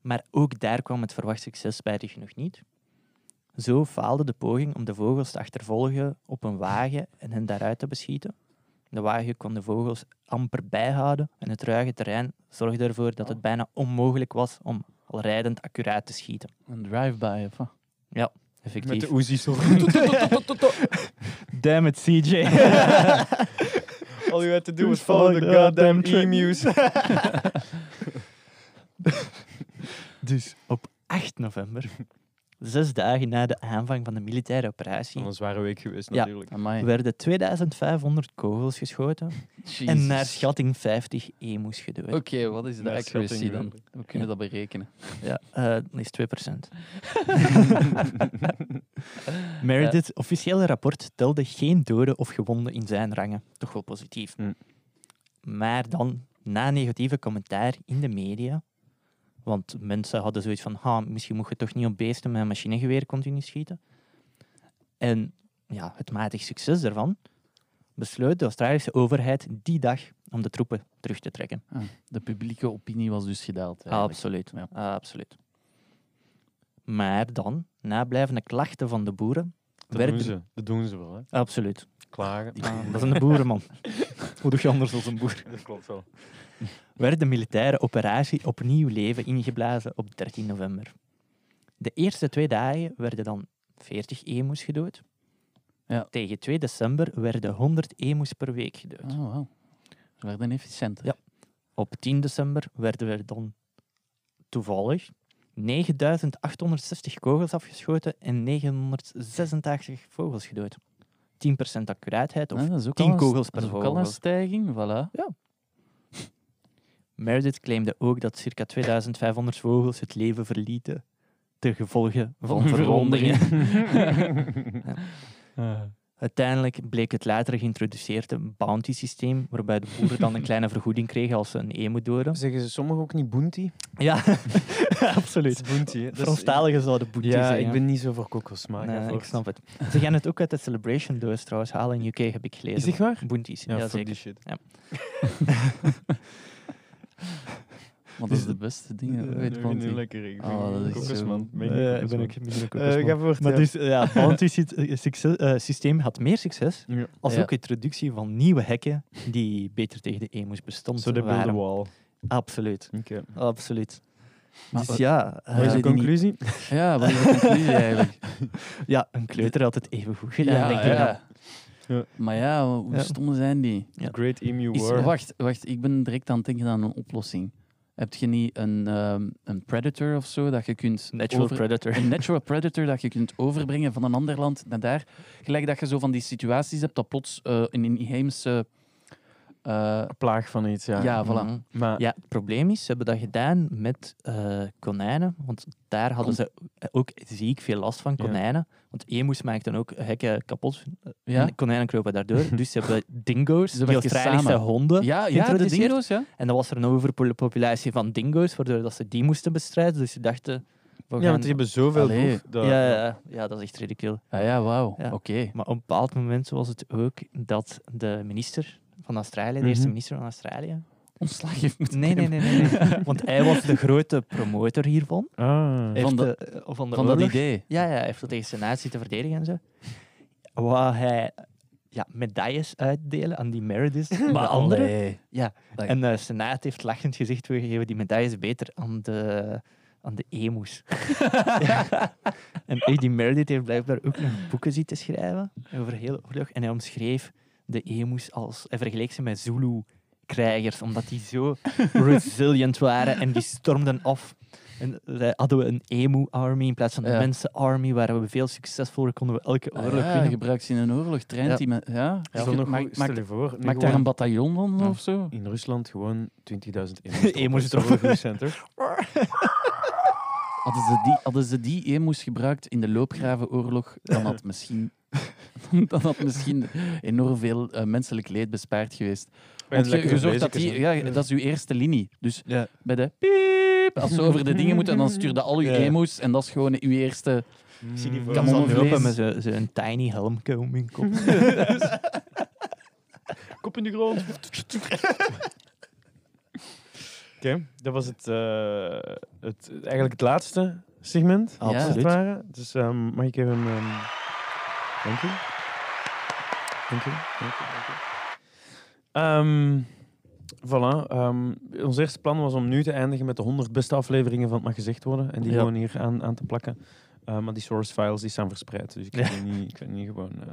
Speaker 3: Maar ook daar kwam het verwacht succes bij zich nog niet. Zo faalde de poging om de vogels te achtervolgen op een wagen en hen daaruit te beschieten. De wagen kon de vogels amper bijhouden en het ruige terrein zorgde ervoor dat het bijna onmogelijk was om al rijdend accuraat te schieten.
Speaker 4: Een drive-by of wat?
Speaker 3: Effectief.
Speaker 1: Met de Uzi zo.
Speaker 3: Damn it, CJ.
Speaker 1: All you had to do was
Speaker 3: Who's
Speaker 1: follow the
Speaker 3: following the
Speaker 1: goddamn
Speaker 3: goddamn
Speaker 1: emus.
Speaker 3: dus op 8 november Zes dagen na de aanvang van de militaire operatie
Speaker 1: Van een zware week geweest,
Speaker 3: Ja.
Speaker 1: natuurlijk.
Speaker 4: Amai.
Speaker 3: werden 2500 kogels geschoten en
Speaker 4: Jezus.
Speaker 3: naar schatting 50 emus gedood.
Speaker 4: Oké, wat is de
Speaker 1: Naar
Speaker 4: accuracy
Speaker 1: schatting,
Speaker 4: dan? We kunnen dat berekenen.
Speaker 3: Ja, eh, dat is 2%. Meredith, officiële rapport telde geen doden of gewonden in zijn rangen. Toch wel positief.
Speaker 1: Hmm.
Speaker 3: Maar dan, na negatieve commentaar in de media, want mensen hadden zoiets van, ha, misschien moet je toch niet op beesten met een machinegeweer continu schieten. En ja, het matig succes daarvan besloot de Australische overheid die dag om de troepen terug te trekken.
Speaker 4: Ah, de publieke opinie was dus gedaald.
Speaker 3: Ah,
Speaker 4: eigenlijk.
Speaker 3: absoluut.
Speaker 4: Ja.
Speaker 3: Ah, absoluut. Maar dan, na blijvende klachten van de boeren,
Speaker 1: Dat
Speaker 3: werkte-
Speaker 1: doen ze. Dat doen ze wel, hè.
Speaker 3: Absoluut.
Speaker 1: Klagen.
Speaker 3: Ah, Dat is een boerenman. Hoe doe je anders als een boer?
Speaker 1: Dat klopt wel.
Speaker 3: Werd de militaire operatie opnieuw leven ingeblazen op 13 november. De eerste twee dagen werden dan 40 emoes gedood.
Speaker 4: Ja.
Speaker 3: Tegen 2 december werden 100 emoes per week gedood.
Speaker 4: Oh, wow. Ze werden efficiënter.
Speaker 3: Ja. Op 10 december werden er dan toevallig 9860 kogels afgeschoten en 986 vogels gedood. 10% accuraatheid. Of
Speaker 4: Ah, dat is ook
Speaker 3: 10
Speaker 4: al een-
Speaker 3: kogels per
Speaker 4: Dat is ook al een
Speaker 3: vogel.
Speaker 4: stijging, voilà.
Speaker 3: Meredith claimde ook dat circa 2500 vogels het leven verlieten ten gevolge van verwondingen. Uiteindelijk bleek het later geïntroduceerde bounty systeem, waarbij de boeren dan een kleine vergoeding kregen als ze een emu doden.
Speaker 1: Zeggen ze sommigen ook niet bounty?
Speaker 3: Ja, absoluut.
Speaker 1: Bounty, hè. Dat is-
Speaker 3: Franstaligen zouden boete
Speaker 1: Ja,
Speaker 3: zeggen.
Speaker 1: ik ben niet zo voor kokos, maar
Speaker 3: Nee,
Speaker 1: ga
Speaker 3: ik
Speaker 1: voort.
Speaker 3: snap het. Ze gaan het ook uit de Celebration doos trouwens halen in UK, heb ik gelezen.
Speaker 1: Is dit waar?
Speaker 3: Bounties,
Speaker 1: Ja,
Speaker 3: ja,
Speaker 1: fuck die
Speaker 3: zeker.
Speaker 1: shit.
Speaker 4: Want dat is de beste dingen eh,
Speaker 1: Ja,
Speaker 4: uit
Speaker 1: ik Ah, vind
Speaker 4: Bounty.
Speaker 1: die lekker. Ik
Speaker 4: Oh, dat
Speaker 1: ben
Speaker 4: is
Speaker 1: kokos,
Speaker 4: zo-
Speaker 1: man.
Speaker 3: Eh,
Speaker 1: Ik
Speaker 3: ik ben
Speaker 1: ben
Speaker 3: ook een beetje een
Speaker 1: ook...
Speaker 3: kokosman.
Speaker 1: Ga voort,
Speaker 3: Maar
Speaker 1: ja.
Speaker 3: dus, ja, het bounty sy- eh, succes- eh, systeem had meer succes
Speaker 1: Ja.
Speaker 3: als
Speaker 4: Ja.
Speaker 3: ook introductie van nieuwe hekken die beter tegen de emo's bestond
Speaker 1: Zo de build the
Speaker 3: waren.
Speaker 1: wall.
Speaker 3: Absoluut,
Speaker 1: Oké.
Speaker 3: absoluut.
Speaker 4: Maar
Speaker 3: dus
Speaker 4: wat-
Speaker 3: ja,
Speaker 1: Wat is
Speaker 3: eh,
Speaker 1: de conclusie?
Speaker 4: Ja, wat is de conclusie eigenlijk?
Speaker 3: ja, een kleuter had het even goed gedaan. denk ik.
Speaker 1: Ja.
Speaker 4: Maar ja, hoe
Speaker 3: Ja.
Speaker 4: stom zijn die?
Speaker 3: Ja.
Speaker 1: Great Emu
Speaker 4: Is,
Speaker 1: War.
Speaker 4: wacht, wacht, ik ben direct aan het denken aan een oplossing. Heb je niet een, ehm, een predator of zo dat je kunt
Speaker 3: Natural
Speaker 4: over-
Speaker 3: predator.
Speaker 4: een natural predator dat je kunt overbrengen van een ander land naar daar. Gelijk dat je zo van die situaties hebt dat plots eh, een inheemse... eh,
Speaker 1: Plaag van iets, ja.
Speaker 4: ja, voilà.
Speaker 3: Mhm.
Speaker 1: Maar
Speaker 3: Ja, het probleem is, ze hebben dat gedaan met eh, konijnen, want daar hadden ze ook ziek veel last van,
Speaker 1: Ja.
Speaker 3: konijnen. Want emus maakten ook hekken kapot,
Speaker 4: Ja,
Speaker 3: en konijnen kropen daardoor. dus ze hebben dingo's,
Speaker 4: Ze
Speaker 3: die
Speaker 4: werken
Speaker 3: Australische
Speaker 4: samen.
Speaker 3: honden.
Speaker 4: ja, ja de
Speaker 3: geïntroduceerd.
Speaker 4: dingo's, ja.
Speaker 3: En dan was er een overpopulatie van dingo's, waardoor dat ze die moesten bestrijden. Dus ze dachten... we
Speaker 1: ja,
Speaker 3: gaan-
Speaker 1: want die hebben zoveel
Speaker 4: Allee.
Speaker 1: boef. dat-
Speaker 3: ja, ja, ja. Ja, dat is echt ridicuul.
Speaker 4: Ah ja, wauw.
Speaker 3: Ja.
Speaker 4: Oké.
Speaker 3: Maar op een bepaald moment was het ook dat de minister van Australië, de eerste
Speaker 1: Mhm.
Speaker 3: minister van Australië...
Speaker 4: Ontslag heeft moeten
Speaker 3: Nee, nee,
Speaker 4: nemen.
Speaker 3: nee, nee, nee. Want hij was de grote promotor hiervan.
Speaker 1: Ah.
Speaker 3: Heeft
Speaker 4: Van
Speaker 3: de- eh, van, de
Speaker 4: Van dat
Speaker 3: oorlog.
Speaker 4: idee.
Speaker 3: Ja, ja, hij heeft dat tegen de natie te verdedigen en zo. Waar hij ja, medailles uitdelen aan die Meredith. en de anderen.
Speaker 4: allee.
Speaker 3: Ja.
Speaker 4: Dag.
Speaker 3: En de Senaat heeft lachend gezegd, we geven die medailles beter aan de, aan de emoes. Ja. En ook die Meredith heeft blijkbaar ook nog boeken zitten schrijven over de hele oorlog. En hij omschreef de emoes als... Hij vergeleek ze met Zulu-krijgers, omdat die zo resilient waren en die stormden af. En wij hadden we een emu-army in plaats van een
Speaker 4: Ja.
Speaker 3: mensen-army, waren we veel succesvoller, konden we elke
Speaker 4: Ah
Speaker 3: oorlog
Speaker 4: ja,
Speaker 3: winnen.
Speaker 4: gebruikt ze in een oorlog, traint
Speaker 3: Ja.
Speaker 4: die men- Ja,
Speaker 1: Ja,
Speaker 4: ja.
Speaker 1: nog
Speaker 4: maak,
Speaker 1: goed- stel
Speaker 4: maak-
Speaker 1: je voor, nu
Speaker 4: maak daar een
Speaker 1: gewoon
Speaker 4: bataljon van
Speaker 3: Ja.
Speaker 4: of zo.
Speaker 1: in Rusland gewoon 20.000 emo's.
Speaker 3: Emo's droppen.
Speaker 1: center.
Speaker 4: Hadden ze die, hadden ze die emus gebruikt in de loopgravenoorlog, dan had misschien, dan had misschien enorm veel eh, menselijk leed bespaard geweest. Want je, je zorgt dat die, ja, dat is uw eerste linie. Dus
Speaker 1: Ja.
Speaker 4: bij de piep, als ze over de dingen moeten, dan stuur dat al uw
Speaker 1: Ja.
Speaker 4: emus en dat is gewoon uw eerste.
Speaker 1: Ik
Speaker 3: zie die
Speaker 4: Kan allemaal
Speaker 3: lopen
Speaker 4: vlees.
Speaker 3: met zo- zo'n tiny helm om hun kop.
Speaker 1: Kop in de grond. Oké, dat was het, eh, het, eigenlijk het laatste segment.
Speaker 4: Ja.
Speaker 1: Als het
Speaker 3: Absoluut.
Speaker 1: ware. Dus ehm, mag ik even... ehm, Dank u. Dank u. Dank u, dank u. Ehm, voilà. ehm, ons eerste plan was om nu te eindigen met de 100 beste afleveringen van Het Mag Gezegd Worden. En die
Speaker 3: Ja.
Speaker 1: gewoon hier aan, aan te plakken. Eh, maar die source files die staan verspreid. Dus ik kan die niet, ik kan die niet gewoon eh,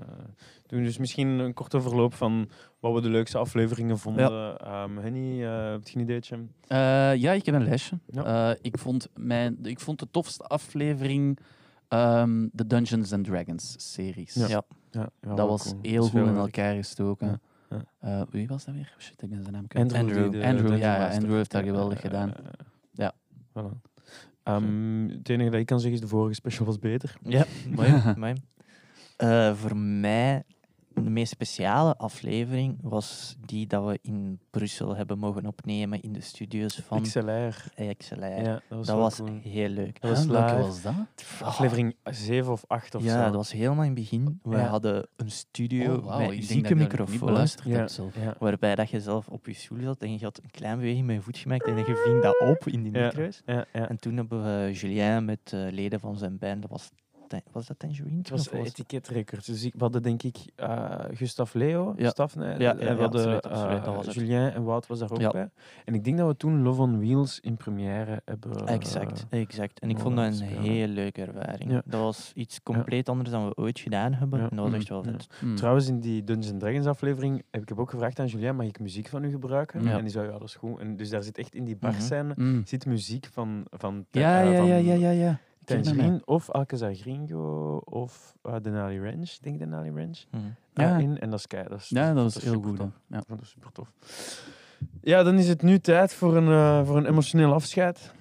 Speaker 1: doen. Dus misschien een korte verloop van wat we de leukste afleveringen vonden. Ehm, Henny, eh heb je een ideetje?
Speaker 4: Eh, ja, ik heb een lesje.
Speaker 1: Ja.
Speaker 4: Eh, ik, vond mijn, ik vond de tofste aflevering ehm, de Dungeons and Dragons series.
Speaker 3: Ja.
Speaker 1: Ja. Ja, ja, wel
Speaker 4: Dat was
Speaker 1: cool.
Speaker 4: heel
Speaker 1: Is
Speaker 4: goed
Speaker 1: veel
Speaker 4: in
Speaker 1: werk.
Speaker 4: elkaar gestoken.
Speaker 1: Ja, ja.
Speaker 4: Eh, wie was dat weer? Shit, ik ben zijn naam kwijt.
Speaker 1: Andrew, die
Speaker 3: Andrew.
Speaker 1: de
Speaker 4: Andrew,
Speaker 1: Dungeon
Speaker 4: ja, ja,
Speaker 1: Master.
Speaker 4: Andrew heeft dat
Speaker 1: Ja,
Speaker 4: geweldig
Speaker 1: eh,
Speaker 4: gedaan.
Speaker 1: eh,
Speaker 4: Ja.
Speaker 1: voilà. Ehm, het enige dat ik kan zeggen is de vorige special was beter.
Speaker 3: Ja, mooi. mooi. Eh, voor mij, de meest speciale aflevering was die dat we in Brussel hebben mogen opnemen in de studios van
Speaker 1: XLR.
Speaker 3: XLR.
Speaker 1: Ja, dat was,
Speaker 3: dat
Speaker 1: wel
Speaker 3: was
Speaker 1: cool.
Speaker 3: heel leuk. Ah,
Speaker 1: Dat was
Speaker 4: Huh, welke
Speaker 1: live.
Speaker 4: was dat?
Speaker 1: aflevering 7 of 8 of
Speaker 3: ja,
Speaker 1: zo.
Speaker 3: dat was helemaal in het begin. We
Speaker 1: Ja.
Speaker 3: hadden een studio
Speaker 4: Oh, wauw,
Speaker 3: met
Speaker 4: ik denk
Speaker 3: zieke
Speaker 4: dat ik dat niet
Speaker 3: microfoons.
Speaker 4: beluisterd
Speaker 1: Ja.
Speaker 4: heb zelf.
Speaker 1: ja.
Speaker 3: Waarbij dat je zelf op je stoel zat en je had een klein beweging met je voet gemaakt en je ving dat op in die
Speaker 1: Ja.
Speaker 3: micro's.
Speaker 1: Ja, ja.
Speaker 3: En toen hebben we Julien met eh, leden van zijn band, dat was, Tan- was dat Tangerine?
Speaker 1: Het was
Speaker 3: toen of was-
Speaker 1: etiketrecords. Dus ik, we hadden denk ik eh Gustaf Leo,
Speaker 3: Ja.
Speaker 1: Stafne, en
Speaker 3: ja,
Speaker 1: we
Speaker 3: ja,
Speaker 1: hadden
Speaker 3: absoluut, absoluut,
Speaker 1: eh,
Speaker 3: dat was het.
Speaker 1: Julien en Wout was daar ook
Speaker 3: Ja.
Speaker 1: bij. En ik denk dat we toen Love on Wheels in première hebben.
Speaker 3: Exact, exact. En ik
Speaker 1: mogen
Speaker 3: vond dat een
Speaker 1: spelen.
Speaker 3: heel leuke ervaring.
Speaker 1: Ja.
Speaker 3: Dat was iets compleet anders dan we ooit gedaan hebben.
Speaker 1: Ja. Mm,
Speaker 3: En dat was echt wel
Speaker 1: Ja.
Speaker 3: vet.
Speaker 4: Hmm.
Speaker 1: Trouwens, in die Dungeons Dragons aflevering heb ik heb ook gevraagd aan Julien, mag ik muziek van u gebruiken?
Speaker 4: Ja.
Speaker 1: En die zei, ja, dat is goed. En dus daar zit echt in die
Speaker 3: Mhm.
Speaker 1: barscène
Speaker 4: Hmm.
Speaker 1: zit muziek van, van,
Speaker 4: Ja,
Speaker 1: eh,
Speaker 4: ja,
Speaker 1: van
Speaker 4: ja, ja, ja, ja. Ik herinner me.
Speaker 1: Tangerine of Alcazar Gringo of eh, Denali Ranch, ik denk Denali Ranch.
Speaker 3: Mhm.
Speaker 4: Ja.
Speaker 1: in En dat is kei. Dat is,
Speaker 4: Ja, dat was heel
Speaker 1: super
Speaker 4: goed.
Speaker 1: tof.
Speaker 4: hè. Ja.
Speaker 1: Ik vond dat super tof. Ja, dan is het nu tijd voor een, eh, voor een emotioneel afscheid.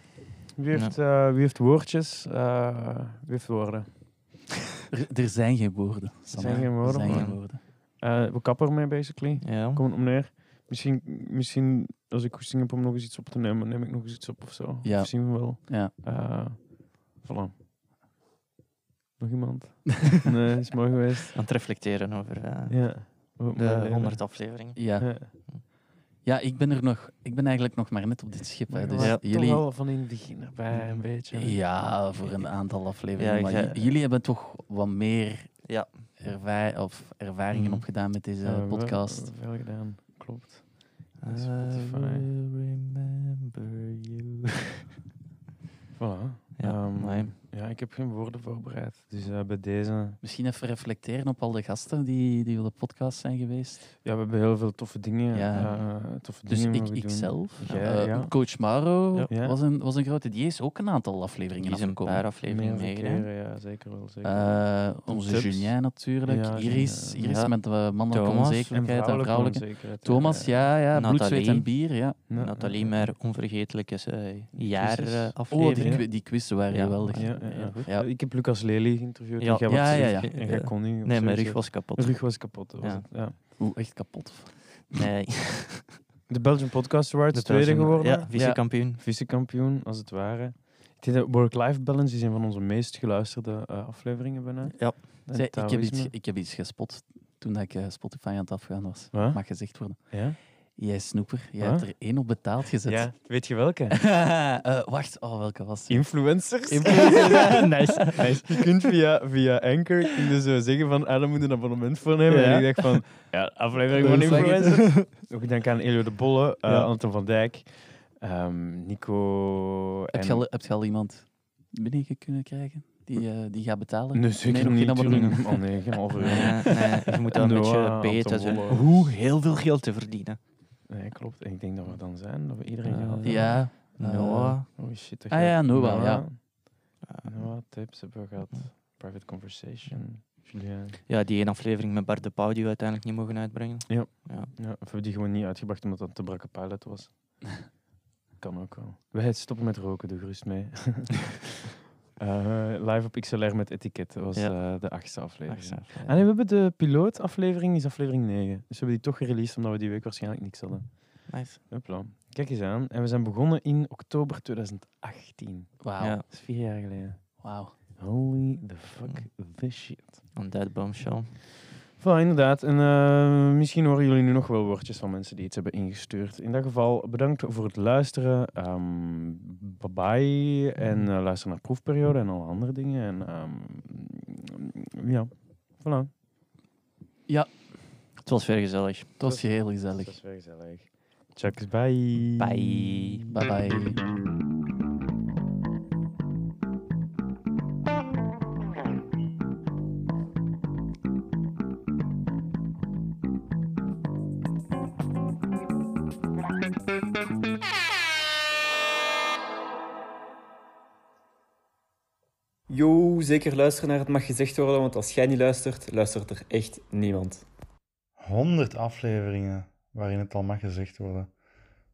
Speaker 1: Wie heeft, eh, wie heeft woordjes? Eh, wie heeft woorden?
Speaker 4: Er, er zijn geen woorden. Sam.
Speaker 1: zijn geen woorden,
Speaker 4: Er zijn geen
Speaker 3: man.
Speaker 4: woorden.
Speaker 1: Eh, we kappen ermee, basically.
Speaker 3: Ja.
Speaker 1: Kom om neer. Misschien, misschien als ik goesting heb om nog eens iets op te nemen, neem ik nog eens iets op of zo.
Speaker 4: Ja.
Speaker 1: Of zien we wel.
Speaker 4: Ja.
Speaker 1: Eh, voilà. Nog iemand? nee, is mooi geweest.
Speaker 3: Aan het reflecteren over eh,
Speaker 1: Ja. Wat mooi
Speaker 3: de
Speaker 1: leven.
Speaker 3: 100 afleveringen.
Speaker 4: Ja.
Speaker 1: Ja.
Speaker 4: ja, ik ben er nog. Ik ben eigenlijk nog maar net op dit schip. Hè.
Speaker 1: Maar
Speaker 4: Dus
Speaker 1: ja.
Speaker 4: jullie,
Speaker 1: toch wel van in het begin erbij, een beetje.
Speaker 4: Ja, voor een aantal
Speaker 3: Ja,
Speaker 4: afleveringen.
Speaker 3: ik
Speaker 4: maar
Speaker 3: zei-
Speaker 4: j- jullie hebben toch wat meer
Speaker 3: Ja.
Speaker 4: erva- of ervaringen
Speaker 3: Mhm.
Speaker 4: opgedaan met deze
Speaker 1: Ja, we hebben
Speaker 4: podcast.
Speaker 1: Veel gedaan, klopt.
Speaker 3: I
Speaker 1: Spotify.
Speaker 3: will remember you.
Speaker 1: Voilà.
Speaker 3: Ja,
Speaker 1: Ehm,
Speaker 3: mooi.
Speaker 1: Ja, ik heb geen woorden voorbereid. Dus eh, bij deze...
Speaker 4: Misschien even reflecteren op al de gasten die, die op de podcast zijn geweest.
Speaker 1: Ja, we hebben heel veel toffe dingen.
Speaker 4: Ja.
Speaker 1: eh, toffe
Speaker 4: Dus
Speaker 1: dingen
Speaker 4: ik,
Speaker 1: mogen doen.
Speaker 4: ik zelf.
Speaker 1: Jij,
Speaker 4: eh,
Speaker 1: ja.
Speaker 4: Coach Maro
Speaker 1: Ja.
Speaker 4: was, een, was een grote. Die is ook een aantal
Speaker 3: Die
Speaker 4: afleveringen
Speaker 3: is een
Speaker 4: afgekomen.
Speaker 3: paar afleveringen
Speaker 1: Meerdere
Speaker 3: meegedaan.
Speaker 1: keren, Ja, zeker wel. Zeker.
Speaker 4: Eh, onze
Speaker 1: Tips.
Speaker 4: Julien natuurlijk.
Speaker 1: Ja,
Speaker 4: Iris,
Speaker 1: Julien.
Speaker 4: Iris
Speaker 3: Ja.
Speaker 4: met de mannelijke
Speaker 3: Thomas.
Speaker 1: en
Speaker 4: onzekerheid en vrouwelijke.
Speaker 1: onzekerheid, eh, ja,
Speaker 4: Thomas, ja, ja. Bloed,
Speaker 3: Nathalie.
Speaker 4: zweet en bier, ja. Oh,
Speaker 1: Ja,
Speaker 3: Nathalie,
Speaker 1: ja,
Speaker 3: maar onvergetelijke eh
Speaker 1: Precies.
Speaker 3: jaar
Speaker 4: Oh, die,
Speaker 3: aflevering.
Speaker 4: qui- die quizzen waren
Speaker 3: Ja.
Speaker 4: geweldig.
Speaker 1: ja, ja, ja.
Speaker 4: Ja.
Speaker 1: eh, Ik heb Lucas Lely geïnterviewd.
Speaker 3: Ja.
Speaker 1: en jij
Speaker 4: Ja,
Speaker 1: was-
Speaker 4: ja, ja.
Speaker 1: En jij kon niet. of
Speaker 3: nee, mijn
Speaker 1: zoiets,
Speaker 3: rug
Speaker 1: hè.
Speaker 3: was kapot.
Speaker 1: Rug was kapot. dat was
Speaker 3: Ja.
Speaker 1: het, ja.
Speaker 4: Oeh, echt kapot.
Speaker 3: Nee,
Speaker 1: De Belgian Podcast Awards,
Speaker 3: dat
Speaker 1: tweede
Speaker 3: was een-
Speaker 1: geworden.
Speaker 3: Ja, vice-kampioen.
Speaker 1: vice-kampioen, als het ware. Ik denk dat Work-life balance is een van onze meest geluisterde eh, afleveringen bijna.
Speaker 3: Ja.
Speaker 1: En
Speaker 4: Zij, ik, heb iets,
Speaker 1: Taoïsme.
Speaker 4: ge- ik heb iets gespot toen dat ik eh, Spotify aan het afgaan was.
Speaker 1: Wat?
Speaker 4: Mag gezegd worden.
Speaker 1: Ja?
Speaker 4: Jij snoeper, jij
Speaker 1: Wat?
Speaker 4: hebt er één op betaald gezet.
Speaker 1: ja, weet je welke?
Speaker 4: Eh, wacht, oh, welke was het?
Speaker 1: Influencers.
Speaker 3: nice, nice.
Speaker 1: Je kunt via, via Anchor kun je zo zeggen van, ah, daar moet je een abonnement voor nemen.
Speaker 3: Ja.
Speaker 1: En ik dacht van, ja, aflevering van
Speaker 4: Dat is lekker.
Speaker 1: Influencers. Ook denk aan Elio de Bolle, eh,
Speaker 4: Ja.
Speaker 1: Anton van Dijk, ehm, Nico...
Speaker 4: Heb je, al, heb je al iemand binnen kunnen krijgen die, eh, die gaat betalen?
Speaker 1: Nee, zeker
Speaker 4: nog geen
Speaker 1: niet.
Speaker 4: abonnement.
Speaker 1: tuurlijk. Oh nee, geen halve euro.
Speaker 3: Nee, nee, je moet dat een
Speaker 1: Noah,
Speaker 3: beetje
Speaker 1: Anton
Speaker 3: beter zijn.
Speaker 1: Wolle.
Speaker 3: Hoe heel veel geld te verdienen.
Speaker 1: Nee, klopt. En ik denk dat we dan zijn, dat we iedereen
Speaker 3: Eh,
Speaker 1: gehad hebben.
Speaker 4: Ja. eh,
Speaker 3: Noah.
Speaker 1: Oh shit. dat
Speaker 4: Ah
Speaker 1: je-
Speaker 4: ja, Noah, ja.
Speaker 1: Noah, tips hebben we gehad. Private conversation. Julien.
Speaker 3: Ja, die één aflevering met Bart de Pauw die we uiteindelijk niet mogen uitbrengen.
Speaker 1: Ja, of hebben we die gewoon niet uitgebracht omdat dat een te brakke pilot was? kan ook wel. Wij stoppen met roken, doe gerust mee. Eh, live op XLR met etiket dat was
Speaker 3: Ja.
Speaker 1: eh, de achtste aflevering.
Speaker 3: Ach, zo.
Speaker 1: Ah nee, we hebben de pilootaflevering, is aflevering 9. Dus we hebben die toch gereleased omdat we die week waarschijnlijk niks hadden.
Speaker 3: Nice.
Speaker 1: Hopla. Kijk eens aan. En we zijn begonnen in oktober 2018.
Speaker 4: Wauw.
Speaker 3: Ja,
Speaker 1: Dat is vier jaar geleden.
Speaker 4: Wauw.
Speaker 1: Holy the fuck this shit.
Speaker 3: een dead bombshell.
Speaker 1: Voilà, inderdaad. En eh, misschien horen jullie nu nog wel woordjes van mensen die iets hebben ingestuurd. In dat geval, bedankt voor het luisteren. Ehm bye bye. En eh, luister naar proefperiode en alle andere dingen. En ehm, ja, voilà.
Speaker 3: Het was weer gezellig.
Speaker 4: Het was heel
Speaker 1: Dat
Speaker 4: gezellig.
Speaker 1: is weer gezellig. Chucks, bye.
Speaker 3: Bye.
Speaker 4: Bye bye.
Speaker 9: Yo, zeker luisteren naar Het Mag Gezegd Worden, want als jij niet luistert, luistert er echt niemand.
Speaker 10: 100 afleveringen waarin het al mag gezegd worden.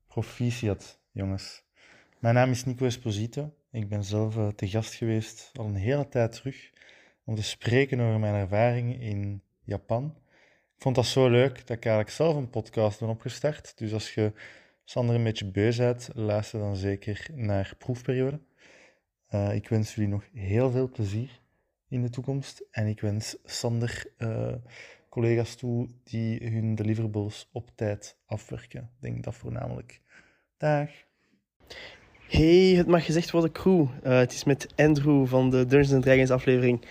Speaker 10: Proficiat, jongens. Mijn naam is Nico Esposito. Ik ben zelf eh, te gast geweest al een hele tijd terug om te spreken over mijn ervaringen in Japan. Ik vond dat zo leuk dat ik eigenlijk zelf een podcast ben opgestart. Dus als je Sander een beetje beu bent, luister dan zeker naar proefperiode. Eh, ik wens jullie nog heel veel plezier in de toekomst. En ik wens Sander eh, collega's toe die hun deliverables op tijd afwerken. Ik denk dat voornamelijk. Dag.
Speaker 11: Hey, het mag gezegd worden crew. Eh, het is met Andrew van de Dungeons Dragons aflevering.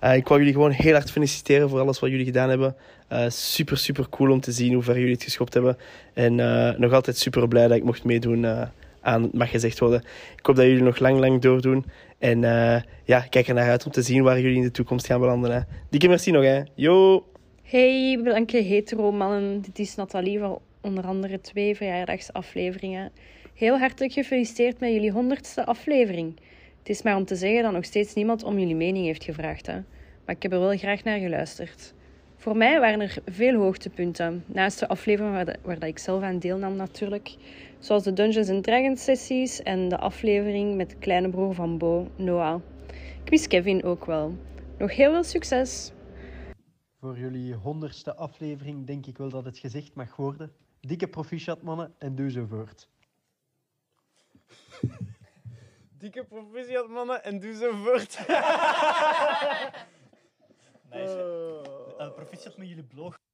Speaker 11: Eh, ik wou jullie gewoon heel hard feliciteren voor alles wat jullie gedaan hebben. Eh, super, super cool om te zien hoe ver jullie het geschopt hebben. En eh, nog altijd super blij dat ik mocht meedoen eh, aan het mag gezegd worden. Ik hoop dat jullie nog lang, lang doordoen. En eh, ja, kijk er naar uit om te zien waar jullie in de toekomst gaan belanden. Hè. Dikke merci nog, hè. Yo!
Speaker 12: Hey, blanke hetero mannen. Dit is Nathalie van onder andere twee verjaardagsafleveringen. Heel hartelijk gefeliciteerd met jullie honderdste aflevering. Het is maar om te zeggen dat nog steeds niemand om jullie mening heeft gevraagd. Hè? Maar ik heb er wel graag naar geluisterd. Voor mij waren er veel hoogtepunten. Naast de afleveringen waar, de- waar dat ik zelf aan deelnam natuurlijk. Zoals de Dungeons and Dragons sessies en de aflevering met de kleine broer van Bo, Noah. Ik mis Kevin ook wel. Nog heel veel succes!
Speaker 13: Voor jullie honderdste aflevering denk ik wel dat het gezegd mag worden. Dikke proficiat, mannen, en doe zo voort.
Speaker 14: Dikke proficiat, mannen, en doe zo voort. Oh.
Speaker 10: Eh,
Speaker 3: Nice. proficiat met jullie blog.